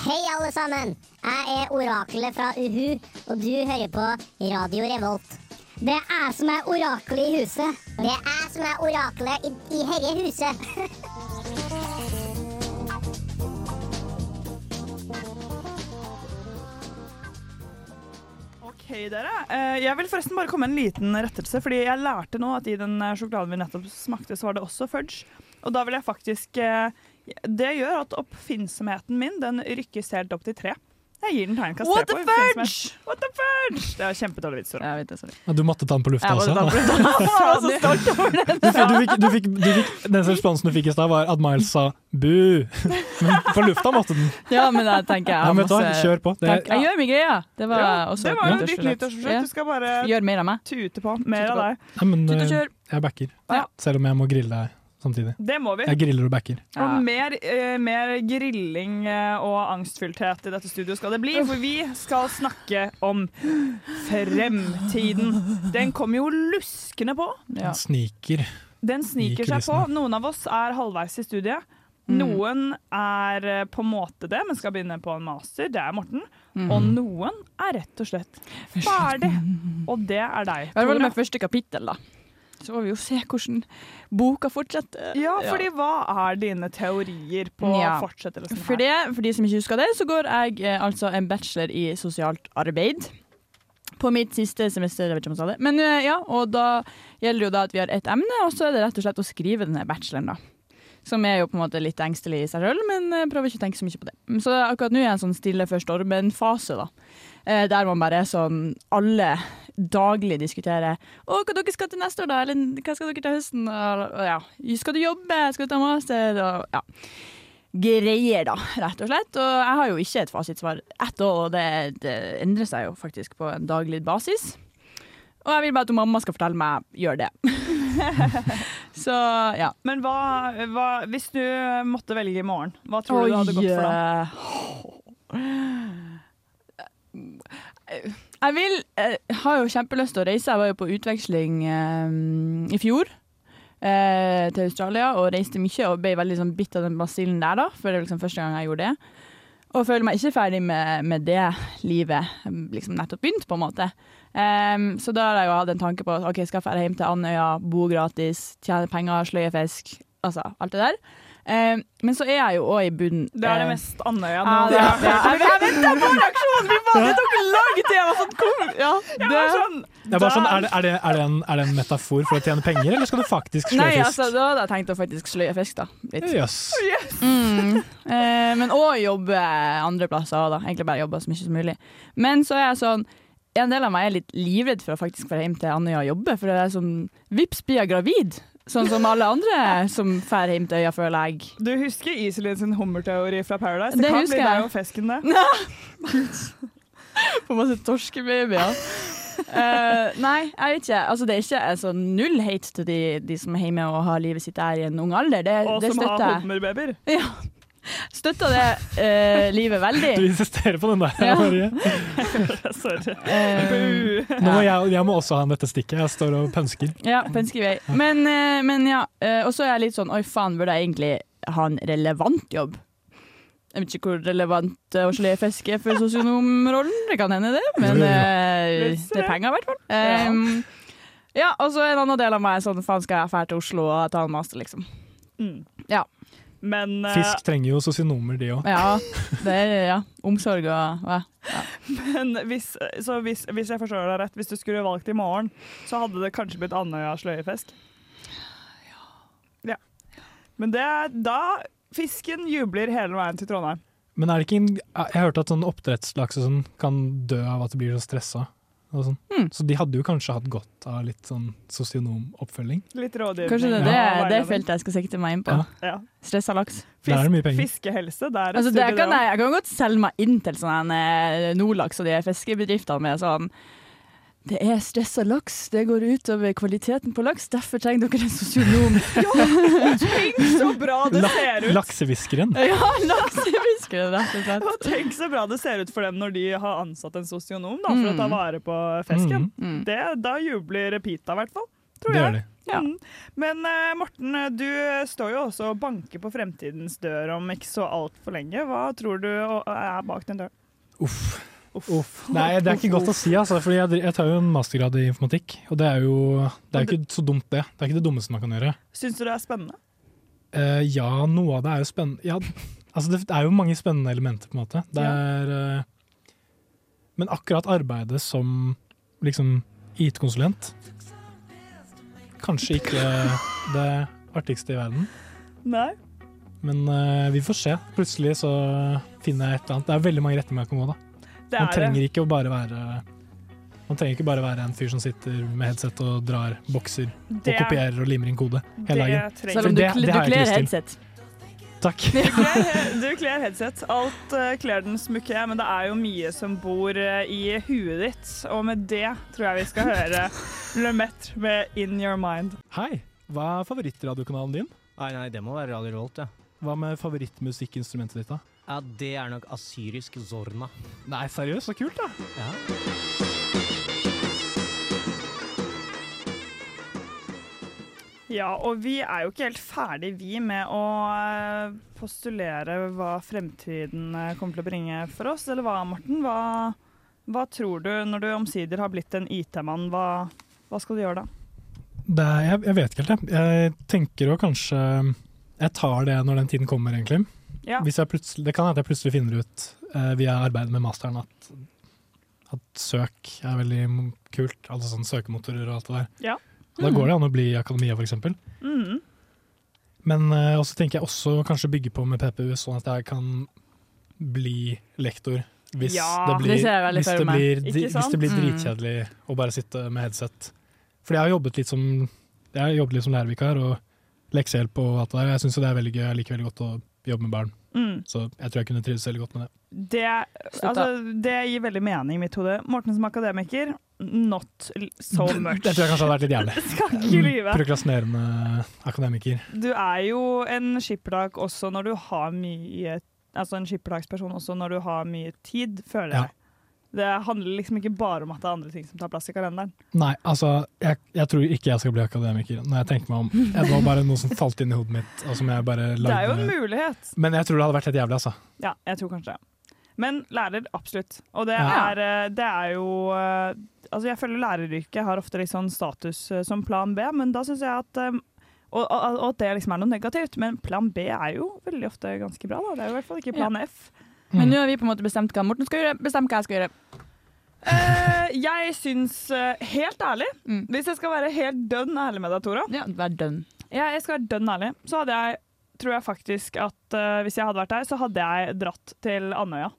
Speaker 13: Hei, alle sammen! Jeg er oraklet fra Uhu, og du hører på Radio Revolt. Det er jeg som er oraklet i huset. Det er jeg som er oraklet i, i herre huset.
Speaker 2: OK, dere. Eh, Jeg vil forresten bare komme med en liten rettelse, fordi jeg lærte nå at i den eh, sjokoladen vi nettopp smakte, så var det også fudge. Og da vil jeg faktisk eh, Det gjør at oppfinnsomheten min den rykkes helt opp til tre. Jeg gir den terningkast
Speaker 4: What
Speaker 2: tre
Speaker 4: the
Speaker 2: på oppfinnsomhet. What the fudge! Det er kjempedårlig vits. Jeg
Speaker 4: vet det, sorry.
Speaker 3: Ja, Du måtte ta sånn, den på
Speaker 4: *laughs*
Speaker 3: lufta
Speaker 4: Jeg måtte
Speaker 3: også.
Speaker 4: ta den på lufta.
Speaker 2: Jeg var så *laughs* stolt over den.
Speaker 3: Du fikk, du fikk, du fikk, du fikk, den responsen du fikk i stad, var at Miles sa bu. Men på lufta måtte den.
Speaker 4: Ja, men da tenker jeg
Speaker 3: Ja, men vet du hva?
Speaker 4: masse-
Speaker 3: Kjør på. Det er-
Speaker 4: Takk. Jeg gjør min greie. Det var
Speaker 2: Ja,
Speaker 4: også
Speaker 2: det
Speaker 4: et
Speaker 2: var jo ditt
Speaker 4: nyttårsforsett.
Speaker 2: nyttårsforsett. Du skal bare
Speaker 4: Ja. Gjør mer av meg.
Speaker 2: tute på. Mer av deg.
Speaker 3: Nei, men
Speaker 2: Tut og
Speaker 3: eh,
Speaker 2: kjør.
Speaker 3: jeg backer.
Speaker 2: Ja.
Speaker 3: Selv om jeg må grille deg samtidig.
Speaker 2: Det må vi.
Speaker 3: Jeg griller og backer.
Speaker 2: Og mer, eh, mer grilling eh, og angstfyllthet i dette studioet skal det bli, for vi skal snakke om fremtiden. Den kommer jo luskende på.
Speaker 3: Den Sniker.
Speaker 2: Den sniker
Speaker 3: I
Speaker 2: seg på.
Speaker 3: kulissene.
Speaker 2: Noen av oss er halvveis i studiet. Noen er eh, på en måte det, men skal begynne på en master. Det er Morten. Og noen er rett og slett ferdig. Og det er deg,
Speaker 4: I hvert fall
Speaker 2: Tora.
Speaker 4: med første kapittel, da. Så får vi jo se hvordan boka fortsetter.
Speaker 2: Ja, Mm, fordi hva er dine teorier på fortsettelsen her?
Speaker 4: For, det, for de som ikke husker det, så går jeg eh, altså en bachelor i sosialt arbeid. På mitt siste semester, jeg vet ikke om jeg sa det. Men eh, ja, og da gjelder det jo da at vi har ett emne, og så er det rett og slett å skrive denne bacheloren, da. Som er jo på en måte litt engstelig i seg sjøl, men eh, prøver ikke å tenke så mye på det. Så akkurat nå er jeg i en sånn stille før stormen-fase, da. Eh, Der man bare er sånn Alle daglig diskuterer Å, hva dere skal til neste år, da? Eller hva skal dere til høsten? Og, og, ja. Skal du jobbe? Skal du ta master? Og, ja. Greier, da, rett og slett. Og jeg har jo ikke et fasitsvar ett år, og det, det endrer seg jo faktisk på en daglig basis. Og jeg vil bare at mamma skal fortelle meg 'gjør det'. *laughs* Så ja.
Speaker 2: Men hva, hva Hvis du måtte velge i morgen, hva tror du du hadde gått for da?
Speaker 4: Jeg vil Jeg har jo kjempelyst til å reise. Jeg var jo på utveksling eh, i fjor eh, til Australia og reiste mye og ble veldig sånn bitt av den basillen der, da. For det var liksom første gang jeg gjorde det. Og føler meg ikke ferdig med, med det livet jeg liksom nettopp begynt, på en måte. Ehm, så da har jeg jo hatt en tanke på at ok, skal jeg dra hjem til Andøya, bo gratis, tjene penger, sløye fisk, altså alt det der. Ehm, men så er jeg jo òg i bunnen.
Speaker 2: Det er det
Speaker 4: eh,
Speaker 2: mest Andøya nå.
Speaker 4: ja, det er-
Speaker 2: *laughs* det er-
Speaker 4: jeg- jeg venter på reaksjonen! Fy faen, det tok lang tid! Jeg var sånn cool. Ja,
Speaker 2: Jeg var sånn,
Speaker 3: Det er, bare sånn, er, det, er, det, er, det en, er det en metafor for å tjene penger, eller skal du faktisk sløye
Speaker 4: Nei,
Speaker 3: fisk?
Speaker 4: altså, da hadde jeg tenkt å faktisk sløye fisk, da. Litt.
Speaker 3: Jøss.
Speaker 4: Mm. *laughs* Eh, men òg jobbe andre plasser også, da. Egentlig bare jobbe så mye som mulig. Men så er jeg sånn En del av meg er litt livredd for å faktisk dra hjem til Andøya og jobbe, for det er sånn Vips blir jeg gravid! Sånn som alle andre som drar hjem til øya, føler jeg.
Speaker 2: *laughs* Du husker Iselin sin hummerteori fra Paradise? Det,
Speaker 4: Det
Speaker 2: kan
Speaker 4: husker
Speaker 2: bli deg
Speaker 4: jeg.
Speaker 2: og fesken, det.
Speaker 4: På masse torskebabyer. Eh, nei, jeg vet ikke. Altså, det er ikke altså, null hate til de, de som er hjemme og har livet sitt der i en ung alder. Det,
Speaker 2: Og
Speaker 4: det
Speaker 2: som har
Speaker 4: støtter jeg.
Speaker 2: hummerbabyer. *laughs*
Speaker 4: Ja. Støtter det eh, livet veldig.
Speaker 3: Du insisterer på den der,
Speaker 4: Ja.
Speaker 3: Marie.
Speaker 2: Sorry.
Speaker 4: Um, Eh,
Speaker 3: Nå må jeg, jeg må også ha dette stikket. Jeg står og pønsker.
Speaker 4: Ja, pønskevei. Men, eh, men ja, eh, og så er jeg litt sånn Oi, faen, burde jeg egentlig ha en relevant jobb? Jeg vet ikke hvor relevant eh, Åsli Fisk er for sosionomrollen, det kan hende det, men eh, det er penger i hvert fall. Ehm, ja, og så en annen del av meg er sånn, faen skal jeg fære til Oslo og ta en master, liksom. Ja.
Speaker 2: Mm. Men eh,
Speaker 3: Fisk trenger jo sosionomer, de òg.
Speaker 4: Ja, det er ja. omsorg og ja.
Speaker 2: *laughs* Men hvis, så hvis, hvis jeg forstår deg rett, hvis du skulle valgt i morgen, så hadde det kanskje blitt Andøya sløyefisk? Ja. Men det er da fisken jubler hele veien til Trondheim.
Speaker 3: Men er det ikke en, jeg hørte at sånn oppdrettslaks og sånn kan dø av at de blir så stressa. Og sånn.
Speaker 2: Mm.
Speaker 3: Så de hadde jo kanskje hatt godt av litt sånn sosionomoppfølging.
Speaker 2: Litt rådgivning.
Speaker 4: Kanskje det, det,
Speaker 2: Ja,
Speaker 4: er- det
Speaker 2: veiledning.
Speaker 4: er feltet jeg skal sikte meg inn på.
Speaker 2: Ja.
Speaker 4: Stressa laks.
Speaker 3: Der er det mye penger.
Speaker 2: Fiskehelse, det er et
Speaker 4: Altså, det
Speaker 2: studie,
Speaker 4: kan
Speaker 2: det
Speaker 4: jeg, jeg kan godt selge meg inn til sånne eh, Nordlaks og de fiskebedriftene med sånn det er stressa laks, det går utover kvaliteten på laks, derfor trenger dere en sosionom.
Speaker 2: Ja, tenk *laughs* så bra det
Speaker 3: La,
Speaker 2: ser ut!
Speaker 3: laksehviskeren.
Speaker 4: Ja, laksehviskere, rett og slett.
Speaker 2: *laughs* Og tenk så bra det ser ut for dem når de har ansatt en sosionom da, for å ta
Speaker 4: Mm.
Speaker 2: vare på fisken.
Speaker 4: Mm. Mm.
Speaker 2: Det, da jubler Pita, i hvert fall. Tror
Speaker 3: Det
Speaker 2: jeg.
Speaker 3: gjør de.
Speaker 4: Ja.
Speaker 2: Mm. Men eh, Morten, du står jo også og banker på fremtidens dør om ikke så altfor lenge. Hva tror du å- er bak den døren?
Speaker 3: Uff. Nei, det er ikke godt å si, altså. Fordi jeg, jeg tar jo en mastergrad i informatikk, og det er jo det er jo ikke så dumt, det. Det er ikke det dummeste man kan gjøre.
Speaker 2: Syns du det er spennende?
Speaker 3: Eh, ja, noe av det er jo spennende ja, altså Det er jo mange spennende elementer, på en måte. Det er, eh, men akkurat arbeidet som liksom IT-konsulent Kanskje ikke det artigste i verden,
Speaker 2: Nei?
Speaker 3: men eh, vi får se. Plutselig så finner jeg et eller annet. Det er veldig mange retninger man kan gå, da.
Speaker 2: Det
Speaker 3: Man
Speaker 2: er
Speaker 3: trenger
Speaker 2: det.
Speaker 3: ikke å bare være man trenger ikke bare være en fyr som sitter med headset og drar bokser og
Speaker 2: Det-
Speaker 3: kopierer og limer inn kode
Speaker 2: det
Speaker 3: hele dagen.
Speaker 2: trenger-
Speaker 3: For
Speaker 2: Selv om du
Speaker 3: det-
Speaker 2: kl-
Speaker 3: det
Speaker 2: du
Speaker 3: har jeg ikke
Speaker 2: kler
Speaker 3: lyst til.
Speaker 4: headset.
Speaker 3: Takk.
Speaker 2: Du kler- Du kler headset. Alt eh, kler den smukke, men det er jo mye som bor eh, i huet ditt. Og med det tror jeg vi skal høre Lemaitre med 'In Your Mind'.
Speaker 3: Hei, hva er favorittradiokanalen din?
Speaker 14: Nei, nei, det må være Radio Revolt, ja.
Speaker 3: Hva med favorittmusikkinstrumentet ditt, da?
Speaker 14: Ja, det er nok asyrisk zorna.
Speaker 3: Nei, seriøst, så kult, da!
Speaker 14: Ja.
Speaker 2: Ja, og vi er jo ikke helt ferdig, vi, med å eh, postulere hva fremtiden eh, kommer til å bringe for oss. Eller hva, Morten? Hva, hva tror du, når du omsider har blitt en IT-mann, hva, hva skal du gjøre da?
Speaker 3: Det er, jeg, jeg vet ikke helt, jeg. Jeg tenker jo kanskje Jeg tar det når den tiden kommer, egentlig.
Speaker 2: Ja.
Speaker 3: Hvis jeg plutselig, det kan hende jeg plutselig finner ut eh, via arbeidet med masteren at, at søk er veldig mo- kult. Alle sånne søkemotorer og alt det der.
Speaker 2: Ja.
Speaker 3: Da går det an å bli i akademia, for eksempel.
Speaker 2: Mm.
Speaker 3: Men eh, også tenker jeg også kanskje bygge på med PPU, sånn at jeg kan bli lektor. Hvis,
Speaker 2: Ja,
Speaker 3: det, blir,
Speaker 2: det ser jeg veldig
Speaker 3: hvis,
Speaker 2: for
Speaker 3: det,
Speaker 2: meg.
Speaker 3: blir,
Speaker 2: Ikke
Speaker 3: di- hvis
Speaker 2: sant?
Speaker 3: det blir
Speaker 2: Mm.
Speaker 3: dritkjedelig å bare sitte med headset. Fordi jeg har jobbet litt som, jeg har jobbet litt som lærervikar og leksehjelp og alt det der. Jeg syns jo det er veldig gøy. Jeg liker veldig godt å jobbe med barn.
Speaker 2: Mm.
Speaker 3: Så jeg tror jeg kunne trives veldig godt med det.
Speaker 2: Det, altså, det gir veldig mening i mitt hode. Morten som akademiker, not l- so much.
Speaker 3: *laughs* Det tror
Speaker 2: *laughs*
Speaker 3: jeg kanskje Mm, hadde vært litt jævlig.
Speaker 2: Skal ikke lyve.
Speaker 3: Prokrastinerende akademiker.
Speaker 2: Du er jo en skippertak også når du har mye Altså en skippertaksperson også når du har mye tid, føler jeg. Det handler liksom ikke bare om at det er andre ting som tar plass i kalenderen.
Speaker 3: Nei, altså, jeg, jeg tror ikke jeg skal bli akademiker når jeg tenker meg om. Det var bare noe som falt inn i hodet mitt, og som jeg bare lagde.
Speaker 2: Det er jo en mulighet.
Speaker 3: Men jeg tror det hadde vært helt jævlig, altså.
Speaker 2: Ja, jeg tror kanskje det. Men lærer, absolutt. Og det
Speaker 3: Ja.
Speaker 2: er, eh, det er jo eh, Altså, jeg føler læreryrket har ofte litt sånn status eh, som plan B, men da syns jeg at eh, og, og, og at det liksom er noe negativt, men plan B er jo veldig ofte ganske bra, da. Det er jo i hvert fall ikke plan F.
Speaker 4: Men nå har vi på en måte bestemt hva Morten skal gjøre. Bestem hva jeg skal gjøre.
Speaker 2: Eh, jeg syns eh, Helt ærlig, hvis jeg skal være helt dønn ærlig med deg, Tora Ja, jeg skal være dønn ærlig. Så hadde jeg, tror jeg faktisk at eh, hvis jeg hadde vært der, så hadde jeg dratt til Andøya.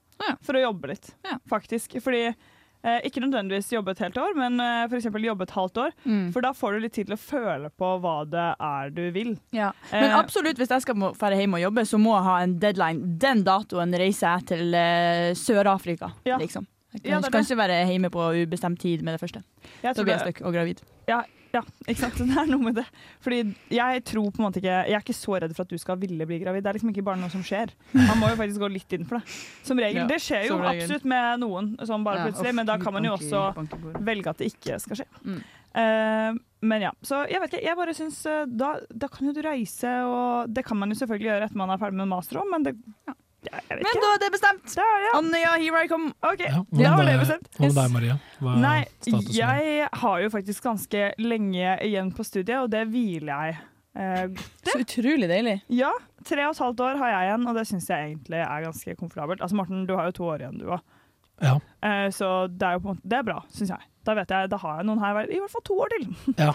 Speaker 2: For å jobbe litt, faktisk. Fordi eh, ikke nødvendigvis jobbe et helt år, men eh, for f.eks. jobbe et halvt år.
Speaker 4: Mm.
Speaker 2: For da får du litt tid til å føle på hva det er du vil.
Speaker 4: Ja. Men
Speaker 2: Eh,
Speaker 4: absolutt, hvis jeg skal må- fære hjem og jobbe, så må jeg ha en deadline. Den datoen reiser jeg til eh, Sør-Afrika, liksom. Jeg kan,
Speaker 2: Ja, det er
Speaker 4: kan
Speaker 2: det.
Speaker 4: ikke være hjemme på ubestemt tid med det første.
Speaker 2: Jeg
Speaker 4: Da
Speaker 2: tror
Speaker 4: blir jeg
Speaker 2: det-
Speaker 4: støkk og gravid.
Speaker 2: Ja, ja, ikke sant? *laughs* Det er noe med det. Fordi jeg tror på en måte ikke Jeg er ikke så redd for at du skal ville bli gravid. Det er liksom ikke bare noe som skjer. Man må jo faktisk gå litt inn for det. Som regel.
Speaker 4: *laughs* Ja,
Speaker 2: det skjer jo
Speaker 4: som regel.
Speaker 2: absolutt med noen sånn bare
Speaker 4: Ja,
Speaker 2: plutselig,
Speaker 4: uff,
Speaker 2: men da kan man jo
Speaker 4: bank i- bank i
Speaker 2: også
Speaker 4: bordet.
Speaker 2: velge at det ikke skal skje.
Speaker 4: Mm.
Speaker 2: Eh, men ja, så jeg vet ikke. Jeg bare syns eh, da, da kan jo du reise og Det kan man jo selvfølgelig gjøre etter man er ferdig med master òg, men det
Speaker 4: Men da er det bestemt. Andøya, here I come.
Speaker 2: Ok,
Speaker 3: Hvordan
Speaker 2: da var det
Speaker 3: er-
Speaker 2: bestemt.
Speaker 3: Hvordan er det, Maria? Hva er
Speaker 2: Nei,
Speaker 3: statusen?
Speaker 2: jeg har jo faktisk ganske lenge igjen på studiet, og det hviler jeg. eh, godt i.
Speaker 4: Så utrolig deilig.
Speaker 2: Ja, tre og et halvt år har jeg igjen, og det syns jeg egentlig er ganske komfortabelt. Altså Morten, du har jo to år igjen du òg,
Speaker 3: Ja.
Speaker 2: så det er jo på en måte, det er bra, syns jeg. Da vet jeg, da har jeg noen her i hvert fall to år til.
Speaker 3: Ja.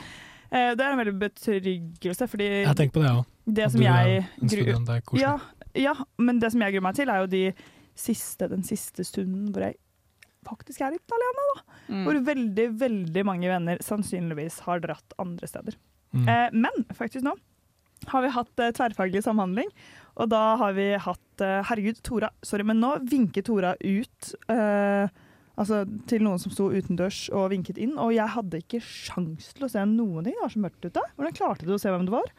Speaker 2: Eh, Det er en veldig betryggelse, fordi
Speaker 3: Jeg tenker på det òg.
Speaker 2: det som
Speaker 3: Du er
Speaker 2: jeg
Speaker 3: en student, det er koselig.
Speaker 2: ja, ja, men det som jeg gruer meg til, er jo de siste, den siste stunden hvor jeg faktisk er litt alene. Da.
Speaker 4: Mm.
Speaker 2: Hvor veldig, veldig mange venner sannsynligvis har dratt andre steder.
Speaker 4: Mm.
Speaker 2: Eh, men faktisk nå har vi hatt eh, tverrfaglig samhandling, og da har vi hatt eh, Herregud, Tora, sorry, men nå vinket Tora ut. Eh, Altså til noen som sto utendørs og vinket inn, og jeg hadde ikke sjans til å se noen ting. Det var så mørkt ute. Hvordan klarte du å se hvem det var?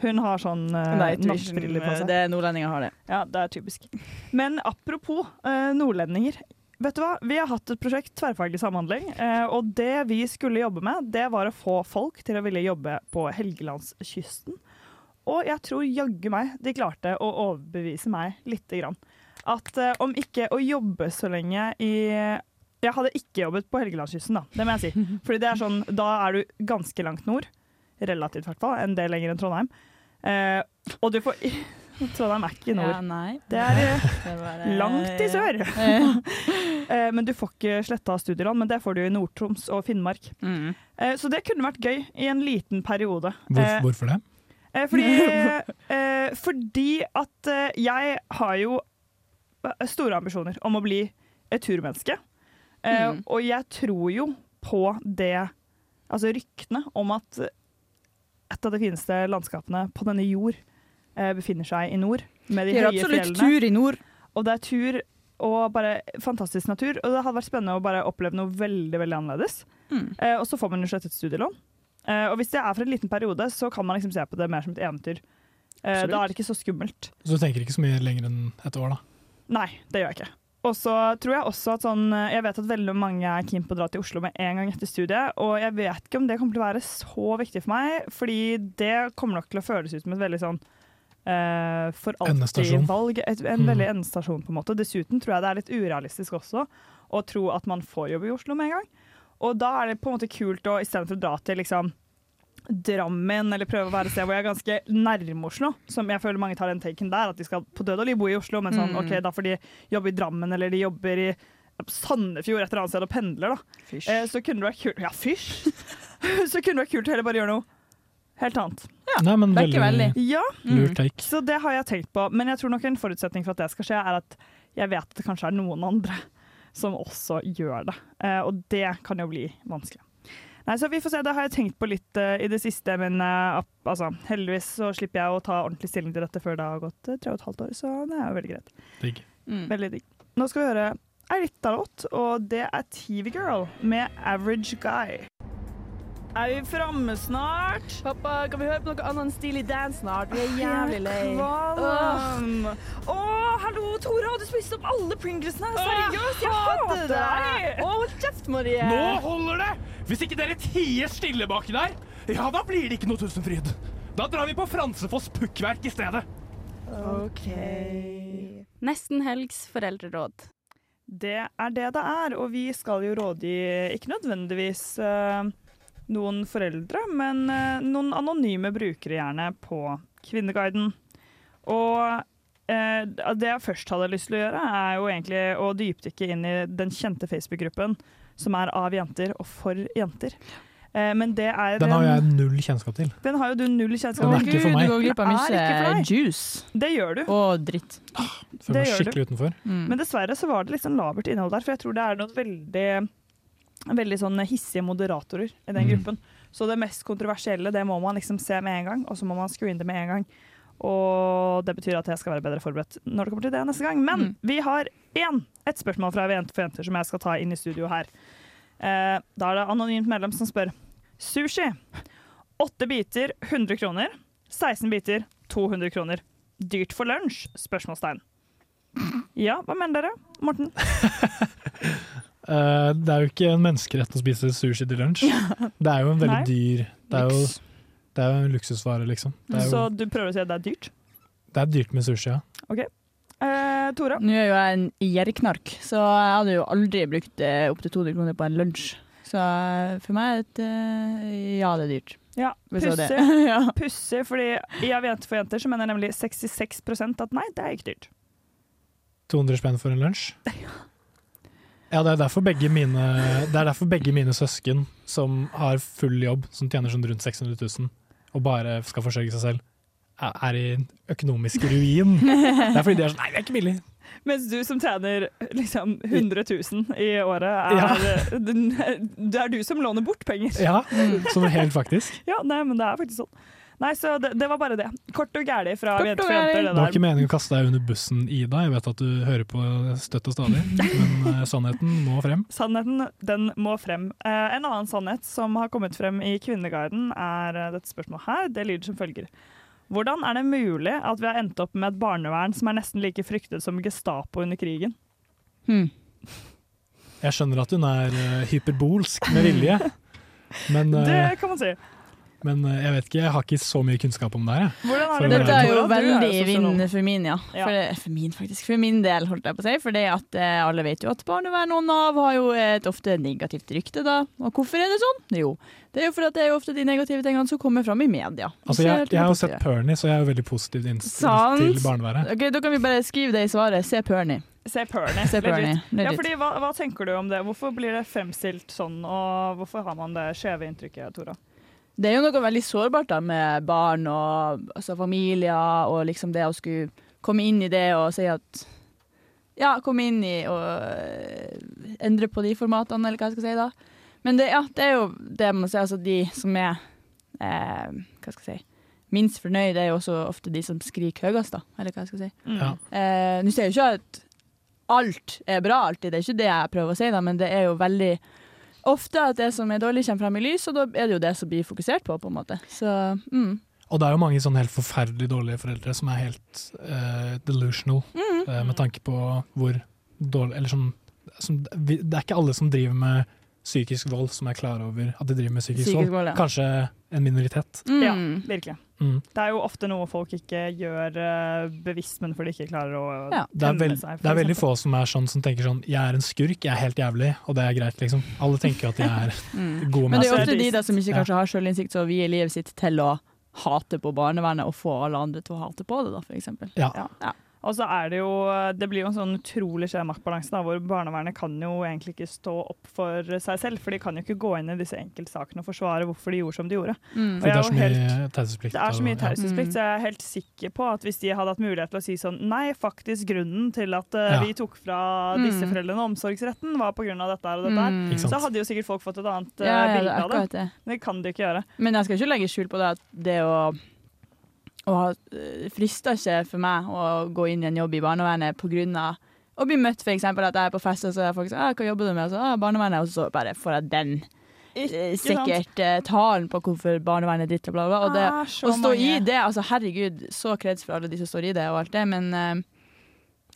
Speaker 2: Hun har sånn eh,
Speaker 4: Night vision,
Speaker 2: nattbriller på
Speaker 4: eh,
Speaker 2: seg.
Speaker 4: det nordlendinger har det.
Speaker 2: Ja, det er typisk. Men apropos eh, nordlendinger. Vet du hva? Vi har hatt et prosjekt, tverrfaglig samhandling, eh, og det vi skulle jobbe med, det var å få folk til å ville jobbe på Helgelandskysten. Og jeg tror jaggu meg de klarte å overbevise meg lite grann. At eh, om ikke å jobbe så lenge i Jeg hadde ikke jobbet på Helgelandskysten, da. Det må jeg si. Fordi det er sånn, da er du ganske langt nord. Relativt, i hvert fall. En del lenger enn Trondheim. Eh, og du får Trondheim er ikke i *laughs* nord.
Speaker 4: Ja, nei.
Speaker 2: Det er eh,
Speaker 4: Det er bare-
Speaker 2: langt i sør. *laughs*
Speaker 4: Ja.
Speaker 2: Eh, men du får ikke sletta studielån, men det får du i Nord-Troms og Finnmark. Eh, Så det kunne vært gøy i en liten periode.
Speaker 3: Hvor,
Speaker 2: Eh,
Speaker 3: hvorfor det?
Speaker 2: Eh, Fordi, eh, fordi at eh, jeg har jo eh, store ambisjoner om å bli et turmenneske. Eh,
Speaker 4: Mm.
Speaker 2: Og jeg tror jo på det Altså ryktene om at et av de fineste landskapene på denne jord eh, befinner seg i nord. Med de
Speaker 4: Det er
Speaker 2: høye
Speaker 4: absolutt
Speaker 2: fjellene.
Speaker 4: tur i nord.
Speaker 2: Og det er tur og bare fantastisk natur. Og det hadde vært spennende å bare oppleve noe veldig, veldig annerledes. Eh, og så får man jo slettet studielån. Eh, og hvis det er for en liten periode, så kan man liksom se på det mer som et eventyr. Eh,
Speaker 3: Absolutt.
Speaker 2: da er det ikke så skummelt.
Speaker 3: Så du tenker ikke så mye lenger enn et år, da?
Speaker 2: Nei, det gjør jeg ikke. Og så tror jeg også at sånn Jeg vet at veldig mange er keen på å dra til Oslo med en gang etter studiet, og jeg vet ikke om det kommer til å være så viktig for meg, fordi det kommer nok til å føles ut som et veldig sånn eh, for
Speaker 3: Endestasjon.
Speaker 2: alltid-valg. En
Speaker 3: Mm.
Speaker 2: veldig endestasjon, på en måte. Dessuten tror jeg det er litt urealistisk også å tro at man får jobb i Oslo med en gang. Og da er det på en måte kult å istedenfor å dra til liksom Drammen, eller prøve å være et sted hvor jeg er ganske nærme Oslo. Som jeg føler mange tar den taken der, at de skal på død og liv bo i Oslo, men sånn,
Speaker 4: Mm.
Speaker 2: ok, da får de jobbe i Drammen, eller de jobber i Sandefjord et eller annet sted og pendler, da. Eh, så kunne det vært kult Ja, fysj! *laughs* så kunne det vært kult å heller bare gjøre noe helt annet.
Speaker 3: Nei, men
Speaker 4: det er ikke veldig.
Speaker 2: Ja.
Speaker 3: lurt take.
Speaker 2: Så det har jeg tenkt på. Men jeg tror nok en forutsetning for at det skal skje, er at jeg vet at det kanskje er noen andre som også gjør det. Eh, og det kan jo bli vanskelig. Nei, så vi får se. Det har jeg tenkt på litt eh, i det siste, men eh, app- altså, heldigvis så slipper jeg å ta ordentlig stilling til dette før det har gått eh, tre og et halvt år, så det er jo veldig greit.
Speaker 3: Digg.
Speaker 2: Veldig digg. Nå skal vi høre ei lita låt, og det er TV Girl med Average Guy. Er vi framme snart?
Speaker 4: Pappa, kan vi høre på noe annet enn stilig dance snart? Vi er jævlig lei.
Speaker 2: Jeg er kvalm. Å, hallo, Tora! Du spiste opp alle Pringlesene! Seriøst, jeg hater deg!
Speaker 4: Å, hold kjeft,
Speaker 2: Eh.
Speaker 4: Marie.
Speaker 15: Nå holder det! Hvis ikke dere tier stille baki der, ja, da blir det ikke noe Tusenfryd. Da drar vi på Fransefoss pukkverk i stedet.
Speaker 2: OK.
Speaker 6: Nesten helgs foreldreråd.
Speaker 2: Det er det det er, og vi skal jo rådgi ikke nødvendigvis eh, noen foreldre, men eh, noen anonyme brukere gjerne på Kvinneguiden. Og eh, det jeg først hadde lyst til å gjøre, er jo egentlig å dypdykke inn i den kjente Facebook-gruppen som er av jenter og for jenter. Eh, men det er
Speaker 3: Den har
Speaker 2: en-
Speaker 3: jeg null kjennskap til.
Speaker 2: Den har jo du null kjennskap
Speaker 3: Den er ikke for meg.
Speaker 4: Du går glipp av
Speaker 2: Den er ikke for
Speaker 4: mye
Speaker 2: deg.
Speaker 4: juice.
Speaker 2: Det gjør du.
Speaker 4: Og dritt.
Speaker 3: Føler
Speaker 2: Det
Speaker 3: meg
Speaker 2: gjør du.
Speaker 3: skikkelig utenfor.
Speaker 2: Men dessverre så var det litt sånn labert innhold der, for jeg tror det er noen veldig, veldig sånn hissige moderatorer i den
Speaker 3: Mm.
Speaker 2: gruppen. Så det mest kontroversielle, det må man liksom se med en gang, og så må man screene det med en gang. Og det betyr at jeg skal være bedre forberedt når det kommer til det neste gang. Men vi har én, ett spørsmål fra Jente for jenter som jeg skal ta inn i studio her. Eh, da er det anonymt medlem som spør. Sushi. 8 biter 100 kroner. 16 biter 200 kroner. Dyrt for lunsj? Spørsmålstegn. Ja, hva mener dere? Morten?
Speaker 3: Eh, det er jo ikke en menneskerett å spise sushi til lunsj. Det er jo en veldig
Speaker 2: Nei.
Speaker 3: dyr Det er jo, det er jo en luksusvare, liksom. Det er jo,
Speaker 2: Så du prøver å si at det er dyrt?
Speaker 3: Det er dyrt med sushi, ja.
Speaker 2: Ok. Eh, Tora?
Speaker 4: Nå er jo jeg en gjerrigknark, så jeg hadde jo aldri brukt eh, opptil 200 kroner på en lunsj. Så eh, for meg er det et eh, ja, det er dyrt.
Speaker 2: Ja,
Speaker 4: Hvis det var det.
Speaker 2: pussig.
Speaker 4: *laughs*
Speaker 2: Pussig, fordi i Av jenter for jenter så mener nemlig 66 at nei, det er ikke dyrt.
Speaker 3: 200 spenn for en
Speaker 2: *laughs*
Speaker 3: lunsj. Ja, det er derfor begge mine, det er derfor begge mine søsken som har full jobb, som tjener sånn rundt 600 000, og bare skal forsørge seg selv, er- er i en økonomisk
Speaker 2: *laughs*
Speaker 3: ruin. Det er fordi de er sånn Nei, det er ikke billig.
Speaker 2: Mm. Mens du som tjener liksom 100 000 i året,
Speaker 3: Ja.
Speaker 2: er, *laughs* den- det er du som låner bort penger.
Speaker 3: Ja, sånn helt faktisk.
Speaker 2: Ja, nei, men det er faktisk sånn. Nei, så det, det var bare det. Kort og gæli fra Av jenter for jenter.
Speaker 3: Det var
Speaker 2: Det
Speaker 3: ikke
Speaker 2: der.
Speaker 3: meningen å kaste deg under bussen, Ida. Jeg vet at du hører på støtt og stadig, men eh, sannheten må frem.
Speaker 2: Sannheten, den må frem. Eh, en annen sannhet som har kommet frem i Kvinneguiden, er eh, dette spørsmålet her. Det lyder som følger. Hvordan er det mulig at vi har endt opp med et barnevern som er nesten like fryktet som Gestapo under krigen?
Speaker 4: Hmm.
Speaker 3: Jeg skjønner at hun er eh, hyperbolsk med vilje,
Speaker 2: *laughs*
Speaker 3: men, eh,
Speaker 2: Det kan man si.
Speaker 3: men eh, jeg vet ikke, jeg har ikke så mye kunnskap om Sånn det her. jeg.
Speaker 2: Hvordan
Speaker 3: For å
Speaker 4: Dette
Speaker 3: være-
Speaker 4: er jo
Speaker 2: Tora, du er jo
Speaker 4: veldig i
Speaker 2: sosiolog.
Speaker 4: vinden for min, ja.
Speaker 2: Ja.
Speaker 4: For, det- for min, faktisk. For min del, holdt jeg på å si. For det at eh, alle vet jo at barnevern og Nav har jo et ofte negativt rykte, da. Og hvorfor er det sånn? Jo, det er jo fordi at det er jo ofte de negative tingene som kommer fram i media.
Speaker 3: Altså,
Speaker 4: Så
Speaker 3: jeg,
Speaker 4: helt
Speaker 3: jeg har jo
Speaker 4: positive.
Speaker 3: sett Pernie, så jeg er jo veldig positivt innstilt
Speaker 4: Sant.
Speaker 3: til barneværet.
Speaker 4: Ok, da kan vi bare skrive det i svaret. Se Pernie.
Speaker 2: Se Pernie.
Speaker 4: Se Pernie,
Speaker 2: legit. Ja,
Speaker 4: legit.
Speaker 2: fordi, hva, hva tenker du om det? Hvorfor blir det fremstilt sånn, og hvorfor har man det skjeve inntrykket, Tora?
Speaker 4: Det er jo noe veldig sårbart da, med barn og altså, familier, og liksom det å skulle komme inn i det og si at Ja, komme inn i og øh, endre på de formatene, eller hva jeg skal si da. Men det, ja, det er jo det man ser, altså de som er eh, Hva skal jeg si Minst fornøyd er jo også ofte de som skriker høyest, da, eller hva jeg skal si.
Speaker 2: Mm,
Speaker 3: Ja.
Speaker 4: Eh, Nå sier jeg jo ikke at alt er bra alltid, det er ikke det jeg prøver å si, da, men det er jo veldig ofte at det som er dårlig, kommer frem i lys, og da er det jo det som blir fokusert på, på en måte. Så, mm.
Speaker 3: Og det er jo mange sånn helt forferdelig dårlige foreldre som er helt eh, delusional
Speaker 4: Mhm.
Speaker 3: eh, med tanke på hvor dårlig Eller sånn som, vi, Det er ikke alle som driver med psykisk vold, som er klar over at de driver med psykisk,
Speaker 2: Psykisk
Speaker 3: vold.
Speaker 2: vold, ja.
Speaker 3: Kanskje en minoritet.
Speaker 2: Ja, virkelig.
Speaker 3: Mm.
Speaker 2: Det er jo ofte noe folk ikke gjør eh, bevisst, men fordi de ikke klarer å
Speaker 3: Det er, vel-
Speaker 2: temme seg. for
Speaker 3: det er veldig
Speaker 2: eksempel.
Speaker 3: få som er sånn som tenker sånn Jeg er en skurk, jeg er helt jævlig, og det er greit, liksom. Alle tenker jo at
Speaker 2: *laughs*
Speaker 3: de er
Speaker 4: Mm.
Speaker 3: gode
Speaker 4: Men det er jo
Speaker 3: mennesker.
Speaker 4: ofte de da, som ikke
Speaker 3: Ja.
Speaker 4: kanskje har selvinnsikt, så vier livet sitt til å hate på barnevernet, og få alle andre til å hate på det, da, for eksempel.
Speaker 3: Ja.
Speaker 2: Og så er det jo Det blir jo en sånn utrolig skjev maktbalanse, da, hvor barnevernet kan jo egentlig ikke stå opp for seg selv, for de kan jo ikke gå inn i disse enkeltsakene og forsvare hvorfor de gjorde som de gjorde.
Speaker 3: Mm.
Speaker 2: Og jeg er jo
Speaker 3: For det er så
Speaker 2: helt-
Speaker 3: mye taushetsplikt
Speaker 2: Det er så
Speaker 3: og-
Speaker 2: mye
Speaker 3: ja.
Speaker 2: taushetsplikt, så jeg er
Speaker 4: Mm.
Speaker 2: helt sikker på at hvis de hadde hatt mulighet til å si sånn Nei, faktisk grunnen til at eh,
Speaker 3: Ja.
Speaker 2: vi tok fra disse
Speaker 4: Mm.
Speaker 2: foreldrene omsorgsretten, var pga. dette her og dette
Speaker 4: Mm.
Speaker 2: her,
Speaker 4: Ikke sant.
Speaker 2: så hadde jo sikkert folk fått et annet eh,
Speaker 4: Ja, ja, det er
Speaker 2: bilde av det.
Speaker 4: akkurat det.
Speaker 2: Men det kan de ikke gjøre.
Speaker 4: Men jeg skal ikke legge skjul på det at det å, å ha eh, frister ikke for meg å gå inn i en jobb i barnevernet pga. å bli møtt, f.eks. at jeg er på fest og så er folk sånn «Ah, 'Hva jobber du med?' Og så «Ah, 'Barnevernet', og så bare får jeg den. eh,
Speaker 2: sant?
Speaker 4: Sikkert eh, talen på hvorfor barnevernet er dritt og bla, bla. Og det,
Speaker 2: Ah, så
Speaker 4: å stå i
Speaker 2: mange.
Speaker 4: det, altså herregud, så kreds for alle de som står i det og alt det, men eh,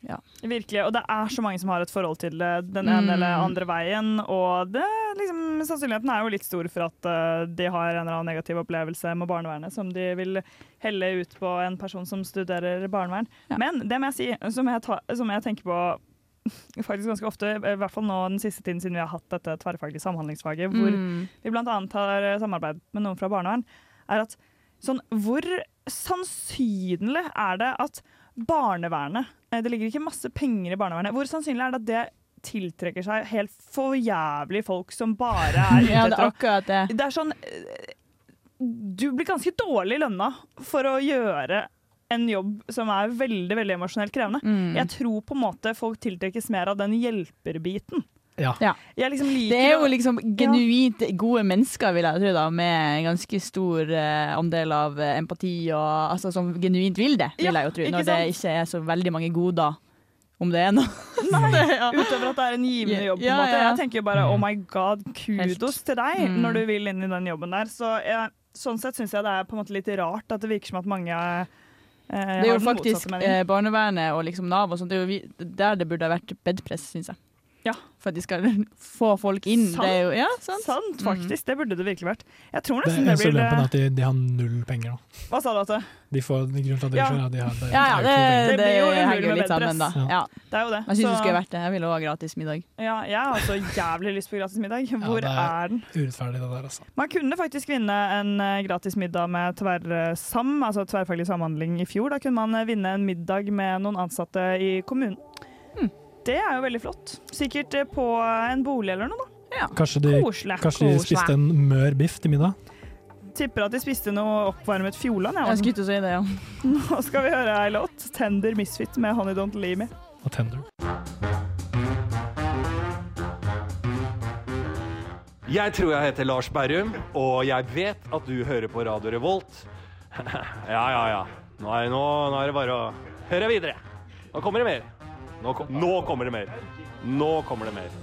Speaker 4: ja.
Speaker 2: Virkelig, og det er så mange som har et forhold til det den
Speaker 4: Mm.
Speaker 2: ene eller andre veien, og det, liksom, sannsynligheten er jo litt stor for at eh, de har en eller annen negativ opplevelse med barnevernet som de vil helle ut på en person som studerer barnevern. Men det må jeg si, som jeg, ta, som jeg tenker på *laughs* faktisk ganske ofte, i hvert fall nå den siste tiden siden vi har hatt dette tverrfaglige samhandlingsfaget, hvor
Speaker 4: Mm.
Speaker 2: vi bl.a. har eh, samarbeid med noen fra barnevern, er at sånn, hvor sannsynlig er det at barnevernet eh, Det ligger ikke masse penger i barnevernet. Hvor sannsynlig er det at det tiltrekker seg helt for jævlig folk som bare
Speaker 4: *laughs*
Speaker 2: er ute
Speaker 4: Ja, det
Speaker 2: etter
Speaker 4: er
Speaker 2: å
Speaker 4: akkurat det.
Speaker 2: Det er sånn eh, Du blir ganske dårlig lønna for å gjøre en jobb som er veldig veldig emosjonelt krevende.
Speaker 4: Mm.
Speaker 2: Jeg tror på en måte folk tiltrekkes mer av den hjelperbiten.
Speaker 3: Ja.
Speaker 2: Jeg liksom liker
Speaker 4: Det er jo
Speaker 2: å-
Speaker 4: liksom genuint gode mennesker, vil jeg tro, da, med en ganske stor eh, andel av eh, empati og altså, som genuint vil det, vil
Speaker 2: Ja,
Speaker 4: jeg jo tro.
Speaker 2: ikke
Speaker 4: Når det
Speaker 2: sant?
Speaker 4: ikke er så veldig mange goder, om det
Speaker 2: *laughs*
Speaker 4: er noe. *laughs*
Speaker 2: Utover at det er en givende jobb. på en
Speaker 4: Ja,
Speaker 2: måte.
Speaker 4: ja.
Speaker 2: Jeg tenker jo bare oh my god, kudos til deg
Speaker 4: Mm.
Speaker 2: når du vil inn i den jobben der. Så jeg, sånn sett syns jeg det er på en måte litt rart at det virker som at mange eh,
Speaker 4: Det er
Speaker 2: har
Speaker 4: jo
Speaker 2: den motsatte
Speaker 4: faktisk
Speaker 2: meningen.
Speaker 4: eh, barnevernet og liksom Nav og sånt, det er jo vi, der det burde ha vært bedpress, syns jeg. For at de skal *laughs* få folk inn.
Speaker 2: Sant,
Speaker 4: Det er jo, ja, sant. Mm.
Speaker 2: faktisk. Det burde det virkelig vært. Jeg tror
Speaker 3: Det er
Speaker 2: nesten det,
Speaker 3: eneste
Speaker 2: blir
Speaker 3: ulempen er
Speaker 2: det.
Speaker 3: at de, de har null penger. Da.
Speaker 2: Hva sa du at det?
Speaker 3: De får grunnen til at de
Speaker 2: Ja.
Speaker 3: ikke er at de har
Speaker 4: Ja,
Speaker 3: det,
Speaker 4: ja,
Speaker 3: er jo
Speaker 4: det,
Speaker 3: ikke noe
Speaker 4: det,
Speaker 3: penger.
Speaker 2: blir jo umulig
Speaker 4: henger jo
Speaker 2: med
Speaker 4: litt sammen, da.
Speaker 2: bedpress.
Speaker 4: Ja.
Speaker 2: Det er jo det.
Speaker 4: Jeg syns det
Speaker 2: Så-
Speaker 4: skulle vært det. Jeg ville også ha gratis middag.
Speaker 2: Ja, jeg har så jævlig lyst på gratis middag. Hvor
Speaker 3: det er-
Speaker 2: er den?
Speaker 3: Urettferdig, det der, altså.
Speaker 2: Man kunne faktisk vinne en eh, gratis middag med tverrsam, altså tverrfaglig samhandling i fjor. Da kunne man eh, vinne en middag med noen ansatte i kommunen.
Speaker 4: Mm.
Speaker 2: Det er jo veldig flott. Sikkert eh, på en bolig eller noe, da.
Speaker 3: Kanskje de,
Speaker 2: Koselig.
Speaker 3: kanskje de
Speaker 2: Koselig.
Speaker 3: spiste en mør biff til middag?
Speaker 2: Tipper at de spiste noe oppvarmet fjolan.
Speaker 4: Jeg skulle
Speaker 2: si det, ja. *laughs* Nå skal vi høre ei låt. 'Tender Misfit' med 'Honey Don't Leave Me'.
Speaker 3: Og tender.
Speaker 16: Jeg tror jeg heter Lars Berrum, og jeg vet at du hører på Radio Revolt. *laughs* Ja, ja, ja. Nå er, nå, nå er det bare å høre videre. Nå kommer det mer. Nå, kom, nå kommer det mer. Nå kommer det mer.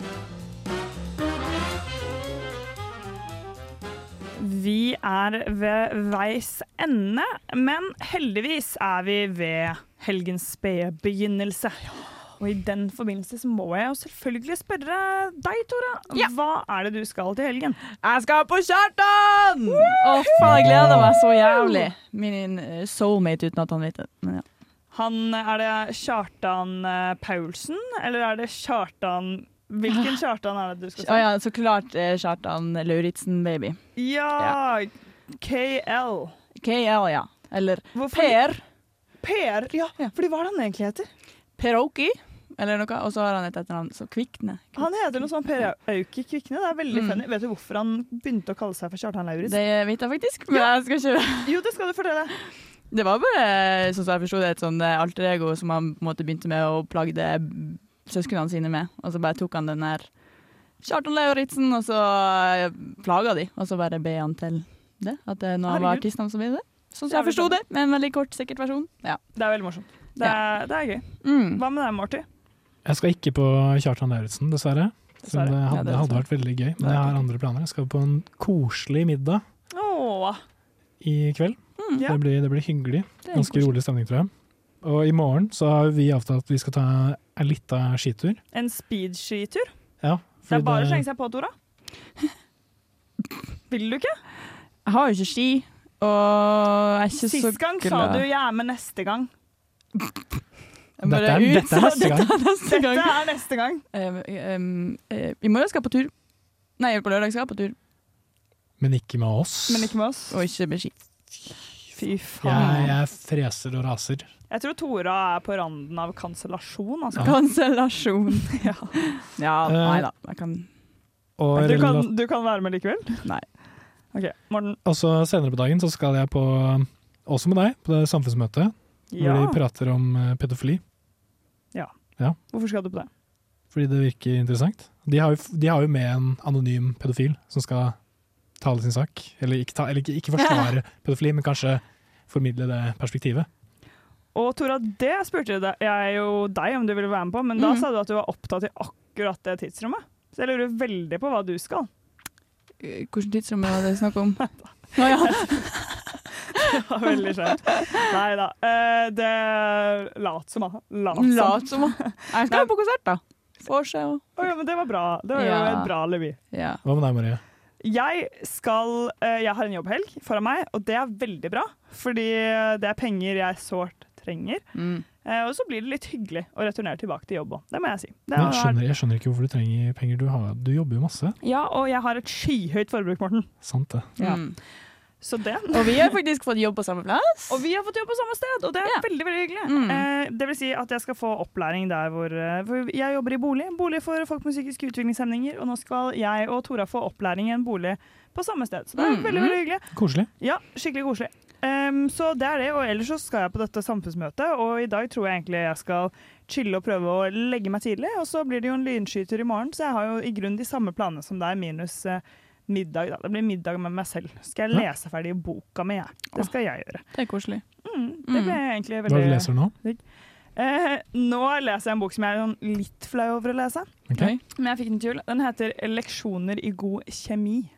Speaker 2: Vi er ved veis ende, men heldigvis er vi ved helgens spede begynnelse. Og i den forbindelse så må jeg jo selvfølgelig spørre deg, Tora. Hva er det du skal til helgen?
Speaker 4: Jeg skal på Kjartan! Å, faen, jeg gleder meg så jævlig. Min eh, soulmate, uten at han vet det. Men ja.
Speaker 2: Han, er det Kjartan eh, Paulsen, eller er det Kjartan Hvilken Kjartan er det du skal
Speaker 4: Å
Speaker 2: til?
Speaker 4: Ah. ja, så klart eh, Kjartan Lauritzen, baby.
Speaker 2: ja, KL.
Speaker 4: KL, ja. Eller
Speaker 2: Hvorfor-
Speaker 4: Per.
Speaker 2: Per, ja. Fordi hva er det han egentlig heter?
Speaker 4: Peroki, eller noe. Og så har han et etternavn så Kvikne.
Speaker 2: Han heter noe sånn Per Auke Kvikne. Det er veldig funny. Vet du hvorfor han begynte å kalle seg for Kjartan Lauritz?
Speaker 4: Det vet jeg faktisk, men jeg skal ikke
Speaker 2: Jo, det skal du fortelle.
Speaker 4: Det var bare, sånn som jeg forsto det, et sånn eh, alter ego som han på en måte begynte med og plagde søsknene sine med. Og så bare tok han den der Kjartan Lauritzen, og så eh, plaga de. Og så bare be han til det. At eh, når han var
Speaker 2: Herregud.
Speaker 4: artistnavn, så ble det det. Sånn
Speaker 2: Det
Speaker 4: som
Speaker 2: er
Speaker 4: jeg forsto
Speaker 2: veldig
Speaker 4: det, med en veldig kort, sikkert versjon. Ja. Mm.
Speaker 2: Det er veldig morsomt. Det er, det er gøy. Hva med deg, Marty?
Speaker 3: Jeg skal ikke på Kjartan Lauritzen, dessverre. Selv om det hadde, det hadde vært veldig gøy. Men jeg har andre planer. Jeg skal på en koselig middag
Speaker 2: Åh.
Speaker 3: i kveld.
Speaker 2: Mm. ja.
Speaker 3: Det, blir, det blir hyggelig.
Speaker 2: Det er
Speaker 3: Ganske
Speaker 2: koselig.
Speaker 3: rolig stemning, tror jeg. Og i morgen så har vi avtalt at vi skal ta en liten skitur.
Speaker 2: En speedskitur?
Speaker 3: Ja,
Speaker 2: Det er
Speaker 3: fordi
Speaker 2: bare å slenge seg på, Tora. Vil du ikke?
Speaker 4: Jeg har jo ikke ski, og jeg er ikke så
Speaker 2: Sist gang sa
Speaker 4: glad.
Speaker 2: du 'jeg er med neste gang'.
Speaker 4: Jeg bare
Speaker 3: Dette er- dette er
Speaker 4: utsa-
Speaker 3: neste gang.
Speaker 4: Dette er neste gang.
Speaker 2: Dette er neste gang.
Speaker 4: Eh, em, eh, I morgen skal jeg på tur. Nei, på lørdag skal jeg på tur,
Speaker 3: Men ikke med oss.
Speaker 2: Men ikke med oss.
Speaker 4: og ikke med ski.
Speaker 2: Fy
Speaker 3: Jeg,
Speaker 2: faen.
Speaker 3: jeg freser og raser.
Speaker 2: Jeg tror Tora er på randen av kansellasjon. Altså. *laughs*
Speaker 4: Kansellasjon.
Speaker 2: Ja.
Speaker 4: Ja,
Speaker 3: Eh,
Speaker 4: nei da. Jeg kan
Speaker 3: Og,
Speaker 2: Du kan,
Speaker 3: relat-
Speaker 2: du kan være med likevel?
Speaker 4: Nei.
Speaker 2: OK, Morten.
Speaker 3: og så senere på dagen så skal jeg på, også med deg, på det samfunnsmøtet.
Speaker 2: Ja.
Speaker 3: Hvor de prater om eh, pedofili.
Speaker 2: Ja.
Speaker 3: Ja,
Speaker 2: Hvorfor skal du på det?
Speaker 3: fordi det virker interessant. De har, jo, de har jo med en anonym pedofil som skal tale sin sak. Eller ikke, ta, eller ikke,
Speaker 2: *laughs*
Speaker 3: ikke forsvare pedofili, men kanskje formidle det perspektivet.
Speaker 2: Og Tora, det spurte jeg deg- jeg jo deg om du ville være med på, men da
Speaker 4: Mhm.
Speaker 2: sa du at du var opptatt i akkurat det tidsrommet. Så jeg lurer veldig på hva du
Speaker 4: *laughs*
Speaker 2: skal.
Speaker 4: Eh, Hvilket tidsrom var det
Speaker 2: *laughs*
Speaker 4: snakk om? Å ja.
Speaker 2: Det var veldig skjønt. Nei da. eh, Det Lat som, da. Lat som.
Speaker 4: Lat
Speaker 2: *laughs*
Speaker 4: som. Jeg skal jo på konsert, da. Forse og
Speaker 2: Å ja, men det var bra. Det var jo
Speaker 4: Ja.
Speaker 2: et bra alibi.
Speaker 4: Ja.
Speaker 3: Hva med deg, Marie?
Speaker 2: Jeg skal eh, Jeg har en jobbhelg foran meg, og det er veldig bra. Fordi det er penger jeg sårt trenger.
Speaker 4: Mm.
Speaker 2: Eh, Og så blir det litt hyggelig å returnere tilbake til jobb òg. Det må jeg si. Det
Speaker 3: Men
Speaker 2: har
Speaker 3: jeg, skjønner, jeg skjønner ikke hvorfor du trenger penger. Du, har, du jobber jo masse.
Speaker 2: vært- Ja, og jeg har et skyhøyt forbruk, Morten.
Speaker 3: Sant det.
Speaker 2: Ja. Så det.
Speaker 4: Mm. Og vi har faktisk fått jobb på samme plass.
Speaker 2: Og vi har fått jobb på samme sted, og det er veldig veldig hyggelig. Eh, det vil si at jeg skal få opplæring der hvor, eh, hvor Jeg jobber i bolig. Bolig for folk med psykiske utviklingshemninger. Og nå skal jeg og Tora få opplæring i en bolig på samme sted. Så det er veldig, veldig hyggelig.
Speaker 3: Koselig.
Speaker 2: Ja, skikkelig koselig. Ehm, så det er det, og ellers så skal jeg på dette samfunnsmøtet, og i dag tror jeg egentlig jeg skal chille og prøve å legge meg tidlig, og så blir det jo en lynskyter i morgen, så jeg har jo i grunn de samme planene som deg, minus eh, middag da. Det blir middag med meg selv. Skal jeg
Speaker 3: Ja.
Speaker 2: lese ferdig boka mi, jeg. Det skal jeg gjøre.
Speaker 4: Det er koselig.
Speaker 2: Mm, det blir jeg egentlig
Speaker 3: Hva
Speaker 2: veldig...
Speaker 3: er det du leser nå?
Speaker 2: Eh, nå leser jeg en bok som jeg er sånn litt flau over å lese. Men jeg fikk den til jul. Den heter 'Leksjoner i god kjemi'.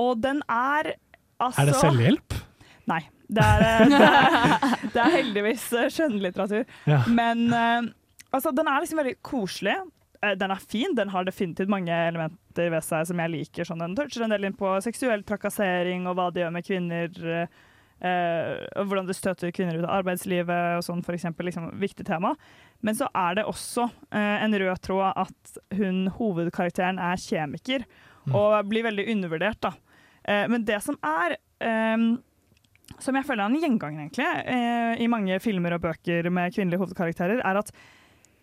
Speaker 2: Og den er altså
Speaker 3: Er det selvhjelp?
Speaker 2: Nei. Det er, eh, det er, det er heldigvis eh, skjønnlitteratur.
Speaker 3: Ja.
Speaker 2: Men eh, altså, den er liksom veldig koselig. eh, den er fin. Den har definitivt mange elementer ved seg som jeg liker. Sånn. Den toucher en del inn på seksuell trakassering og hva det gjør med kvinner. eh, eh, og hvordan det støter kvinner ut av arbeidslivet og sånn, for eksempel. Liksom, viktig tema. Men så er det også eh, en rød tråd at hun hovedkarakteren er kjemiker, og blir veldig undervurdert, da. Eh, men det som er eh, som jeg føler er en gjenganger egentlig, eh, i mange filmer og bøker med kvinnelige hovedkarakterer, er at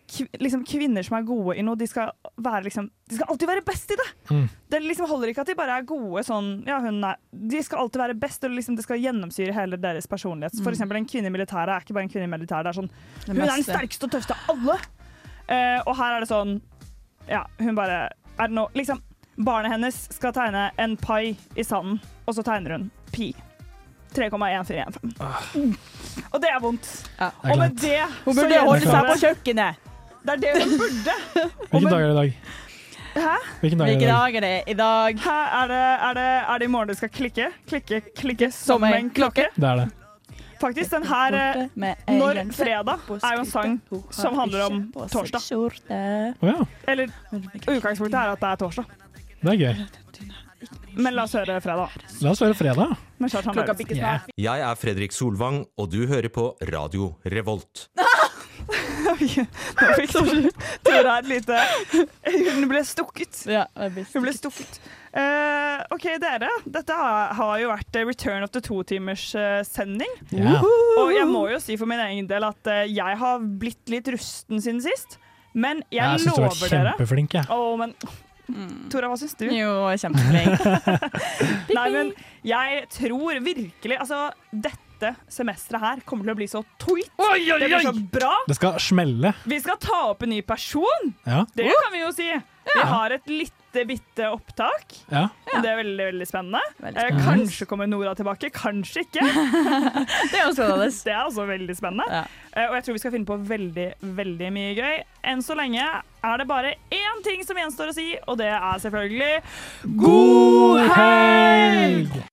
Speaker 2: kv liksom, kvinner som er gode i noe, de skal, være, liksom, de skal alltid være best i det!
Speaker 3: Mm.
Speaker 2: Det liksom holder ikke at de bare er gode sånn ja, hun er, De skal alltid være best, og liksom, det skal gjennomsyre hele deres personlighet. For
Speaker 4: Mm.
Speaker 2: eksempel en kvinne i militæret er ikke bare en kvinne i militæret. Det er sånn
Speaker 4: Det
Speaker 2: Hun er den
Speaker 4: meste.
Speaker 2: sterkeste og tøffeste av alle! Eh, og her er det sånn Ja, hun bare Er det noe Liksom, barnet hennes skal tegne en pai i sanden, og så tegner hun pi. 3,1415. Og det er vondt.
Speaker 3: er
Speaker 2: og med
Speaker 3: kleint.
Speaker 2: det
Speaker 4: Hun
Speaker 2: så
Speaker 4: burde
Speaker 2: gjør
Speaker 4: holde
Speaker 2: det
Speaker 4: seg
Speaker 2: bare-
Speaker 4: på kjøkkenet.
Speaker 2: Det er det hun burde.
Speaker 3: Hvilken dag er det i dag?
Speaker 2: Hæ?
Speaker 3: Hvilken dag er det i dag?
Speaker 2: er det i dag? Hæ? Er, det, er, det, er det i morgen du skal klikke? Klikke, klikke som,
Speaker 4: en
Speaker 2: en klokke?
Speaker 3: Det er det.
Speaker 2: Faktisk, den her eh, Når fredag er jo en sang som handler om torsdag.
Speaker 3: Å ja,
Speaker 2: Eller utgangspunktet er at det er torsdag.
Speaker 3: det er gøy.
Speaker 2: Men la oss høre fredag.
Speaker 3: La oss høre fredag.
Speaker 2: Med Kjartan
Speaker 3: Klokka
Speaker 2: Lauritzen.
Speaker 3: bikker snart.
Speaker 2: *laughs*
Speaker 10: Jeg er Fredrik Solvang, og du hører på Radio Revolt.
Speaker 2: Nå fikk Tora et lite Hun ble stukket. Hun ble stukket. Eh, OK, dere. Dette har har jo vært eh, Return of the Two-timers eh, sending.
Speaker 17: Ja.
Speaker 2: Og jeg må jo si for min egen del at eh, jeg har blitt litt rusten siden sist. Men jeg,
Speaker 3: Jeg synes du var
Speaker 2: lover dere
Speaker 3: kjempeflink, jeg.
Speaker 2: Å, men
Speaker 3: Mm.
Speaker 2: Tora, hva syns du?
Speaker 4: Jo,
Speaker 2: *laughs*
Speaker 4: kjempeflink.
Speaker 2: Nei, men jeg tror virkelig Altså, dette semesteret her kommer til å bli så tweet.
Speaker 3: oi,
Speaker 2: Det blir
Speaker 3: oi!
Speaker 2: så bra.
Speaker 3: Det skal smelle.
Speaker 2: Vi skal ta opp en ny person.
Speaker 3: Ja.
Speaker 2: Det kan vi jo si. Vi har et lite bitte opptak.
Speaker 3: Ja.
Speaker 2: Og Det er veldig veldig spennende.
Speaker 3: spennende.
Speaker 2: Eh, kanskje kommer Nora tilbake, kanskje ikke.
Speaker 3: *laughs*
Speaker 2: det er Det er også veldig spennende. Eh, og jeg tror vi skal finne på veldig, veldig mye gøy. Enn så lenge er det bare én ting som gjenstår å si, og det er selvfølgelig God helg!